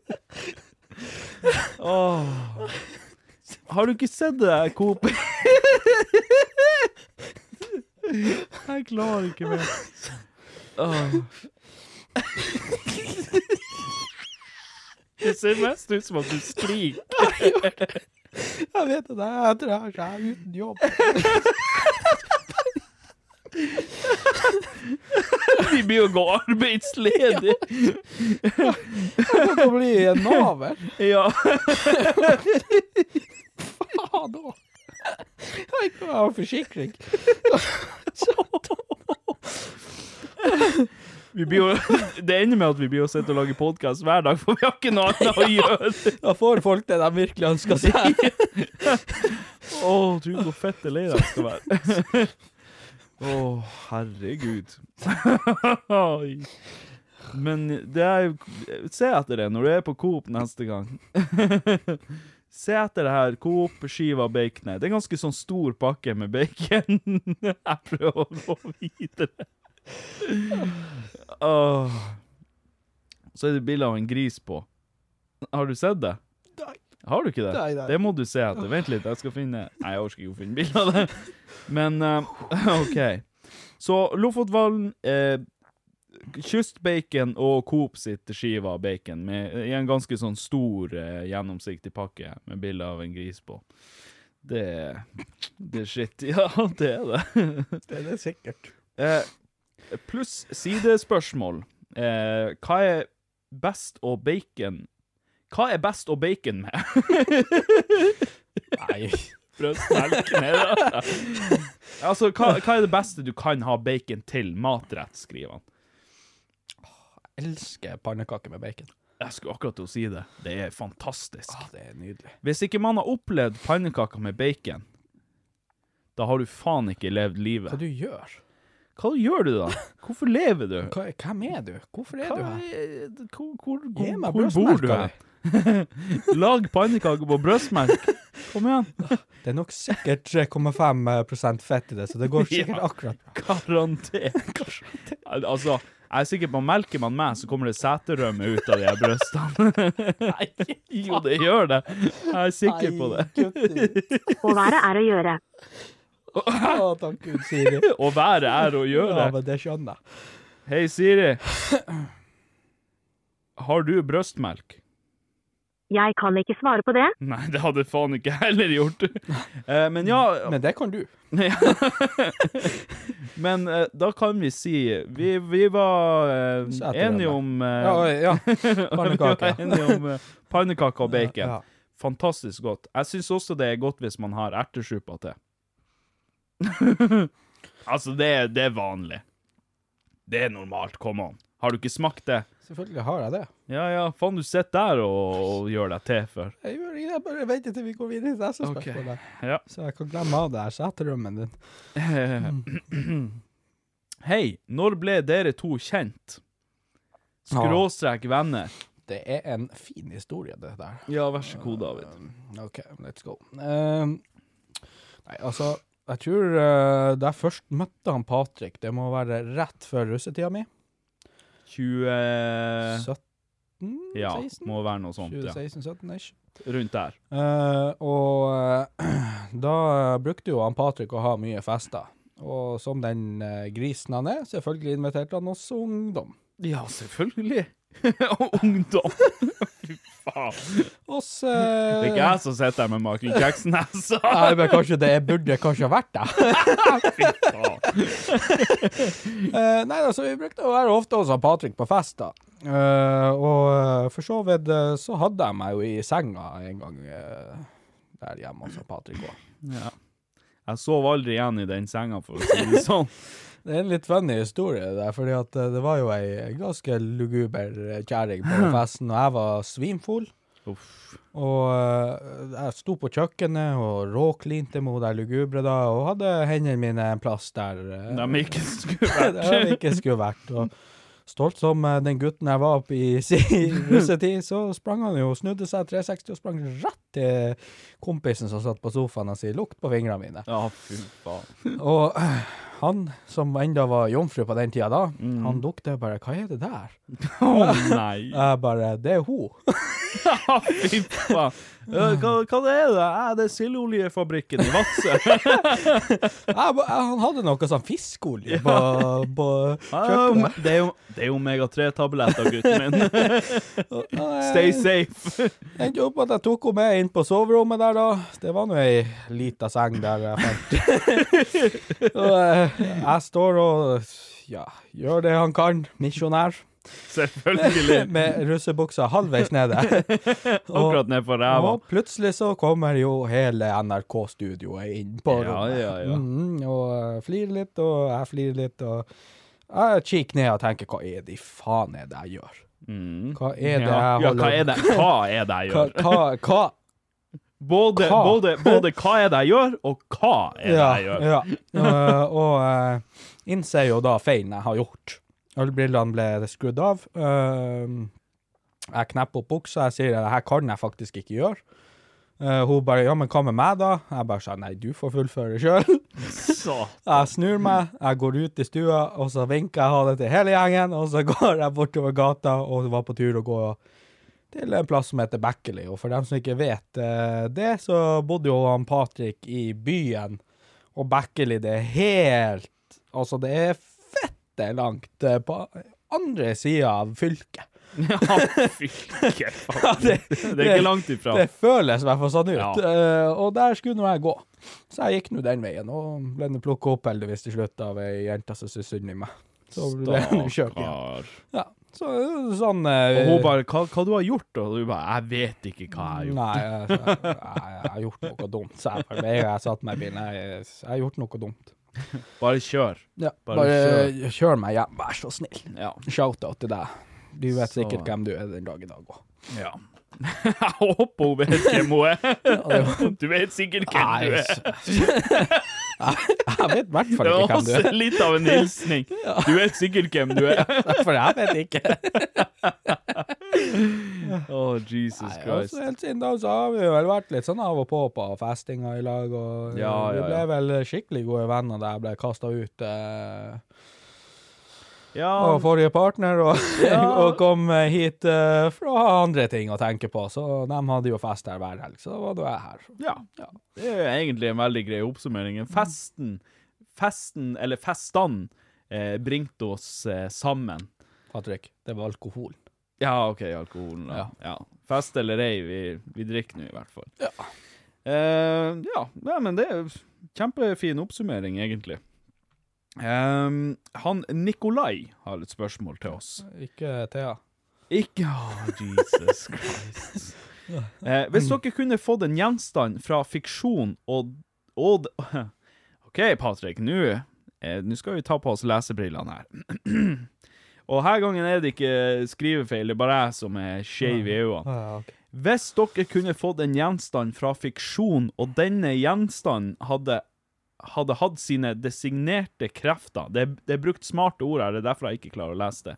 S2: Åh. Har du ikke sett det der Coop? Jeg klarer ikke mer. Åh. Det ser mest ut som at du skriker.
S3: Jeg vet det, jeg tror jeg er så uten jobb.
S2: De blir jo gå arbeidsledige.
S3: Jeg kan bli en naver.
S2: Ja.
S3: Faen òg. Jeg kan ha forsikring.
S2: Vi blir jo, det ender med at vi blir å sitte og lage podkast hver dag, for vi har ikke noe annet å gjøre.
S3: Da får folk det de virkelig ønsker seg.
S2: Å, du hvor fett lei de skal være. Å, herregud. Oi. Men det er, se etter det når du er på Coop neste gang. Se etter det her. Coop, skiva bacon. Det er en ganske sånn stor pakke med bacon. Jeg prøver å gå videre. Åh. Så er det bilde av en gris på. Har du sett det? Har du ikke det?
S8: Nei, nei.
S2: Det må du se etter. Vent litt, jeg skal finne Nei, jeg orker ikke å finne bilde av det. Men eh, OK. Så Lofotvallen, eh, Kystbacon og Coop sitt skive av bacon med, i en ganske sånn stor, eh, gjennomsiktig pakke med bilde av en gris på. Det Det er shit. Ja, det er det.
S3: Det er det sikkert.
S2: Eh, pluss sidespørsmål. Eh, hva er best å bacon Hva er best å bacon med? Nei Brødsmelk med det. Altså, hva, hva er det beste du kan ha bacon til? Matrett, skriver han.
S3: Elsker pannekaker med bacon.
S2: Jeg skulle akkurat til å si det. Det er fantastisk.
S3: det er nydelig.
S2: Hvis ikke man har opplevd pannekaker med bacon, da har du faen ikke levd livet.
S3: Hva du gjør?
S2: Hva gjør du da? Hvorfor lever du?
S3: Hva, hvem er du? Hvorfor er
S2: Hva
S3: du her?
S2: er- Hvor, hvor,
S3: Gi
S2: hvor, hvor
S3: meg
S2: bor du
S3: brødsmelka
S2: her? Lag pannekaker på brøstmelk. Kom igjen.
S3: Det er nok sikkert 3,5 fett i det, så det går sikkert
S2: Ja.
S3: akkurat bra.
S2: Garantert. Al- Altså, jeg er sikker på melker man meg, så kommer det seterømme ut av de her brystene. Jo, det gjør det. Jeg er sikker på det.
S9: Å være er å gjøre.
S3: Å, takk Gud, Siri.
S2: Å være er å
S3: Ja,
S2: gjøre.
S3: men det skjønner jeg.
S2: Hei, Siri. Har du brøstmelk?
S9: Jeg kan ikke svare på det.
S2: Nei, det hadde faen ikke jeg heller gjort. Eh, men ja
S3: Men det kan du.
S2: Men eh, da kan vi si Vi, vi var eh,
S3: Så etter
S2: enige
S3: den,
S2: om
S3: Ja, oi, ja. Pannekaker.
S2: Vi var enige om eh, pannekaker og bacon.
S3: Ja, ja.
S2: Fantastisk godt. Jeg syns også det er godt hvis man har ertesuppa til. altså, det, er- det er vanlig. Det er normalt, come on. Har du ikke smakt det?
S3: Selvfølgelig har jeg det.
S2: Ja ja, faen, du sitter der og, og gjør deg til for.
S3: Jeg, gjør, jeg bare venter til vi går videre til neste
S2: Ok.
S3: spørsmål. der.
S2: Ja.
S3: Så jeg kan glemme av det her seterømmen din.
S2: Hei, når ble dere to kjent? Skråstrek venner.
S3: Det er en fin historie, det der. Eh,
S2: Ja, vær så god, David.
S3: OK, let's go. Ehm, nei, altså, jeg tror eh, da jeg først møtte han Patrick, det må være rett før russetida mi.
S2: 20
S3: 17?
S2: Eh, Ja,
S3: 16?
S2: må være noe sånt. Ja.
S3: 2016-17 ish.
S2: Rundt der.
S3: Eh, og eh, da eh, brukte jo han Patrick å ha mye fester. Og som den eh, grisen han er, selvfølgelig inviterte han også ungdom.
S2: Ja, selvfølgelig. Og ungdom. Fy faen.
S3: Oss eh,
S2: Det er ikke jeg som sitter her med Michael Jackson-nesa.
S3: Nei, men kanskje det burde kanskje ha vært det. Eh, nei, altså, vi brukte å være ofte hos han Patrick på fest, da. Eh, og eh, for så vidt eh, så hadde jeg meg jo i senga en gang eh, der hjemme hos han Patrick òg.
S2: Ja. Jeg sov aldri igjen i den senga, for å si det sånn.
S3: Det er en litt funny historie det der, fordi at eh, det var jo ei ganske luguber eh, kjerring på den festen, og jeg var svimfull. Og eh, jeg sto på kjøkkenet og råklinte med hun der lugubre da, og hadde hendene mine en plass der eh,
S2: De ikke skulle
S3: der de
S2: vært
S3: ikke skulle vært. Og stolt som eh, den gutten jeg var i sin russetid, så sprang han jo, snudde seg 360 og sprang rett til kompisen som satt på sofaen og sier 'lukt på fingrene mine'.
S2: Ja, fy faen.
S3: Og eh, han som enda var jomfru på den tida da, han lukta bare 'hva er det der?'
S2: Å nei.
S3: Jeg bare 'det er hun'.
S2: Ja, Ah, fy faen. Eh, Hva, hva det er det? Eh, Det er sildeoljefabrikken i Vadsø.
S3: Jeg, ba- han hadde noe sånn fiskeolje på, på
S2: Ja,
S3: kjøkkenet.
S2: Det er jo- det er jo omega-3-tabletter, gutten min.
S3: eh,
S2: Stay safe.
S3: Endte opp at jeg tok henne med inn på soverommet der, da. Det var nå ei lita seng der jeg fant Og eh, jeg står og ja, gjør det han kan. Misjonær.
S2: Selvfølgelig.
S3: med russebuksa halvveis nede.
S2: Akkurat ned på ræva.
S3: Og plutselig så kommer jo hele NRK-studioet inn på
S2: Ja,
S3: rommet. Mhm,
S2: ja, ja.
S3: Mm, og eh, flirer litt, og jeg flirer litt, og Jeg kikker ned og tenker hva er det i faen er det jeg gjør? Hva er det
S2: Mm. Ja.
S3: jeg
S2: Ja,
S3: holder
S2: hva er det- hva er det jeg gjør?
S3: Hva, hva, hva?
S2: Både,
S3: Hva?
S2: både, både hva er det jeg gjør, og hva er det
S3: ja,
S2: jeg gjør.
S3: ja. Eh, og eh, innser jo da feilen jeg har gjort. Ølbrillene ble skrudd av. Eh, jeg knepper opp buksa. Jeg sier det her kan jeg faktisk ikke gjøre. Eh, hun bare 'ja, men hva med meg', da? Jeg bare sa 'nei, du får fullføre sjøl'. jeg snur meg, jeg går ut i stua, og så vinker jeg ha det til hele gjengen, og så går jeg bortover gata og var på tur å gå til en plass som heter Bekkeli. Og for dem som ikke vet eh, det, så bodde jo han Patrick i byen, og Bekkeli, det er helt Altså, det er fette langt eh, på andre sida av fylket.
S2: Fylke, faen.
S3: Ja,
S2: det, er ikke langt ifra.
S3: Det føles i hvert fall sånn ut.
S2: Ja.
S3: Eh, og der skulle nå jeg gå. Så jeg gikk nå den veien, og ble nå plukka opp heldigvis til slutt av ei jente som syntes synd i meg. Så ble jeg nå kjørt igjen. Ja, så eh, sånn eh,
S2: Og hun bare hva, 'Hva du har gjort?' Og du bare 'Jeg vet ikke hva jeg
S3: Nei,
S2: har
S3: jeg,
S2: gjort'.
S3: jeg, jeg, jeg har gjort noe dumt, sa jeg. for Jeg, jeg satt meg i bilen. Jeg, jeg har gjort noe dumt.
S2: Bare kjør.
S3: Ja,
S2: Bare
S3: bare,
S2: kjør.
S3: kjør. meg hjem, vær så snill. Shout-out til deg. Du vet
S2: Så-
S3: sikkert hvem du er den dag i dag òg.
S2: Ja. jeg håper hun vet hvem hun er.
S3: det-
S2: Du vet sikkert hvem
S3: Nei,
S2: du er.
S3: Jeg vet i hvert fall
S2: Det var
S3: ikke hvem du er.
S2: også litt av en hilsning. Du vet sikkert hvem du er.
S3: For jeg vet ikke.
S2: Å, Jesus
S3: Nei,
S2: Christ.
S3: altså, helt siden da så har vi vel vært litt sånn av og på på festinga i lag, og eh,
S2: Ja,
S3: vi
S2: ja,
S3: ble
S2: ja.
S3: vel skikkelig gode venner da jeg ble kasta ut eh,
S2: Ja,
S3: av forrige partner, og,
S2: Ja.
S3: og kom hit eh, for å ha andre ting å tenke på. Så de hadde jo fest her hver helg, så da var da jeg her.
S2: Ja. Det er egentlig en veldig grei oppsummering. Festen, festen eller festene, eh, bringte oss eh, sammen.
S3: Patrick, det var alkoholen.
S2: Ja, OK, alkoholen, da. Ja. Fest eller ei, vi, vi drikker nå i hvert fall. Ja. Eh, ja. Nei, men det er kjempefin oppsummering, egentlig. Ehm, han Nikolai har et spørsmål til oss.
S3: Ikke Thea.
S2: Ikke oh, Jesus Christ. Eh, hvis dere kunne fått en gjenstand fra fiksjon og, og OK, Patrick, nå eh, nå skal vi ta på oss lesebrillene her. og her gangen er det ikke skrivefeil, det er bare jeg som er skeiv i øynene.
S3: Ja, ok.
S2: Hvis dere kunne fått en gjenstand fra fiksjon, og denne gjenstanden hadde, hadde hatt sine designerte krefter Det, det er brukt smarte ord her, det er derfor jeg ikke klarer å lese det.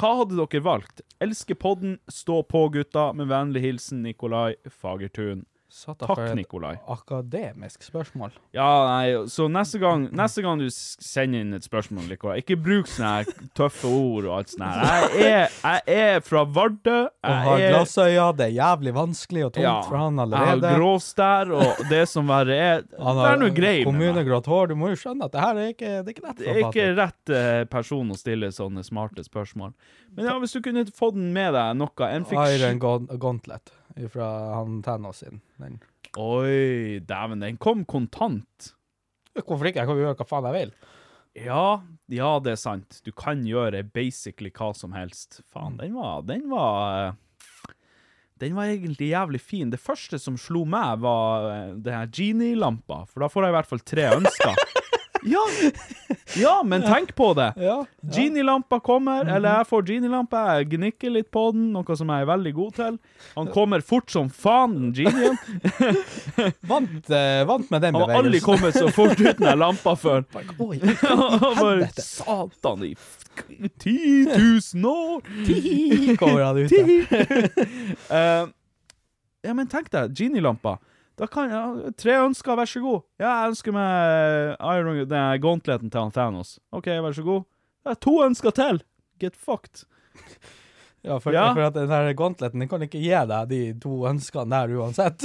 S2: Hva hadde dere valgt? Elsker podden, stå på gutta, med vennlig hilsen Nikolai Fagertun. Takk, Nikolai.
S3: Akademisk spørsmål.
S2: Ja, nei, så neste gang, neste gang du s- sender inn et spørsmål, Nikolai, ikke bruk sånne her tøffe ord og alt sånt her. Jeg er, jeg er fra Vardø.
S3: Å ha
S2: Jeg er
S3: glassøya, det er jævlig vanskelig og tungt for han
S2: Jeg
S3: allerede.
S2: har gråstær, og det som verre er
S3: Han
S2: Det er noe grei med meg.
S3: kommunegrått hår. Du må jo skjønne at det her er ikke, det er ikke lett
S2: Det
S3: for
S2: er ikke
S3: Patrick.
S2: rett eh, person å stille sånne smarte spørsmål. Men ja, hvis du kunne få den med deg noe en
S3: Iron
S2: fiksjon...
S3: Gon- Gauntlet fra han Thanos sin. Den.
S2: Oi, dæven, den kom kontant.
S3: Hvorfor ikke? Jeg kan jo gjøre hva faen jeg vil.
S2: Ja, ja, det er sant. Du kan gjøre basically hva som helst. Faen, den var Den var eh, Den var egentlig jævlig fin. Det første som slo meg, var eh, den her genie-lampa, for da får jeg i hvert fall tre ønsker. Ja, ja men tenk på det! Genie-lampa kommer, eller jeg får genie-lampa, jeg gnikker litt på den, noe som jeg er veldig god til. Han kommer fort som faen, den genien.
S3: vant, eh, vant med den
S2: Han har aldri
S3: bevegelsen.
S2: kommet så fort uten den lampa før.
S3: Oi,
S2: Han bare
S3: helvete.
S2: Satan i f- 10 000 år!
S3: Ti, kommer han ut av.
S2: Eh, ja, men tenk deg, genie-lampa. Da kan jeg, Tre ønsker, vær så god. Ja, jeg ønsker meg eh, Iron den gauntleten til han Thanos. OK, vær så god. Det er to ønsker til! Get fucked.
S3: Ja, for,
S2: Ja.
S3: for at den her gauntleten den kan ikke gi deg de to ønskene der uansett.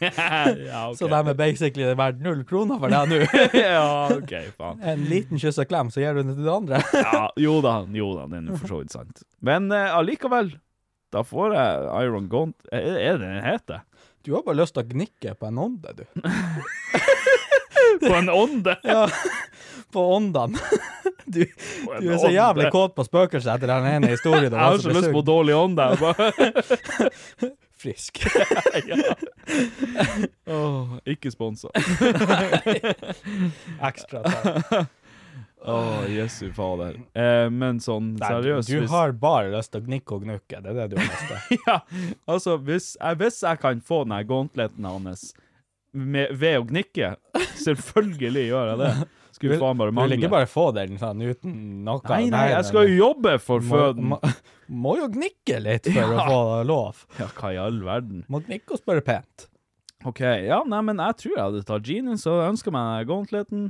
S2: ja, ok.
S3: Så de er basically verdt null kroner for deg nå.
S2: ja, OK, faen.
S3: En liten kyss og klem, så gir du den til de andre.
S2: Ja, jo da, jo da, det er nå for så vidt sant. Men eh, allikevel, da får jeg Iron Gaunt Er er det den heter?
S3: Du har bare lyst til å gnikke på en ånde, du.
S2: På en ånde?
S3: Ja, på åndene. Du,
S2: en
S3: du er så jævlig
S2: ånde.
S3: kåt på spøkelser etter den ene historien.
S2: Jeg har så lyst på dårlig ånd, jeg. bare.
S3: Frisk.
S2: ja. Åh, ikke sponsa.
S3: Ekstra. takk.
S2: Å, jesu fader. Eh, men sånn seriøst
S3: du
S2: hvis-
S3: har bare lyst til å gnikke og gnukke. Det er det du har lyst til.
S2: ja, altså, hvis jeg, hvis jeg kan få denne gauntleten hans med, ved å gnikke, selvfølgelig gjør jeg det. Skulle faen bare
S3: Du vil
S2: mangle.
S3: ikke bare få den sånn uten noe
S2: Nei, nei, jeg skal jo jobbe for føden.
S3: Må, må jo gnikke litt for
S2: Ja.
S3: å få lov.
S2: Ja, hva i all verden?
S3: Må gnikke og spørre pent.
S2: OK, ja, nei, men jeg tror jeg hadde tatt genien, så jeg ønsker meg gauntleten.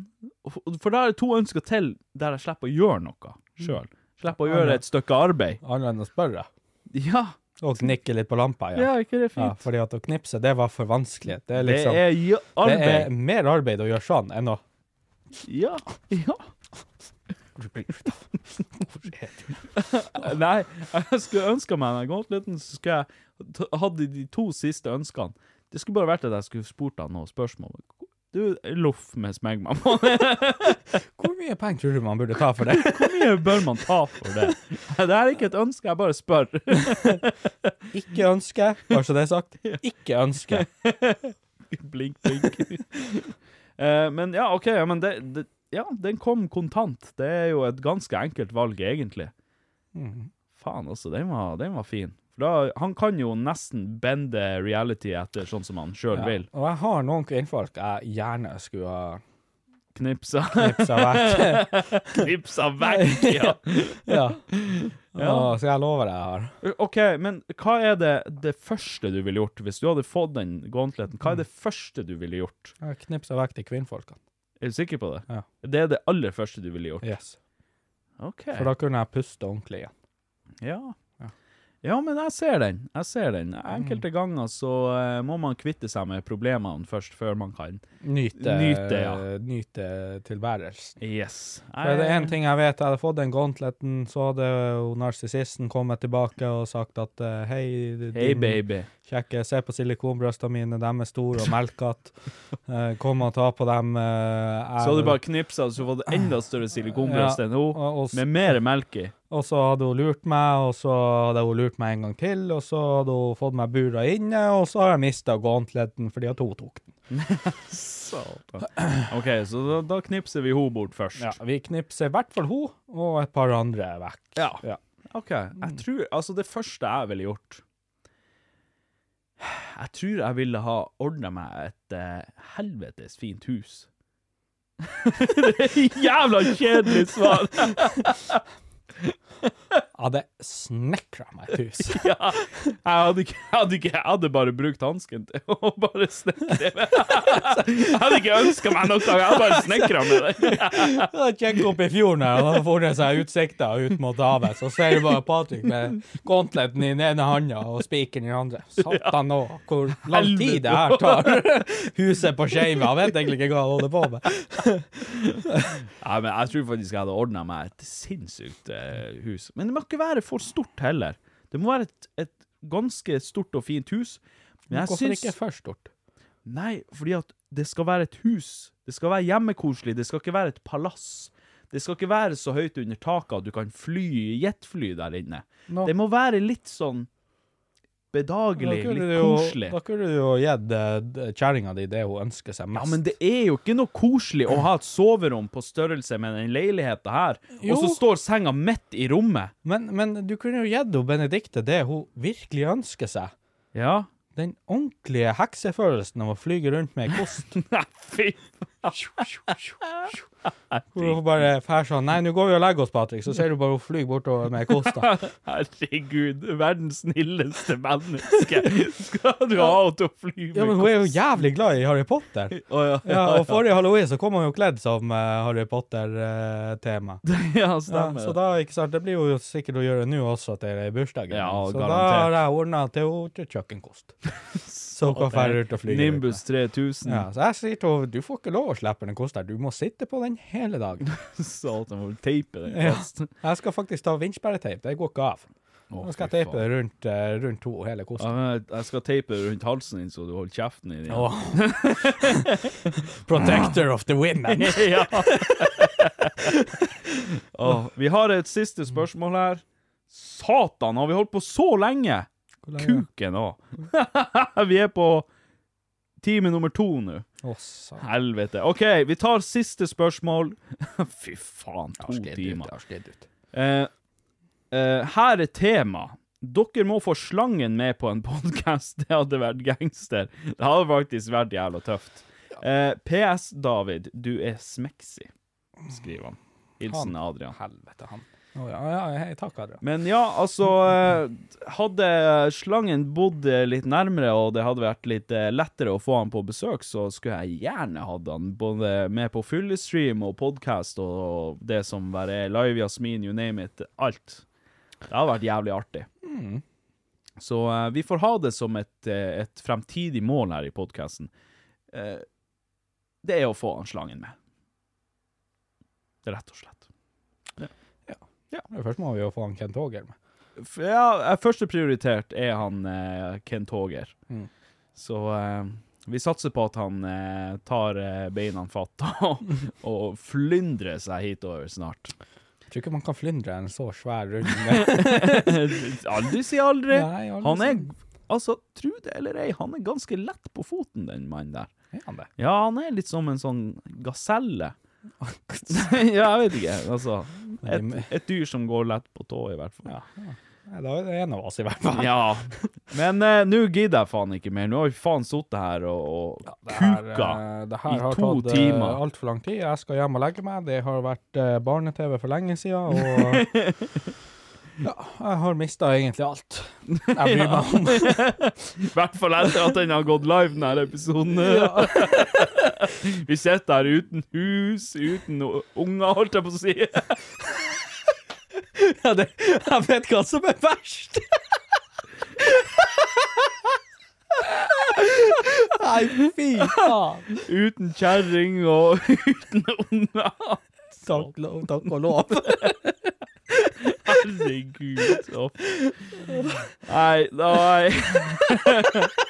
S2: For da er det to ønsker til der jeg slipper å gjøre noe sjøl. Slipper å gjøre et stykke arbeid.
S3: Annet enn å spørre.
S2: Ja.
S3: Og gnikke litt på lampa igjen.
S2: Ja, ikke det fint?
S3: fordi at å knipse, det var for vanskelig. Det er
S2: Det
S3: liksom
S2: er jo
S3: Det
S2: arbeid.
S3: er mer arbeid å gjøre sånn enn å
S2: Ja. Ja. Nei, jeg skulle ønska meg den gauntleten, så skulle jeg ta- hadde de to siste ønskene. Det skulle bare vært at jeg skulle spurt han noen spørsmål. Du, loff med smegmamma.
S3: Hvor mye penger tror du man burde ta for det?
S2: Hvor mye bør man ta for det? Det er ikke et ønske, jeg bare spør.
S3: Ikke ønske, bare så det er sagt. Ikke ønske.
S2: blink, blink. Eh, men ja, OK. Ja, men det, det, ja, den kom kontant. Det er jo et ganske enkelt valg, egentlig.
S3: Mhm.
S2: Faen, altså. Den var, den var fin. For da, han kan jo nesten bende reality etter sånn som han sjøl
S3: Ja.
S2: vil.
S3: Og jeg har noen kvinnfolk jeg gjerne skulle ha
S2: Knipsa.
S3: knipsa vekk.
S2: Knipsa vekk, ja.
S3: ja.
S2: Ja.
S3: Å, så jeg lover deg, jeg har.
S2: OK, men hva er det, det første du ville gjort hvis du hadde fått den gauntleten?
S3: Mm.
S2: Hva er det første du ville gjort?
S3: Jeg har knipsa vekk de kvinnfolkene.
S2: Er du sikker på det?
S3: Ja.
S2: Det er det aller første du ville gjort?
S3: Yes.
S2: OK.
S3: For da kunne jeg puste ordentlig igjen.
S2: Ja. Ja, men jeg ser den. Jeg ser den.
S3: Mm.
S2: Enkelte ganger så eh, må man kvitte seg med problemene først, før man kan
S3: Nyte,
S2: Nyte, ja.
S3: nyte tilværelsen.
S2: Yes.
S3: For er det én ting jeg vet, jeg hadde fått den gauntleten, så hadde jo narsissisten kommet tilbake og sagt at eh, hei, din
S2: Hei, baby.
S3: kjekke, se på silikonbrøstene mine, de er store og melkete, Eh, kom og ta på dem. eh,
S2: Så hadde
S3: jeg-
S2: du bare knipsa, så fått enda større silikonbrøst
S3: Ja,
S2: enn hun,
S3: og- og-
S2: med mer melk i.
S3: Og så hadde hun lurt meg, og så hadde hun lurt meg en gang til, og så hadde hun fått meg bura inne, og så har jeg mista gauntleten fordi at hun tok den.
S2: Satan. OK, så da, da knipser vi henne bort først.
S3: Ja, vi knipser i hvert fall hun, og et par andre er vekk.
S2: Ja. OK. Jeg tror Altså, det første jeg ville gjort Jeg tror jeg ville ha ordna meg et eh, helvetes fint hus. det er jævla kjedelig svar!
S3: Jeg hadde snekra meg et hus.
S2: ja, jeg hadde, ikke, jeg, hadde ikke, jeg hadde bare brukt hansken til å bare snekre med. Jeg hadde ikke ønska meg noe, jeg hadde bare snekra med det.
S3: Jeg hadde kjekket opp i fjorden her, og da får det seg utsikta ut mot havet. Så ser du bare Patrick med gauntleten i den ene handa og spikeren i den andre. Satan nå, hvor lang tid det her tar. Huset på skeiva, jeg vet egentlig ikke hva han holder på med.
S2: Nei, men jeg tror faktisk jeg hadde ordna meg et sinnssykt eh, hus. Men det må ikke være for stort heller. Det må være et, et ganske stort og fint hus. Men jeg
S3: Hvorfor
S2: syns
S3: ikke for stort?
S2: Nei, fordi at det skal være et hus. Det skal være hjemmekoselig. Det skal ikke være et palass. Det skal ikke være så høyt under taket at du kan fly i jetfly der inne.
S3: Nå.
S2: Det må være litt sånn bedagelig,
S3: Da kunne
S2: litt
S3: du jo-
S2: koselig.
S3: Da kunne du jo gitt eh, d- kjerringa di det hun ønsker seg mest.
S2: Ja, men det er jo ikke noe koselig å ha et soverom på størrelse med den leiligheten her, og så
S3: Jo.
S2: står senga midt i rommet.
S3: men, men du kunne jo gitt henne Benedicte det hun virkelig ønsker seg.
S2: Ja.
S3: Den ordentlige heksefølelsen av å flyge rundt med ei kost.
S2: Nei, fy
S3: Hvor hun bare fær sånn Nei, nå går vi og legger oss, Patrick. Så ser du bare hun flyr bortover med ei kost. da.
S2: Herregud, verdens snilleste menneske. Skal du ha henne til å fly med
S3: Ja, men hun er jo jævlig glad i Harry Potter.
S2: ja,
S3: Ja, og forrige halloween så kom hun jo kledd som eh, Harry Potter-tema.
S2: Ja,
S3: Ja,
S2: stemmer.
S3: så da, ikke sant, det blir jo sikkert å gjøre nå også til bursdagen.
S2: Ja,
S3: så
S2: garantert.
S3: da har jeg ordna til henne til kjøkkenkost. så hun kan fære ut og fly.
S2: Nimbus 3000.
S3: Ja, så jeg sier til henne du får ikke lov å slippe den kosten, her, du må sitte på den hele dagen.
S2: Satan, må du teipe den
S3: Ja.
S2: fast?
S3: Jeg skal faktisk ta vinsjbæreteip, det går ikke av.
S2: Å,
S3: Nå skal
S2: fy
S3: jeg teipe
S2: faen.
S3: rundt, eh, rundt to hele
S2: Ja,
S3: kosten.
S2: men jeg- jeg skal teipe rundt halsen din, så du holder kjeften i den.
S3: Protector of the women.
S2: ja. Å, vi har et siste spørsmål her. Satan, har vi holdt på så lenge?
S3: lenge?
S2: Kuken òg. vi er på time nummer to nå. Helvete. OK, vi tar siste spørsmål. Fy faen, to timer. Eh, eh, her er tema. Dere må få slangen med på en podkast. Det hadde vært gangster. Det hadde faktisk vært jævla tøft. Eh, PS David, du er smexy, skriver han. Hilsen
S3: Han.
S2: Adrian.
S3: Helvete, han. Å ja, ja, hei, takk, Adrian.
S2: Men ja, altså eh, Hadde slangen bodd eh, litt nærmere, og det hadde vært litt eh, lettere å få han på besøk, så skulle jeg gjerne hatt han både med på fyllestream og podkast og det som bare er live, Jasmin, you name it, alt. Det hadde vært jævlig artig.
S3: Mm.
S2: Så eh, vi får ha det som et, eh, et fremtidig mål her i podkasten. det er å få han slangen med. Rett og slett.
S3: Ja, Først må vi jo få han Kent Åger med.
S2: F- Ja, eh, første prioritert er han eh, Kent Håger.
S3: Mm.
S2: Så eh, vi satser på at han eh, tar eh, beina fatt og, og flyndrer seg hitover snart.
S3: Jeg tror ikke man kan flyndre en så svær rund
S2: aldri si aldri.
S3: Nei, aldri
S2: han er
S3: si-
S2: Altså, tro det eller ei, han er ganske lett på foten, den mannen der.
S3: Er han det?
S2: Ja, han er litt som en sånn gaselle. Nei, ja, jeg vet ikke. Altså, et, et dyr som går lett på tå, i hvert fall.
S3: Nei, da er det en av oss, i hvert fall.
S2: Ja. Men eh, nå gidder jeg faen ikke mer. Nå har vi faen sittet her og, og
S3: Det
S2: kuka
S3: her, eh, det her
S2: i
S3: har
S2: to
S3: tatt
S2: timer.
S3: altfor lang tid. Jeg skal hjem og legge meg. Det har vært eh, barne-TV for lenge siden, og ja, jeg har mista egentlig alt jeg bryr
S2: Ja.
S3: meg om.
S2: I hvert fall etter at den har gått live, den her episoden. vi sitter her uten hus, uten o- unger, holdt jeg på å si.
S3: jeg vet hva som er verst! Nei, fy faen!
S2: Uten kjerring og uten unger.
S3: Takk, lov, takk og lov.
S2: Herregud. å. Nei, nei.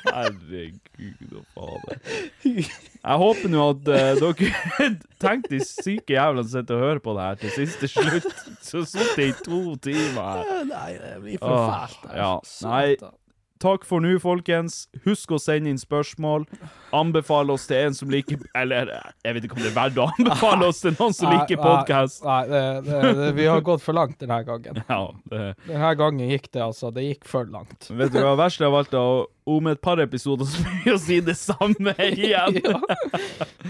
S2: Herregud og fader. Jeg håper nå at eh, dere Tenk de syke jævlene som sitter og hører på det her til siste slutt. Så sitter jeg i to timer her.
S3: Nei, det blir for fælt.
S2: Åh, Ja.
S3: altså.
S2: Nei. Takk for nå, folkens. Husk å sende inn spørsmål. Anbefale oss til en som liker Eller jeg vet ikke om det er verdt å anbefale oss til noen som
S3: Nei,
S2: liker
S3: nei,
S2: podkast.
S3: Nei, det, det, det, vi har gått for langt denne gangen.
S2: Ja, det
S3: Denne gangen gikk det altså, det gikk for langt.
S2: Vet du hva verst av alt er? Om et par episoder så blir å si det samme igjen.
S3: Ja.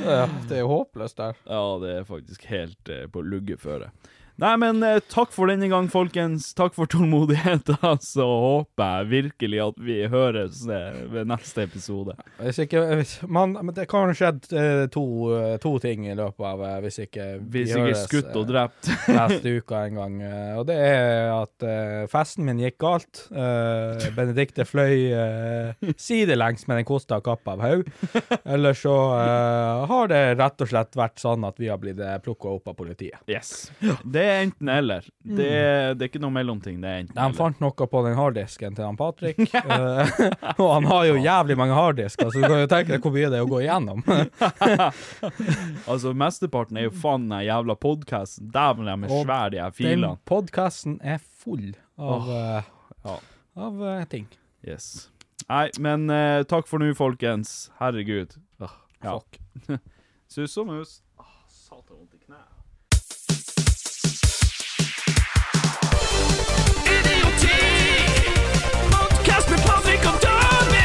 S3: Ja, det er jo håpløst der.
S2: Ja, det er faktisk helt eh, på luggeføre. Nei, men eh, takk for denne gang, folkens. Takk for tålmodigheten. Så håper jeg virkelig at vi høres eh, ved neste episode.
S3: Hvis ikke, hvis, man, men det kan ha skjedd eh, to, eh, to ting i løpet av eh, Hvis ikke vi
S2: Hvis ikke
S3: høres,
S2: skutt og
S3: eh,
S2: drept.
S3: neste uke en gang. eh, Og det er at eh, festen min gikk galt. Eh, Benedikte fløy eh, sidelengs med den kosta kappa av haug. Eller så eh, har det rett og slett vært sånn at vi har blitt plukka opp av politiet.
S2: Yes. Det er enten-eller. Det,
S3: Mm.
S2: det er ikke noe mellomting. Det er
S3: De
S2: enten-eller.
S3: fant noe på den harddisken til han Patrick, eh, og han har jo jævlig mange harddisker, så du kan jo tenke deg hvor mye det er å gå igjennom.
S2: Altså, mesteparten er jo faen den jævla podkasten. Dæven, de er
S3: Og
S2: svære, de her
S3: Den
S2: filene.
S3: podkasten er full av, eh,
S2: ja.
S3: av eh, ting.
S2: Yes. Nei, men eh, takk for nå, folkens. Herregud. Ah, ja. Fuck. Sus og mus. Satan, vondt i knæet.
S1: Idioti! Podcast med Patrick og David!